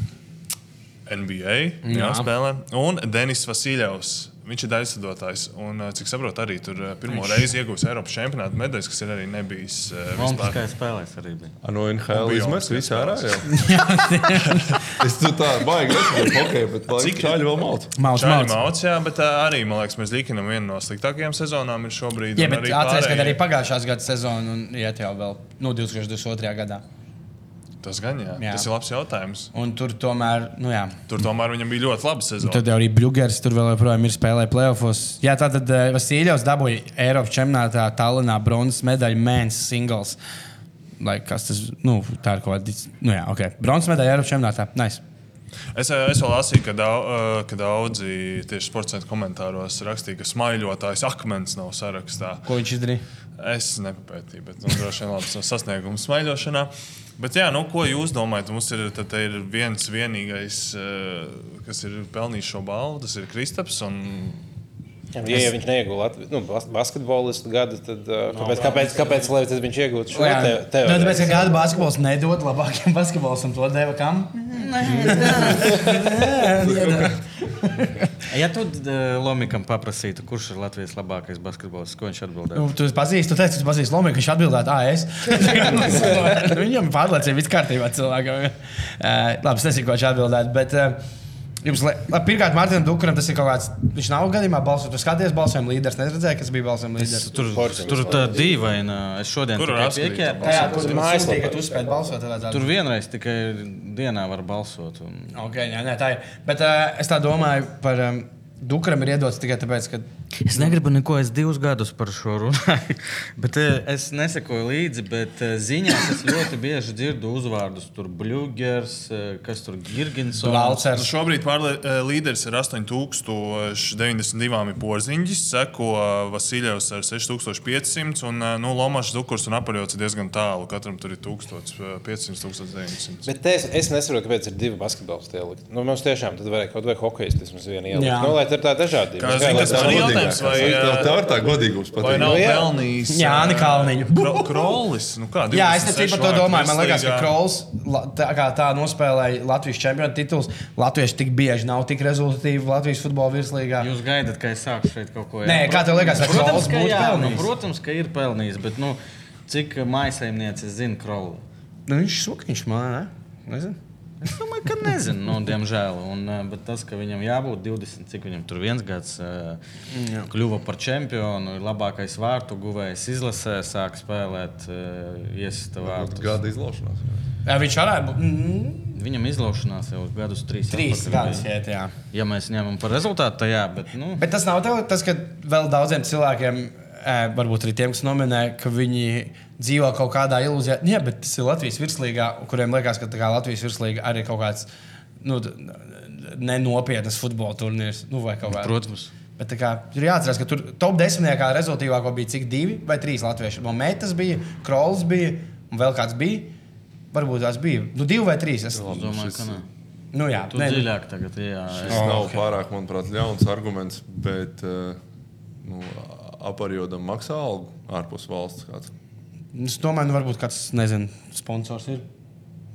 [SPEAKER 2] NBA jā.
[SPEAKER 1] Jā.
[SPEAKER 2] spēlē, un Denis Vasiljevs. Viņš ir aizsadotājs, un eh, cik saprotu, arī tur eh, pirmo
[SPEAKER 1] Viņš-
[SPEAKER 2] reizi iegūs Eiropas čempionāta medaļas, kas ir arī nebijis eh, vispār.
[SPEAKER 4] Olimpiskais spēlēs arī bija.
[SPEAKER 3] No NHL
[SPEAKER 2] Bija
[SPEAKER 3] izmetas
[SPEAKER 2] jau
[SPEAKER 3] visā ārā. jau. Es tur tā baigi nesaprotu, hokeju, bet
[SPEAKER 2] Cik-
[SPEAKER 3] cik tāļi vēl malts.
[SPEAKER 1] Mākslinieks
[SPEAKER 2] Čāļi Maucijā, bet eh, arī, man liekas, mēs likinam vienu no sliktākajām sezonām ir šobrīd.
[SPEAKER 1] Jā,
[SPEAKER 2] un
[SPEAKER 1] bet atcerieties,
[SPEAKER 2] pārējie-
[SPEAKER 1] ka arī pagājušā gada sezona un iet jau vēl nu, 2022. gadā.
[SPEAKER 2] Tas gan jā.
[SPEAKER 1] Jā.
[SPEAKER 2] jā. Tas ir labs jautājums.
[SPEAKER 1] Un tur tomēr, nu jā.
[SPEAKER 2] Tur tomēr viņam bija ļoti laba sezona.
[SPEAKER 1] Nu, Tad jau arī Brūgers tur vēl joprojām ir spēlējis playoffs. Jā, tā tad uh, Vasiljovs dabūja Eiropas čempionātā Tallinā bronzas medaļu mēnesis singls. Lai kas tas, nu, tā ir kaut kāda, dis- nu jā, ok. Bronzas medaļa Eiropas čempionātā. Nice.
[SPEAKER 2] Es, es vēl lasīju, ka, dau, eh, ka daudzi tieši sports centra komentāros rakstīja, ka smaiļotājs akmens nav sarakstā.
[SPEAKER 1] Ko viņš izdarīja?
[SPEAKER 2] Es nepapētīju, bet nu, droši vien labs sasniegums smaiļošanā. Bet, jā, nu, ko jūs domājat? Mums ir, tad, te ir viens vienīgais, eh, kas ir pelnījis šo balvu, tas ir Kristaps. Un...
[SPEAKER 5] Ja jau viņš neiegūst Latvijas nu, bas- basketbolistu gadu, tad uh, kāpēc, kāpēc, kāpēc lai tad viņš iegūtu šo
[SPEAKER 1] Nu, Jā,
[SPEAKER 5] Nu, te,
[SPEAKER 1] tā ir.
[SPEAKER 5] teoriju?
[SPEAKER 1] Tāpēc, ka gada basketbols nedod labākiem basketbolistam to deva kam?
[SPEAKER 4] Ja tu eh, Lomikam paprasītu, kurš ir Latvijas labākais basketbolists, ko viņš atbildētu?
[SPEAKER 1] Nu, tu pazīsti, tu teici, ka tu pazīsti Lomiju, viņš atbildēja, ah, es. Viņam ir pārliecība, viss kārtībā cilvēkam. Uh, labi, es nezinu, ko viņš atbildētu, bet uh, jums, lai- labi, pirmkārt, Mārtiņam Dukuram tas ir kaut kāds, viņš nav gadījumā balsot, tu skaties balsojumu līderis, neredzēji, kas bija balsojuma līderis.
[SPEAKER 4] Tur, tur tā dīvaina. Es šodien
[SPEAKER 2] Kur
[SPEAKER 4] tikai
[SPEAKER 2] var atskatīt
[SPEAKER 4] pieķēru.
[SPEAKER 2] to
[SPEAKER 1] Jā,
[SPEAKER 5] Uz
[SPEAKER 1] tur bija
[SPEAKER 5] mājaslapā.
[SPEAKER 1] mājaslapā, ka tu spēj balsot. tad vajadzētu-
[SPEAKER 4] Tur vienreiz tikai dienā var balsot. Un...
[SPEAKER 1] Okay, jā, nē, tā ir. Bet uh, es tā domāju par um, Dukuram ir iedots tikai tāpēc, ka
[SPEAKER 4] Es negribu neko, es divus gadus par šo runāju. bet, eh, es nesekoju līdzi, bet eh, ziņās es ļoti bieži dzirdu uzvārdus. Tur Bluegers, eh, kas tur Girgins.
[SPEAKER 2] Nu,
[SPEAKER 1] Valcers.
[SPEAKER 2] Šobrīd pārlie, eh, līderis ir 8092 porziņģis, seko eh, Vasiljevs ar 6500, un eh, nu, Lomačs, Dukurs un Apaļots ir diezgan tālu. Katram tur ir e, 1500, 1900.
[SPEAKER 5] Bet te es, es nesaprotu, kāpēc ir divi basketbolisti ielikt. Nu, mums tiešām tad varēja kaut vai hokejais vismaz vienu ielikt.
[SPEAKER 1] Jā.
[SPEAKER 5] Nu, lai tā ir tā dažādība.
[SPEAKER 2] Kā zini,
[SPEAKER 5] lai
[SPEAKER 2] tas
[SPEAKER 5] tā-
[SPEAKER 2] nav
[SPEAKER 5] nu,
[SPEAKER 2] jautājums, vai,
[SPEAKER 3] tā,
[SPEAKER 2] eh,
[SPEAKER 3] tā ir tā godīgums.
[SPEAKER 2] Vai nav
[SPEAKER 5] Nu, jā.
[SPEAKER 2] pelnījis?
[SPEAKER 1] Jāni
[SPEAKER 2] eh,
[SPEAKER 1] Kalniņu.
[SPEAKER 2] Kro- Krolis. Nu, kā,
[SPEAKER 1] Jā, es tikai
[SPEAKER 2] 26
[SPEAKER 1] par to domāju. Man
[SPEAKER 2] vārtus
[SPEAKER 1] liekas, ka
[SPEAKER 2] līgā.
[SPEAKER 1] Krols la- tā, kā tā nospēlēja Latvijas čempionu titulu. Latvieši tik bieži nav tik rezultātīvi Latvijas futbola virslīgā.
[SPEAKER 4] Jūs gaidat, ka es sāku šeit kaut ko
[SPEAKER 1] Nē, kā tev liekas, vai Krols
[SPEAKER 4] protams, ka,
[SPEAKER 1] būtu
[SPEAKER 4] jā, nu,
[SPEAKER 1] pelnījis?
[SPEAKER 4] protams, ka ir pelnījis. Bet nu, cik maisaimniece zina Krolu?
[SPEAKER 1] Nu, viņš sūkiņš man, ne? Nezinu.
[SPEAKER 4] Es domāju, ka nezinu, nu, diemžēl. Un, eh, bet tas, ka viņam jābūt 20, cik viņam tur viens gads, eh, kļuva par čempionu, ir labākais vārtu guvējs izlasē, sāk spēlēt, eh, iesita vārtus.
[SPEAKER 3] Gada izlaušanās.
[SPEAKER 1] Jā, viņš varētu būt mm,
[SPEAKER 4] Viņam izlaušanās jau uz gadus trīs.
[SPEAKER 1] trīs
[SPEAKER 4] atpakaļ
[SPEAKER 1] gadus.
[SPEAKER 4] bija.
[SPEAKER 1] Iet, jā.
[SPEAKER 4] Ja mēs ņemam par rezultātu, tad jā, bet nu,
[SPEAKER 1] Bet tas nav tev, tas, ka vēl daudziem cilvēkiem, eh, varbūt arī tiem, kas nominē, ka viņi dzīvo kaut kādā ilūzijā. Jā, bet tas ir Latvijas virslīgā, kuriem liekas, ka tā kā Latvijas virslīga arī ir kaut kāds nu, d- n- nenopietnas futbola turnīrs. Nu, vai kaut kā.
[SPEAKER 4] protams.
[SPEAKER 1] Bet tā kā, ir jāatcerās, ka tur top desmitniekā rezultātīvāko bija cik divi vai trīs latvieši. No Mētas bija, Krols bija un vēl kāds bija. Varbūt tās bija. Nu, divi vai trīs. Es...
[SPEAKER 4] Es domāju, ka nē.
[SPEAKER 1] Nu, jā,
[SPEAKER 4] Tu
[SPEAKER 1] nē, nu,
[SPEAKER 4] dziļāk tagad, jā.
[SPEAKER 3] Tas oh, nav okay. pārāk, manuprāt, ļauns arguments, bet eh, nu, apgājējot maksā algu ārpus valsts. Kāds.
[SPEAKER 1] es domāju, nu, varbūt kāds, nezinu, sponsors ir.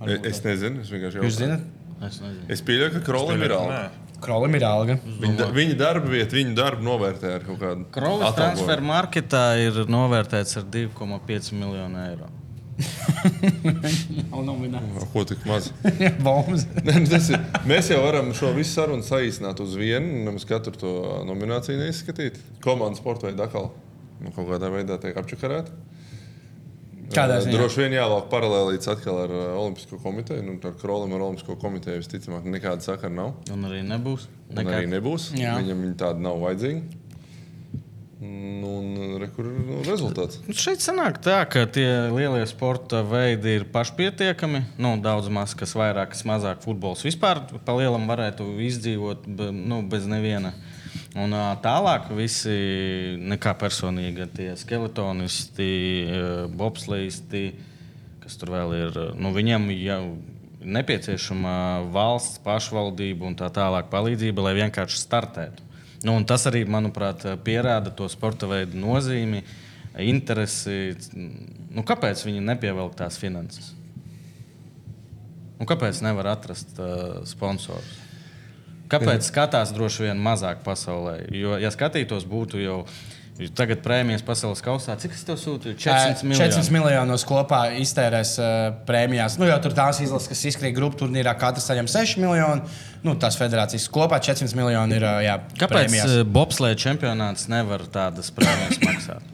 [SPEAKER 3] E- Es nezinu, es vienkārši
[SPEAKER 1] Jūs
[SPEAKER 3] jautāju.
[SPEAKER 1] zināt,
[SPEAKER 4] Es nezinu.
[SPEAKER 3] Es pieļauju, ka Krolim ir alga.
[SPEAKER 2] Nē.
[SPEAKER 1] Krolim ir alga.
[SPEAKER 3] Viņa, da- viņa darba vieta, viņa darbu novērtē ar kaut kādu
[SPEAKER 4] Krolas
[SPEAKER 3] atalgojumu.
[SPEAKER 4] transfermarketā ir novērtēts ar 2,5 miljonu eiro.
[SPEAKER 1] Nav nomināts.
[SPEAKER 3] Ko tik maz?
[SPEAKER 1] Bombs.
[SPEAKER 3] Nē, nu tas ir, mēs jau varam šo visu sarunu saīsināt uz vienu, un nemaz katru to nomināciju neizskatīt. Komandas sporta veidā atkal nu, kaut kādā veidā tiek apčakarēta.
[SPEAKER 1] Kādā
[SPEAKER 3] Eh,
[SPEAKER 1] ziņā?
[SPEAKER 3] Droši vien jāvelk paralēlīts atkal ar eh, Olimpisko komiteju. Nu, ar Krolim un Olimpisko komiteju visticamāk nekāda sakara nav.
[SPEAKER 4] Un arī nebūs.
[SPEAKER 3] Un arī nebūs.
[SPEAKER 1] Jā.
[SPEAKER 3] Viņam viņa tāda nav vajadzīga. Nu, un re, kur ir nu, rezultāts.
[SPEAKER 4] Nu, Šeit sanāk tā, ka tie lielie sporta veidi ir pašpietiekami. Nu, daudz maz, kas vairāk, kas mazāk futbols vispār pa lielam varētu izdzīvot be- nu, bez neviena. Un ā, tālāk visi nekā personīgi tie skeletonisti, ā, bobsleisti, kas tur vēl ir. Nu, viņiem jau ir nepieciešama valsts, pašvaldība un tā tālāk palīdzība, lai vienkārši startētu. Nu, un tas arī, manuprāt, eh, pierāda to sporta veidu nozīmi, interesi. Nu, kāpēc viņi nepievelk tās finanses? Nu, kāpēc nevar atrast uh, sponsorus? Kāpēc skatās droši vien mazāk pasaulē? Jo, ja skatītos, būtu jau tagad prēmijas pasaules kausā, cik es tev sūtu? 400
[SPEAKER 1] 400
[SPEAKER 4] miljonus.
[SPEAKER 1] miljonus kopā iztērēs uh, prēmijās. Nu, jau tur tās izlases, kas izkrīt grupu turnīrā, katrs saņem 6 miljonus. Nu, tās federācijas kopā 400 miljoni ir. Uh, jā,
[SPEAKER 4] Kāpēc
[SPEAKER 1] prēmijās.
[SPEAKER 4] uh, bobslēga čempionāts nevar tādas prēmijas maksāt?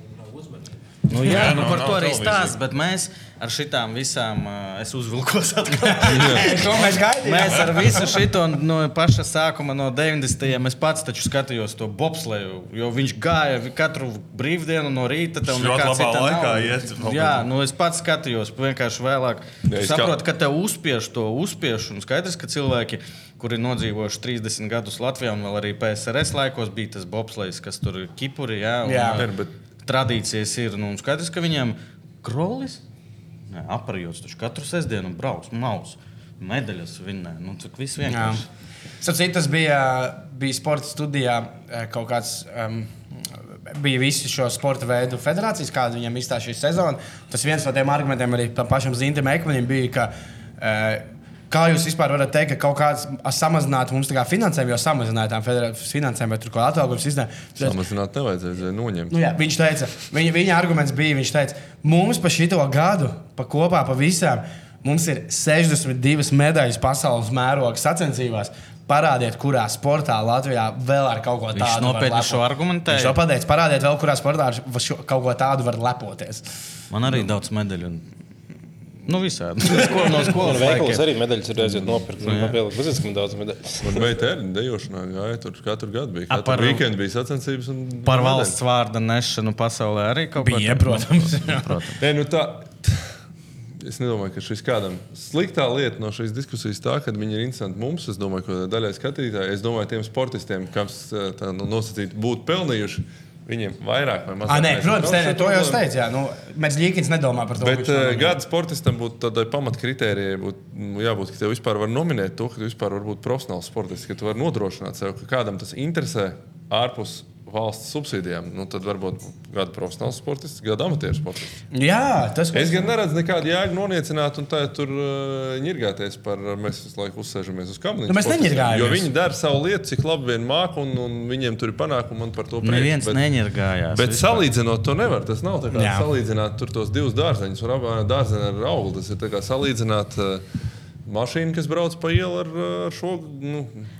[SPEAKER 4] Nu, jā, jā,
[SPEAKER 2] Jā,
[SPEAKER 4] nu,
[SPEAKER 2] nav-
[SPEAKER 4] par
[SPEAKER 2] nav
[SPEAKER 4] to arī
[SPEAKER 2] televīzija.
[SPEAKER 4] stāsta, bet mēs ar šitām visām, uh, es uzvilkos atkal.
[SPEAKER 1] To mēs gaidījām.
[SPEAKER 4] Mēs ar visu šo no paša sākuma, no 90. gadsimta, es pats taču skatījos to bobsleju, jo viņš gāja vi- katru brīvdienu no rīta. tev
[SPEAKER 2] Viņš
[SPEAKER 4] nekā
[SPEAKER 2] ļoti labā
[SPEAKER 4] cita
[SPEAKER 2] laikā
[SPEAKER 4] nav.
[SPEAKER 2] iet bobslejā.
[SPEAKER 4] Jā, nu es pats skatījos, vienkārši vēlāk.
[SPEAKER 3] Jā,
[SPEAKER 4] Es
[SPEAKER 3] es
[SPEAKER 4] saprotu, ka tev uzspiež to uzspiež. Un skaidrs, ka cilvēki, kuri nodzīvojuši 30 gadus Latvijā, un vēl arī PSRS laikos bija tas bobslejs, kas tur ir Kipuri. Jā, un,
[SPEAKER 1] Jā.
[SPEAKER 4] uh,
[SPEAKER 3] Ir, bet-
[SPEAKER 4] tradīcijas ir. Nu, un skaidrs, ka viņiem krolis nē, aparījos taču katru sestdienu un brauc maus. Medaļas vinnē. Nu, cik viss vienkārši.
[SPEAKER 1] Sapratu, tas bija, bija sporta studijā eh, kaut kāds. Um, Bija visi šo sporta veidu federācijas, kāda viņam izstāja šī sezona. Tas viens no tiem argumentiem arī tam pašam Zintam Ekmanim bija, ka eh, kā jūs vispār varat teikt, ka kaut kāds samazināt mums tā kā finansējumu, jo samazināja tām federācijas finansējumu vai tur kaut kādu atalgojumu izdevumu.
[SPEAKER 3] Samazināt nevajadzēja vai noņemt.
[SPEAKER 1] Nu, jā, viņš teica, viņa, viņa arguments bija, viņš teica, mums pa šito gadu, pa kopā, pa visām, mums ir 62 medaļas pasaules mēroga sacensībās. Parādiet, kurā sportā Latvijā vēl ar kaut ko tādu
[SPEAKER 4] Viņš
[SPEAKER 1] var
[SPEAKER 4] nopietni
[SPEAKER 1] lepo-
[SPEAKER 4] šo argumentēja.
[SPEAKER 1] Viņš to pateica, parādiet, vēl kurā sportā ar šo, kaut ko tādu var lepoties.
[SPEAKER 4] Man arī daudz medaļu. Un... Nu, visādi. No sko- no
[SPEAKER 5] Un
[SPEAKER 4] skolas
[SPEAKER 5] veikals
[SPEAKER 4] laikiem.
[SPEAKER 5] arī medaļas ir aiziet
[SPEAKER 2] Nu,
[SPEAKER 5] nopirkt. Man pielikt, bezis, ka man daudz medaļas.
[SPEAKER 3] Un veitēriņa dejošanā gāja tur katru gadu. Bija
[SPEAKER 4] A,
[SPEAKER 3] katru
[SPEAKER 4] par-
[SPEAKER 3] par... weekendu bija sacensības. Un...
[SPEAKER 4] Par valsts vārda nešanu pasaulē arī kaut ko
[SPEAKER 1] Bija,
[SPEAKER 4] tādu.
[SPEAKER 1] protams.
[SPEAKER 4] protams.
[SPEAKER 3] Nē, nu tā. Es nedomāju, ka šis kādam sliktā lieta no šīs diskusijas tā, ka viņi ir interesanti mums. Es domāju, ka daļai skatītājai, es domāju, tiem sportistiem, kas eh, tā nu, nosacīti būtu pelnījuši, viņiem vairāk vai mazāk.
[SPEAKER 1] Ah, nē,
[SPEAKER 3] mēs-
[SPEAKER 1] protams, nē, nē, to jau es
[SPEAKER 3] problēma.
[SPEAKER 1] teicu. Jā, nu, mēs Ligins nedomājam par to.
[SPEAKER 3] Bet
[SPEAKER 1] viņš nav-
[SPEAKER 3] eh, gada sportistam būtu tādai pamatkritērijai, būtu nu, jābūt, ka tev vispār var nominēt to, ka tu vispār vari būt profesionāls sportists, ka tu vari nodrošināt sev, ka kādam tas interesē ārpus valsts subsīdijām. Nu, tad varbūt gada profesionāls sportists, gada amatieru sportists.
[SPEAKER 1] jā, tas
[SPEAKER 3] Es gan neredzu nekādu jēgu noniecināt un tā tur uh, ņirgāties par mēs visu laiku uzsēžamies uz kamniņa.
[SPEAKER 1] Nu, mēs
[SPEAKER 3] sportistiem,
[SPEAKER 1] neņirgājamies.
[SPEAKER 3] Jo viņi dara savu lietu, cik labi vien māk, un, un viņiem tur ir panākumi un par to prieks.
[SPEAKER 4] Neviens
[SPEAKER 3] Bet-
[SPEAKER 4] neņirgājās.
[SPEAKER 3] Bet
[SPEAKER 4] vispār.
[SPEAKER 3] salīdzinot to nevar. Tas nav tā kā
[SPEAKER 1] Jā.
[SPEAKER 3] salīdzināt tur tos divus dārzeņus, var apvienot dārzeni ar augli. Tas ir tā kā salīdzināt. Uh, Mašīna, kas brauc pa ielu ar, uh, ar šo nu,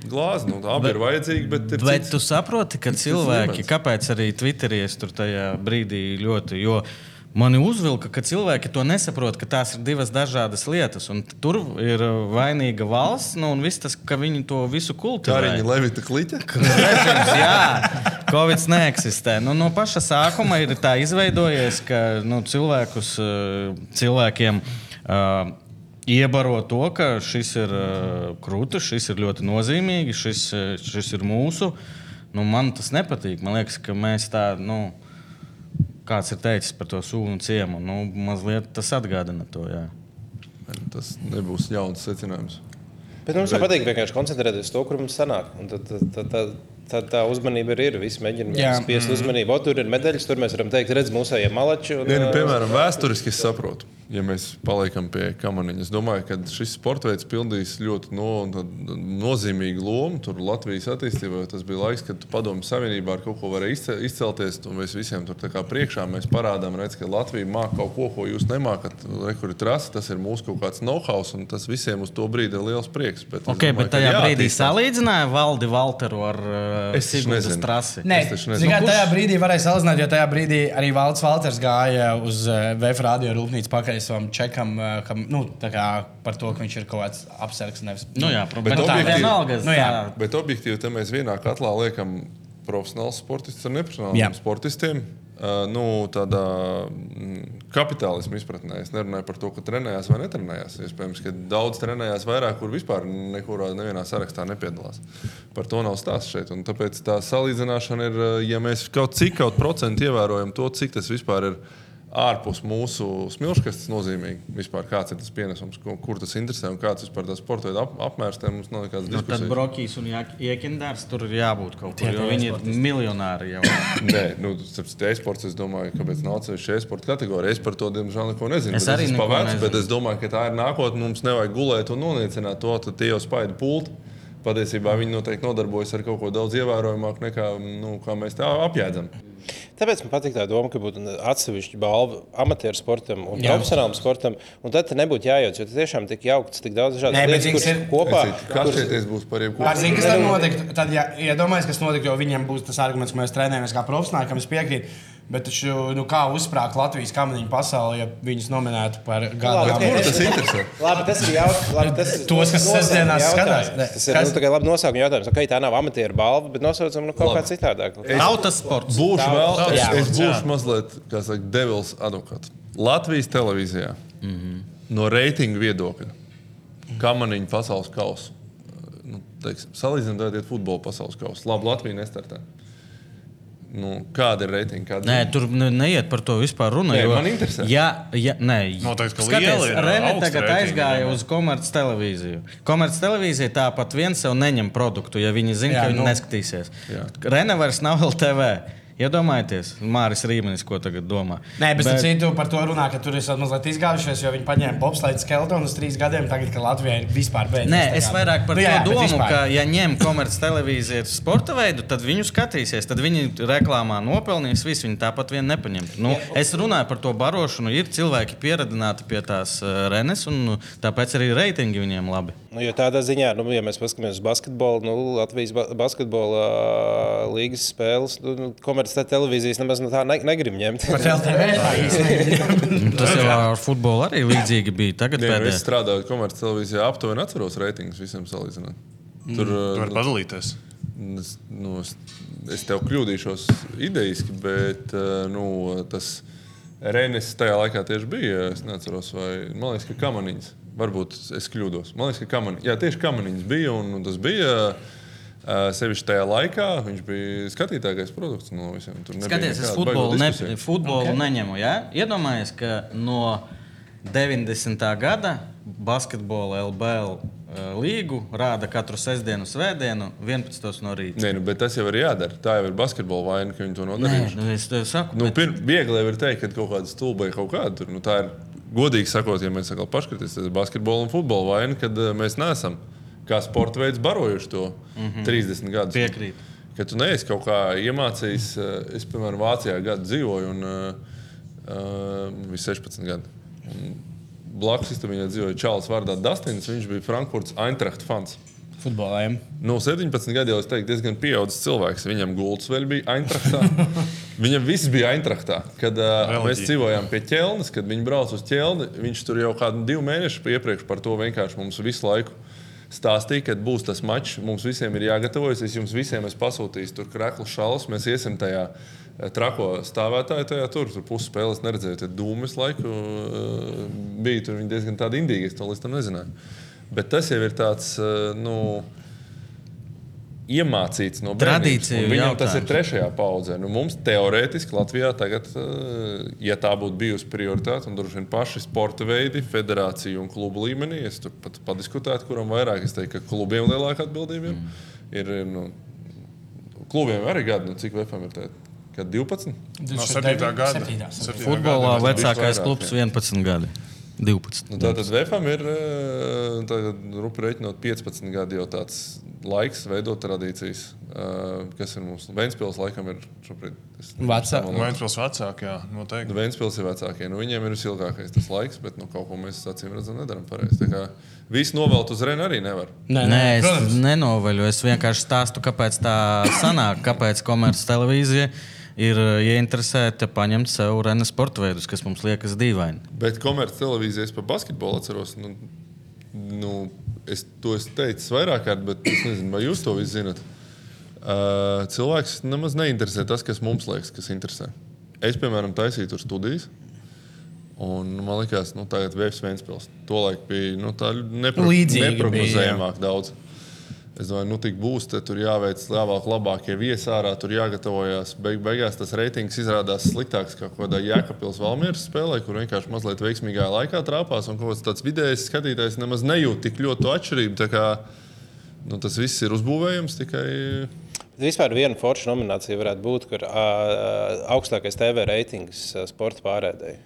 [SPEAKER 3] glāzi, nu, tā abi ir vajadzīga, bet ir
[SPEAKER 4] Bet
[SPEAKER 3] cits.
[SPEAKER 4] tu saproti, ka cilvēki, kāpēc arī Twitterī es tur tajā brīdī ļoti. jo Mani uzvilka, ka cilvēki to nesaprot, ka tās ir divas dažādas lietas. un Tur ir uh, vainīga valsts, nu, un viss tas, ka viņi to visu
[SPEAKER 3] kā
[SPEAKER 4] kultivē.
[SPEAKER 3] arī Levita kliņa.
[SPEAKER 4] Režīms, jā, Covid neeksistē. Nu, no paša sākuma ir tā izveidojies, ka nu, cilvēkus, eh, cilvēkiem eh, iebaro to, ka šis ir eh, krūti, šis ir ļoti nozīmīgi, šis, eh, šis ir mūsu. Nu, man tas nepatīk. Man liekas, ka mēs tā. Nu, Kāds ir teicis par to sūnu ciemu? Nu, mazliet tas atgādina to. Jā.
[SPEAKER 3] Tas nebūs jauns secinājums.
[SPEAKER 5] Bet mums jau patīk vienkārši koncentrēties uz to, kur mums sanāk. Un Tad, tad, tad, tad, tad tā uzmanība ir. ir. Visi mēģina
[SPEAKER 1] Jā.
[SPEAKER 5] spiest
[SPEAKER 3] Mm.
[SPEAKER 5] uzmanību. O, tur ir medaļas, tur mēs varam teikt, redz, mūsējie malači. Un,
[SPEAKER 3] Nē, nu,
[SPEAKER 5] ā,
[SPEAKER 3] piemēram, vēsturiski es saprotu, ja mēs paliekam pie kamaniņa. Es domāju, ka šis sports veids pildīs ļoti no, no- nozīmīgu lomu tur Latvijas attīstībā. jo Tas bija laiks, kad padomju savienībā ar kaut ko varēja izce- izcelties. un Mēs visiem tur tā kā priekšā mēs parādām, redz, ka Latvija māca kaut ko, ko jūs nemākat. Rekurbi trasi, tas ir mūsu kaut kāds know-how, un tas visiem uz to brīdi ir liels prieks. Bet, es
[SPEAKER 4] Okay,
[SPEAKER 3] domāju,
[SPEAKER 4] bet
[SPEAKER 3] ka
[SPEAKER 4] tajā brīdī
[SPEAKER 3] jāattīstās.
[SPEAKER 4] salīdzināja Valdi Valteru ar uh,
[SPEAKER 3] Es taču
[SPEAKER 4] Sigūdas
[SPEAKER 3] nezinu.
[SPEAKER 4] trasi.
[SPEAKER 1] Nē,
[SPEAKER 3] Es taču nezinu.
[SPEAKER 1] zini kā,
[SPEAKER 3] Nu,
[SPEAKER 1] tajā brīdī varēja salīdzināt, jo tajā brīdī arī Valds Valters gāja uz eh, VF radio rūpnīcu pakaļ savam čekam, eh, kam, nu, tā kā par to, ka viņš ir kaut kāds apsargs. Nevis...
[SPEAKER 4] Nu jā, protams.
[SPEAKER 3] Bet
[SPEAKER 4] Bet tā
[SPEAKER 3] objektīvi-
[SPEAKER 4] vienalga.
[SPEAKER 1] Nu jā.
[SPEAKER 4] tā-
[SPEAKER 3] Bet objektīvi, ja mēs vienā katlā liekam profesionāls sportists ar neprofesionāliem
[SPEAKER 1] Jā.
[SPEAKER 3] yeah. sportistiem. Uh, nu, tādā mm, kapitālisma izpratnē es nerunāju par to, ka trenējās vai netrenējās. Iespējams, ka daudz trenējās vairāk, kur vispār nekurā nevienā sarakstā nepiedalās. Par to nav stāsts šeit. Un tāpēc tā salīdzināšana ir, uh, ja mēs kaut cik kaut procentu ievērojam to, cik tas vispār ir ārpus mūsu smilškastes nozīmīgi. Vispār kāds ir tas pienesums, kur, kur tas interesē un kāds vispār tas sporta veids ap, apmērs. Tam mums nav nekādas
[SPEAKER 4] Nu, tad
[SPEAKER 3] diskusijas.
[SPEAKER 4] Brokīs un Jā- Iekindārs tur ir jābūt kaut
[SPEAKER 1] Tie
[SPEAKER 4] kur. Jo
[SPEAKER 1] tie
[SPEAKER 4] viņi ir miljonāri jau.
[SPEAKER 3] Nē, nu, tas ir e-sports. Es domāju, kāpēc nav atsevišķa e-sporta kategorija. Es par to, diemžēl, neko nezinu.
[SPEAKER 4] Es
[SPEAKER 3] bet
[SPEAKER 4] arī
[SPEAKER 3] esmu
[SPEAKER 4] neko
[SPEAKER 3] pavecs,
[SPEAKER 4] nezinu.
[SPEAKER 3] Bet es domāju, ka tā ir nākotne. Mums nevajag gulēt un noniecināt to, tad tie jau spaida pulti. Patiesībā viņi noteikti nodarbojas ar kaut ko daudz ievērojamāku nekā nu, kā mēs tā apjēdzam.
[SPEAKER 5] Tāpēc man patīk tā doma, ka būtu atsevišķa balva amatieru sportam un
[SPEAKER 1] Jā.
[SPEAKER 5] profesionālam sportam. Un tad te nebūtu jājūt, jo tas tiešām tik jaukts, tik
[SPEAKER 1] Nē,
[SPEAKER 5] daudz dažādu
[SPEAKER 1] bet zini,
[SPEAKER 5] lietu, kuras
[SPEAKER 1] kas ir-
[SPEAKER 5] kopā.
[SPEAKER 3] Kas
[SPEAKER 5] kuras-
[SPEAKER 3] šeit būs par
[SPEAKER 1] Ar
[SPEAKER 3] jebkuru?
[SPEAKER 1] zinu, kas tad notiktu? Tad, ja iedomājas, kas notiktu, jo viņiem būs tas arguments, ka mēs trenējamies kā profesionāli, kam es piekrītu. Bet taču, nu, kā uzsprāgt Latvijas kamaniņu pasauli, ja viņus nominētu par gada
[SPEAKER 5] Labi,
[SPEAKER 3] Kur
[SPEAKER 1] labu?
[SPEAKER 5] bet-
[SPEAKER 3] tas interesē?
[SPEAKER 5] Labi, tas ir jautājums. Labi, tas ir
[SPEAKER 1] Tos, kas
[SPEAKER 5] nosaukuma
[SPEAKER 1] sestdienās
[SPEAKER 5] jautājums.
[SPEAKER 1] skatās. Ne,
[SPEAKER 5] Tas ir
[SPEAKER 1] kas-
[SPEAKER 5] nu, tikai labi nosaukuma jautājums. Okay, tā nav amatieru balva, bet nosaucam nu, kaut kā
[SPEAKER 3] Labi.
[SPEAKER 5] citādāk.
[SPEAKER 4] Tautas sports.
[SPEAKER 3] Būšu vēl,
[SPEAKER 1] daudz.
[SPEAKER 3] es,
[SPEAKER 1] Jā,
[SPEAKER 3] es
[SPEAKER 2] daudz, jā.
[SPEAKER 3] būšu mazliet, kā saka, devils advokāts. Latvijas televīzijā mm -hmm. no reitingu viedokļa kamaniņu pasaules kausa. Nu, teiksim, Salīdzinot, tad ir futbola pasaules kausa. Labi, Latvija nestartē. Nu, kāda ir reitinga? Kāda
[SPEAKER 4] Nē, tur ne- neiet par to vispār runa.
[SPEAKER 3] Nē,
[SPEAKER 4] jo-
[SPEAKER 3] man interesē.
[SPEAKER 4] Jā, jā nē,
[SPEAKER 2] Noteikti, ka liela ir,
[SPEAKER 4] Rene
[SPEAKER 2] augsta
[SPEAKER 4] tagad
[SPEAKER 2] reitinga,
[SPEAKER 4] aizgāja
[SPEAKER 2] jā.
[SPEAKER 4] uz komerctelevīziju. Komerctelevīzija tāpat viens sev neņem produktu, ja viņi zina,
[SPEAKER 1] Jā,
[SPEAKER 4] ka viņi
[SPEAKER 1] nu.
[SPEAKER 4] neskatīsies. Rene vairs nav LTV. Iedomājieties, Māris Rīmenis, ko tagad domā.
[SPEAKER 1] Nē, bet, bet... citu par to runā, ka tur ir mazliet izgājušies, jo viņi paņēma bobslēdz skeletonu uz trīs gadiem. Tagad, ka Latvijai ir vispār beidzies.
[SPEAKER 4] Nē, es vairāk par nu, jā, to
[SPEAKER 1] bet
[SPEAKER 4] domu,
[SPEAKER 1] vispār.
[SPEAKER 4] ka, ja ņem komerctelevīziju ar sporta veidu, tad viņu skatīsies, tad viņi reklāmā nopelnīs, visu viņi tāpat vien nepaņemt. Nu, es runāju par to barošanu, ir cilvēki pieradināti pie tās uh, Renes, un nu, tāpēc arī reitingi viņiem labi.
[SPEAKER 5] Nu, jo tādā ziņā, nu, ja mēs paskatāmies uz basketbolu, nu, Latvijas ba basketbola ā, līnijas spēles, nu, nu, komerciālā televīzijas nemaz no tā ne negrib ņemt.
[SPEAKER 1] Par LTV tā īstenībā.
[SPEAKER 4] Nu, Tas jau ar futbolu arī līdzīgi bija. Tagad
[SPEAKER 3] ir? nu, Es
[SPEAKER 4] pēdējais.
[SPEAKER 3] strādāju komerctelevīzijā, aptuveni atceros reitingus visiem salīdzinot. Tur eh,
[SPEAKER 2] Tu vari padalīties.
[SPEAKER 3] Es, nu, es, es tev kļūdīšos idejiski, bet eh, nu, tas Renes tajā laikā tieši bija. Es neatceros, vai man liekas, ka kamaniņas. Varbūt es kļūdos. Man liekas, ka kamaniņas. Jā, tieši kamaniņas bija. Un, un tas bija eh, sevišķi tajā laikā. Viņš bija skatītākais produkts no visiem. Tur nebija
[SPEAKER 4] Skaties, es
[SPEAKER 3] nekāda
[SPEAKER 4] futbolu,
[SPEAKER 3] baigo
[SPEAKER 4] ne,
[SPEAKER 3] diskusiju.
[SPEAKER 4] futbolu okay. neņemu. Ja? Iedomājieties, ka no 90. gada basketbola LBL eh, līgu rāda katru sestdienu, svētdienu, 11. no rīta.
[SPEAKER 3] Nē, nu, bet tas jau ir jādara. Tā jau ir basketbola vaina, ka viņi to
[SPEAKER 4] Nē,
[SPEAKER 3] nodarīja.
[SPEAKER 4] nu es tev saku,
[SPEAKER 3] Nu,
[SPEAKER 4] nu,
[SPEAKER 3] pir, viegli jau ir teikt, ka kaut kāda stulba ir kaut kāda. Tur, nu, tā ir godīgi sakot, ja mēs sakām paškritis, tad ir basketbola un futbola vaina, kad eh, mēs neesam kā sporta veids barojuši to mm -hmm. 30 gadus.
[SPEAKER 4] Piekrītu.
[SPEAKER 3] Ka tu neesi kaut kā iemācījis, eh, es, piemēram, Vācijā gadu dzīvoju, un eh, eh, bija 16 gadi. Un blakus istabā dzīvoja Čāles vārdā Dustins, viņš bija Frankfurts Eintracht fans.
[SPEAKER 1] Futbolēm.
[SPEAKER 3] No 17 gadiem Nu, jau es teiktu, diezgan pieaugušs cilvēks. Viņam gultas vēl bija Aintraktā. Viņam viss bija Aintraktā. Kad uh,
[SPEAKER 2] Reliģija.
[SPEAKER 3] mēs dzīvojām pie ķelnes, kad viņi brauca uz ķelni, viņš tur jau kādu divu mēnešu iepriekš par to vienkārši mums visu laiku. Stāstīja, kad būs tas mačs, mums visiem ir jāgatavojas. Es jums visiem esmu pasūtījis tur krāklus, šalus. Mēs iesim tajā eh, trako stāvētāju, tajā tur, tur puses spēles neredzēju. Tad dūmis laiku eh, bija tur. Viņi diezgan tādi indīgi, es to līdz tam nezināju. Bet tas jau ir tāds, eh, nu, iemācīts no bērnības.
[SPEAKER 4] Tradīciju
[SPEAKER 3] Un Viņam tas ir
[SPEAKER 4] jautājums.
[SPEAKER 3] trešajā paudzē. Nu, mums teorētiski Latvijā tagad, eh, ja tā būtu bijusi prioritāte, un droši vien paši sporta veidi, federācija un klubu līmenī, es tur pat padiskutētu, kuram vairāk es teiktu, ka klubiem lielāka atbildība mm. ir. Nu, klubiem arī gadu, nu, cik VFM ir tā, kad 12.
[SPEAKER 2] No 7. gada. Nu,
[SPEAKER 1] 7.
[SPEAKER 2] Septītā
[SPEAKER 4] futbolā
[SPEAKER 2] gada.
[SPEAKER 4] vecākais
[SPEAKER 3] vairāk,
[SPEAKER 4] klubs 11 gadi. 12.
[SPEAKER 3] Nu, tātad VFM ir eh, tagad rupi rēķinot 15 gadi jau tāds laiks, veidot tradīcijas, eh, kas ir mums. Ventspils laikam ir šobrīd. es-
[SPEAKER 1] Vecā.
[SPEAKER 2] Mainspils vecākajā noteikti.
[SPEAKER 3] Nu, Vēnspils ir vecākie. Nu, viņiem ir visilgākais tas laiks, bet nu, kaut ko mēs acīm redzam, nedaram pareizi. Tā kā Visu novelt uz Renu arī nevar.
[SPEAKER 1] Nē,
[SPEAKER 4] Nē, es
[SPEAKER 1] protams.
[SPEAKER 4] nenovaļu. Es vienkārši stāstu, kāpēc tā sanāk, kāpēc komerctelevīzija ir eh, ieinteresēta paņemt sev Renes sporta veidus, kas mums liekas dīvaini.
[SPEAKER 3] Bet komerctelevīzijas par basketbolu atceros. Nu, nu, es to es teicu vairāk kārt, bet es nezinu, vai jūs to visi zinat. Uh, cilvēks nemaz neinteresē tas, kas mums liekas, kas interesē. Es, piemēram, taisīju tur studijas. Un, nu, man liekas, nu, tagad Vēstures Vēnspils. Tolaik bija nu, tā nepro
[SPEAKER 1] Līdzīgi bija,
[SPEAKER 3] neprognozējamāk daudz. Es domāju, nu, tik būs, te tur jāveic labāk, labākie viesi ārā, tur jāgatavojas. Beig beigās tas ratings izrādās sliktāks kā kādā Jēkabpils Valmīras spēlē, kur vienkārši mazliet veiksmīgā laikā trāpās. Un kaut kāds tāds vidējs skatītājs nemaz nejūt tik ļoti to atšķirību. Tā Kā, nu, tas viss ir uzbūvējams tikai
[SPEAKER 5] Vispār viena forša nominācija varētu būt, kur uh, augstākais TV reitings ā, sporta pārēdēji.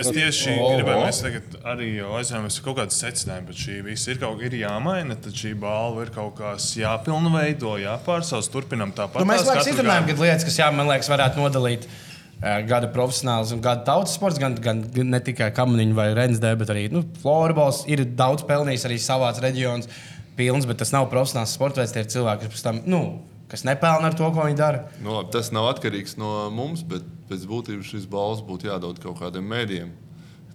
[SPEAKER 2] Es tieši
[SPEAKER 1] o,
[SPEAKER 2] gribēju,
[SPEAKER 1] o.
[SPEAKER 2] mēs tagad arī jau aizējām, ir kaut kāds secinājums par šī visu. Ir kaut kas jāmaina, tad šī balva ir kaut kas jāpilnveido, jāpārsauc, turpinam tāpat.
[SPEAKER 1] Nu, mēs
[SPEAKER 2] tās
[SPEAKER 1] laikam
[SPEAKER 2] katru
[SPEAKER 1] izrunājam,
[SPEAKER 2] gadu.
[SPEAKER 1] ka lietas, kas jā, man liekas, varētu nodalīt. eh, Gada profesionāls un gada tautas sports, gan, gan, gan ne tikai kamaniņu vai rendzē, bet arī nu, floorbols ir daudz pelnījis arī savā reģionā. Pilns, bet tas nav profesionāls sports veids, tie ir cilvēki, kas, pēc tam, nu, kas nepelna ar to, ko viņi dara.
[SPEAKER 3] Nu, labi, tas nav atkarīgs no mums, bet pēc būtības šis balss būtu jādod kaut kādiem mēdiem.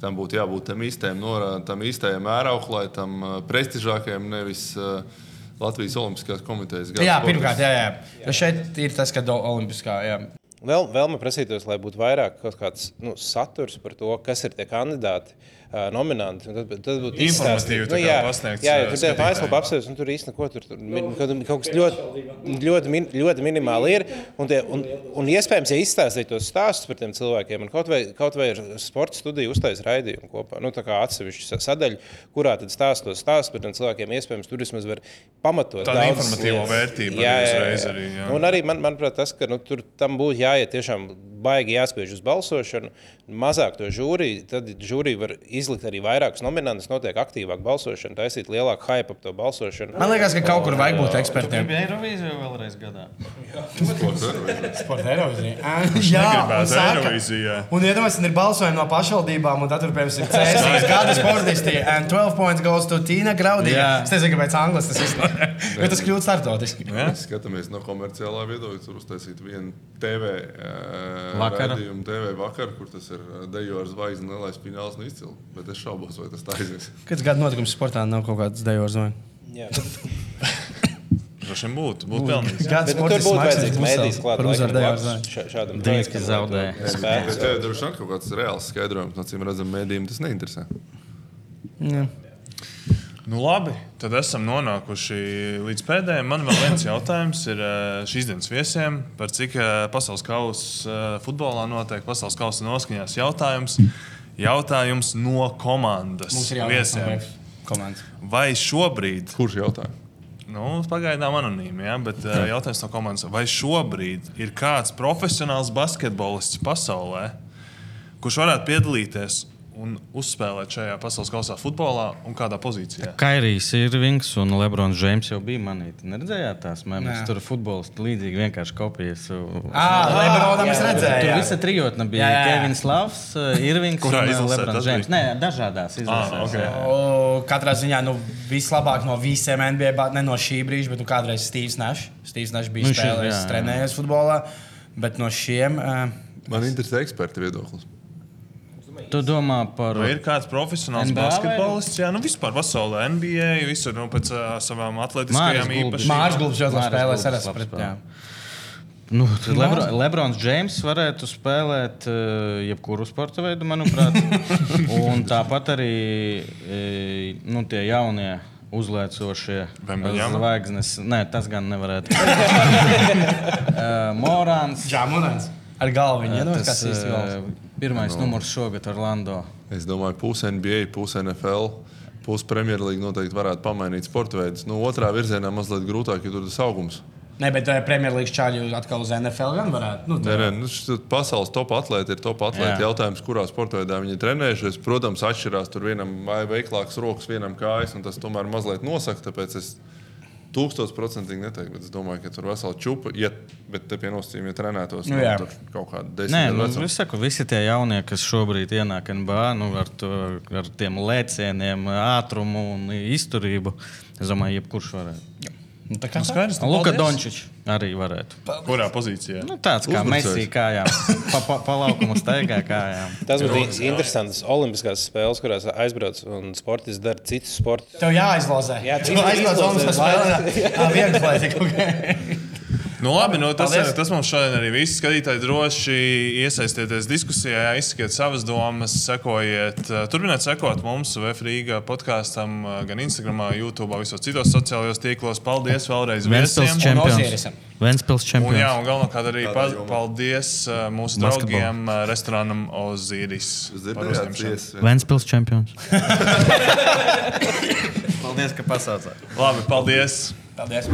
[SPEAKER 3] Tam būtu jābūt tam īstajam, norā- tam īstajam ērauklai, tam eh, prestižākajam, nevis eh, Latvijas Olimpiskās komitejas gadsimtam.
[SPEAKER 1] Jā, pirmkārt, jā, jā. jā. Šeit ir tas, ka do- olimpiskā. Jā.
[SPEAKER 5] Vēl, vēl man prasītos, lai būtu vairāk kaut kāds nu, saturs par to, kas ir tie kandidāti, ā, nominanti. Un Tad, tad būtu
[SPEAKER 2] Informatīvi
[SPEAKER 5] izstāstīts.
[SPEAKER 2] tā kā
[SPEAKER 5] jā,
[SPEAKER 2] pasniegts,
[SPEAKER 5] jā,
[SPEAKER 2] ā,
[SPEAKER 5] jā, tur ir
[SPEAKER 2] skatītājiem.
[SPEAKER 5] mājaslapa apsvērts, un tur īstenībā ko tur, tur min, kaut, kaut kas ļoti, ļoti, min, ļoti minimāli ir. Un, tie, un, un iespējams, ja izstāstīt tos stāstus par tiem cilvēkiem, un kaut vai, kaut vai ir sporta studija uztais raidījumu kopā, nu, tā kā atsevišķa sa- sadaļa, kurā tad stāstos stāstus par tiem cilvēkiem, iespējams, tur vismaz var pamatot
[SPEAKER 2] Tāda
[SPEAKER 5] daudzas
[SPEAKER 2] informatīvo
[SPEAKER 5] lietas.
[SPEAKER 2] vērtība arī uzreiz arī, jā.
[SPEAKER 5] Nu, Un arī, man, manuprāt, tas, ka nu, tur tam būtu jāiet tiešām baigi jāspiež uz balsošanu, mazāk to žūriju. Tad žūrija var izlikt arī vairākus nominantus, notiek aktīvāk balsošana, taisīt lielāku hype ap to balsošanu.
[SPEAKER 1] Man liekas, ka kaut kur vajag būt ekspertiem.
[SPEAKER 4] Bija Eirovīzija vēlreiz gadā.
[SPEAKER 1] Sporta Eirovizija. Jā, un
[SPEAKER 2] negribētu
[SPEAKER 1] saka-
[SPEAKER 2] Eirovizijā?
[SPEAKER 1] Un iedomājieties, ir balsojumi no pašvaldībām, un tad tur, piemēram, ir CSIS gada sportisti. And 12 points goes to Tīna Graudija.
[SPEAKER 4] Jā.
[SPEAKER 1] Es nezinu, kāpēc anglis tas izsaka. Bet tas kļūst startautiski.
[SPEAKER 3] Mēs skatāmies no komerciālā viedokļa. Tur uztaisīt vienu TV eh,
[SPEAKER 4] Vakara.
[SPEAKER 3] raidījumu, TV vakaru, kur tas ir eh, dejo ar zvaigzni, lielais fināls un izcili. Bet es šaubos, vai tas tā aizies.
[SPEAKER 1] Kāds gada notikums sportā nav kaut kāds dejojums zvaigznes?
[SPEAKER 5] Jā.
[SPEAKER 2] Droši vien būtu, būtu pelnījis.
[SPEAKER 1] Gada
[SPEAKER 5] Bet, nu, tur
[SPEAKER 1] sportists
[SPEAKER 5] būtu
[SPEAKER 1] maksā
[SPEAKER 5] vajadzīgs mēdīs klāt.
[SPEAKER 1] par uzvaru dejojums zvaigznes.
[SPEAKER 5] Šādam
[SPEAKER 4] Dēļ, ka zaudēja.
[SPEAKER 5] Spēks.
[SPEAKER 3] Bet tev droši vien kaut kāds reāls skaidrojums no cīm redzamiem mēdījiem tas neinteresē.
[SPEAKER 2] Nu, labi, tad esam nonākuši līdz pēdējiem. Man vēl viens jautājums ir eh, šīs dienas viesiem. Par cik eh, pasaules kausa eh, futbolā notiek pasaules kausa noskaņās jautājums. Jautājums no komandas
[SPEAKER 1] Mums ir
[SPEAKER 2] viesiem.
[SPEAKER 1] jāatbalsta komandas.
[SPEAKER 2] Vai šobrīd,
[SPEAKER 3] Kurš jautā?
[SPEAKER 2] nu, pagaidām anonīmi, ja, bet eh, jautājums no komandas, vai šobrīd ir kāds profesionāls basketbolists pasaulē, kurš varētu piedalīties un uzspēlēt šajā pasaules kausā futbolā un kādā pozīcijā?
[SPEAKER 4] Kairijs Irvings un Lebrons Džeims jau bija manīti. Neredzējāt tās
[SPEAKER 1] Nē.
[SPEAKER 4] mēmas? Tur futbolisti līdzīgi vienkārši kopijas.
[SPEAKER 1] Ah, Lebronam es redzēju.
[SPEAKER 4] Tur
[SPEAKER 1] jā.
[SPEAKER 4] visa trijotne bija
[SPEAKER 1] Jā, jā, jā.
[SPEAKER 4] Kevins Lavs, Irvings un
[SPEAKER 2] Kurā izlasē tas
[SPEAKER 4] Lebrons
[SPEAKER 2] bija?
[SPEAKER 4] Džeims. Nē, dažādās
[SPEAKER 2] Ah,
[SPEAKER 4] izlasēs.
[SPEAKER 2] okay.
[SPEAKER 4] jā.
[SPEAKER 1] O, Katrā ziņā nu, vislabāk no visiem NBA, ba- ne no šī brīža, bet nu, kādreiz Steve's Nešs. Steve's Nešs bija
[SPEAKER 4] Nu,
[SPEAKER 1] nu,
[SPEAKER 4] šis,
[SPEAKER 1] spēlējis,
[SPEAKER 4] jā, jā.
[SPEAKER 1] trenējis futbolā, bet no šiem. Uh,
[SPEAKER 3] Man interesē eksperta viedoklis.
[SPEAKER 4] Tu domā par...
[SPEAKER 2] Vai ir kāds profesionāls
[SPEAKER 4] NBA vai-
[SPEAKER 2] basketbolists? Jā, nu vispār pasaulē, NBA, visur nu, pēc uh, savām atletiskajām
[SPEAKER 4] Māris Gulbis.
[SPEAKER 2] īpašībām.
[SPEAKER 1] Mārcis Gulbs ļoti labi
[SPEAKER 4] Māris
[SPEAKER 1] spēlēs
[SPEAKER 4] Gulbis
[SPEAKER 1] ar
[SPEAKER 4] labi
[SPEAKER 1] Spēlē.
[SPEAKER 4] Nu, tad Lebro, Lebrons Džeims varētu spēlēt uh, jebkuru sporta veidu, manuprāt. Un tāpat arī e, nu, tie jaunie uzliecošie
[SPEAKER 2] Wembanyama?
[SPEAKER 4] zvaigznes. Nē, tas gan nevarētu. Eh, Morāns.
[SPEAKER 1] Džamunens ar galvu viņa
[SPEAKER 4] Tas,
[SPEAKER 1] iedomājās, kas ir
[SPEAKER 4] eh,
[SPEAKER 1] īstenībā.
[SPEAKER 4] Pirmais numurs šogad Orlando.
[SPEAKER 3] Es domāju, puse NBA, puse NFL, puse Premjerlīga noteikti varētu pamainīt sporta veidus. Nu, otrā virzienā mazliet grūtāk, jo tur tas augums.
[SPEAKER 1] Nē, bet uh, Premjerlīgas čāļi atkal uz NFL gan varētu. Nu,
[SPEAKER 3] Nē, nē, nu, šis pasaules top atlētājs ir top atlētājs.
[SPEAKER 4] Jā.
[SPEAKER 3] Jautājums, kurā sporta veidā viņi ir trenējušies, protams, atšķirās. Tur vienam vai veiklāks rokas, vienam kājas, un tas tomēr mazliet nosaka. Tāpēc es tūkstošprocentīgi neteiktu, bet es domāju, ka tur vesela čūpa, ja, bet te pie nosacījuma, ja trenētos,
[SPEAKER 1] Nu,
[SPEAKER 3] nu,
[SPEAKER 1] jā.
[SPEAKER 3] tur kaut kāda
[SPEAKER 4] Nē,
[SPEAKER 3] desmit
[SPEAKER 4] nu,
[SPEAKER 3] gadu vecuma.
[SPEAKER 4] es saku, visi tie jaunie, kas šobrīd ienāk NBA nu, ar, to, ar tiem lēcieniem, ātrumu un izturību, es domāju, jebkurš varētu.
[SPEAKER 1] Nu, tā kā tā.
[SPEAKER 2] Skaidrs, nu,
[SPEAKER 4] Luka
[SPEAKER 2] paldies.
[SPEAKER 4] Dončičs arī varētu.
[SPEAKER 2] Kurā pozīcijā?
[SPEAKER 4] Nu, tāds kā
[SPEAKER 3] Uzbrucējs.
[SPEAKER 4] Mēsī kājām, pa, pa, palaukuma staigā kājām.
[SPEAKER 5] Tas būtu interesants. Olimpiskās spēles, kurās aizbrauc un sportists dara citus sportus.
[SPEAKER 1] Tev jāizlozē.
[SPEAKER 5] Jā,
[SPEAKER 1] tu
[SPEAKER 5] tu
[SPEAKER 1] aizlozē
[SPEAKER 5] izlozē.
[SPEAKER 1] mums, kas spēlē. Tā vienkārši.
[SPEAKER 2] Nu, labi, nu, tas,
[SPEAKER 1] Paldies.
[SPEAKER 2] tas mums šodien arī viss. Skatītāji, droši iesaistieties diskusijā, izsakiet savas domas, sekojiet, eh, turpiniet sekot mums, Vefrīga podkāstam, eh, gan Instagram, YouTube, visos citos sociālajos tīklos. Paldies vēlreiz
[SPEAKER 4] Ventspils
[SPEAKER 2] viesiem!
[SPEAKER 4] čempions.
[SPEAKER 1] Ozierisam.
[SPEAKER 2] Un,
[SPEAKER 4] Ventspils
[SPEAKER 2] jā,
[SPEAKER 4] čempions.
[SPEAKER 2] un galvenokārt arī
[SPEAKER 3] Tādā
[SPEAKER 2] pa,
[SPEAKER 3] jomā.
[SPEAKER 2] paldies eh, mūsu
[SPEAKER 4] Basketbolu.
[SPEAKER 2] draugiem, eh, restorānam Ozīris. par
[SPEAKER 3] Jūs dzirdējāt,
[SPEAKER 2] uzņemšanu.
[SPEAKER 3] dziesmu?
[SPEAKER 4] Ventspils čempions.
[SPEAKER 6] Paldies, ka pasaucāt!
[SPEAKER 2] Labi, paldies!
[SPEAKER 1] Paldies!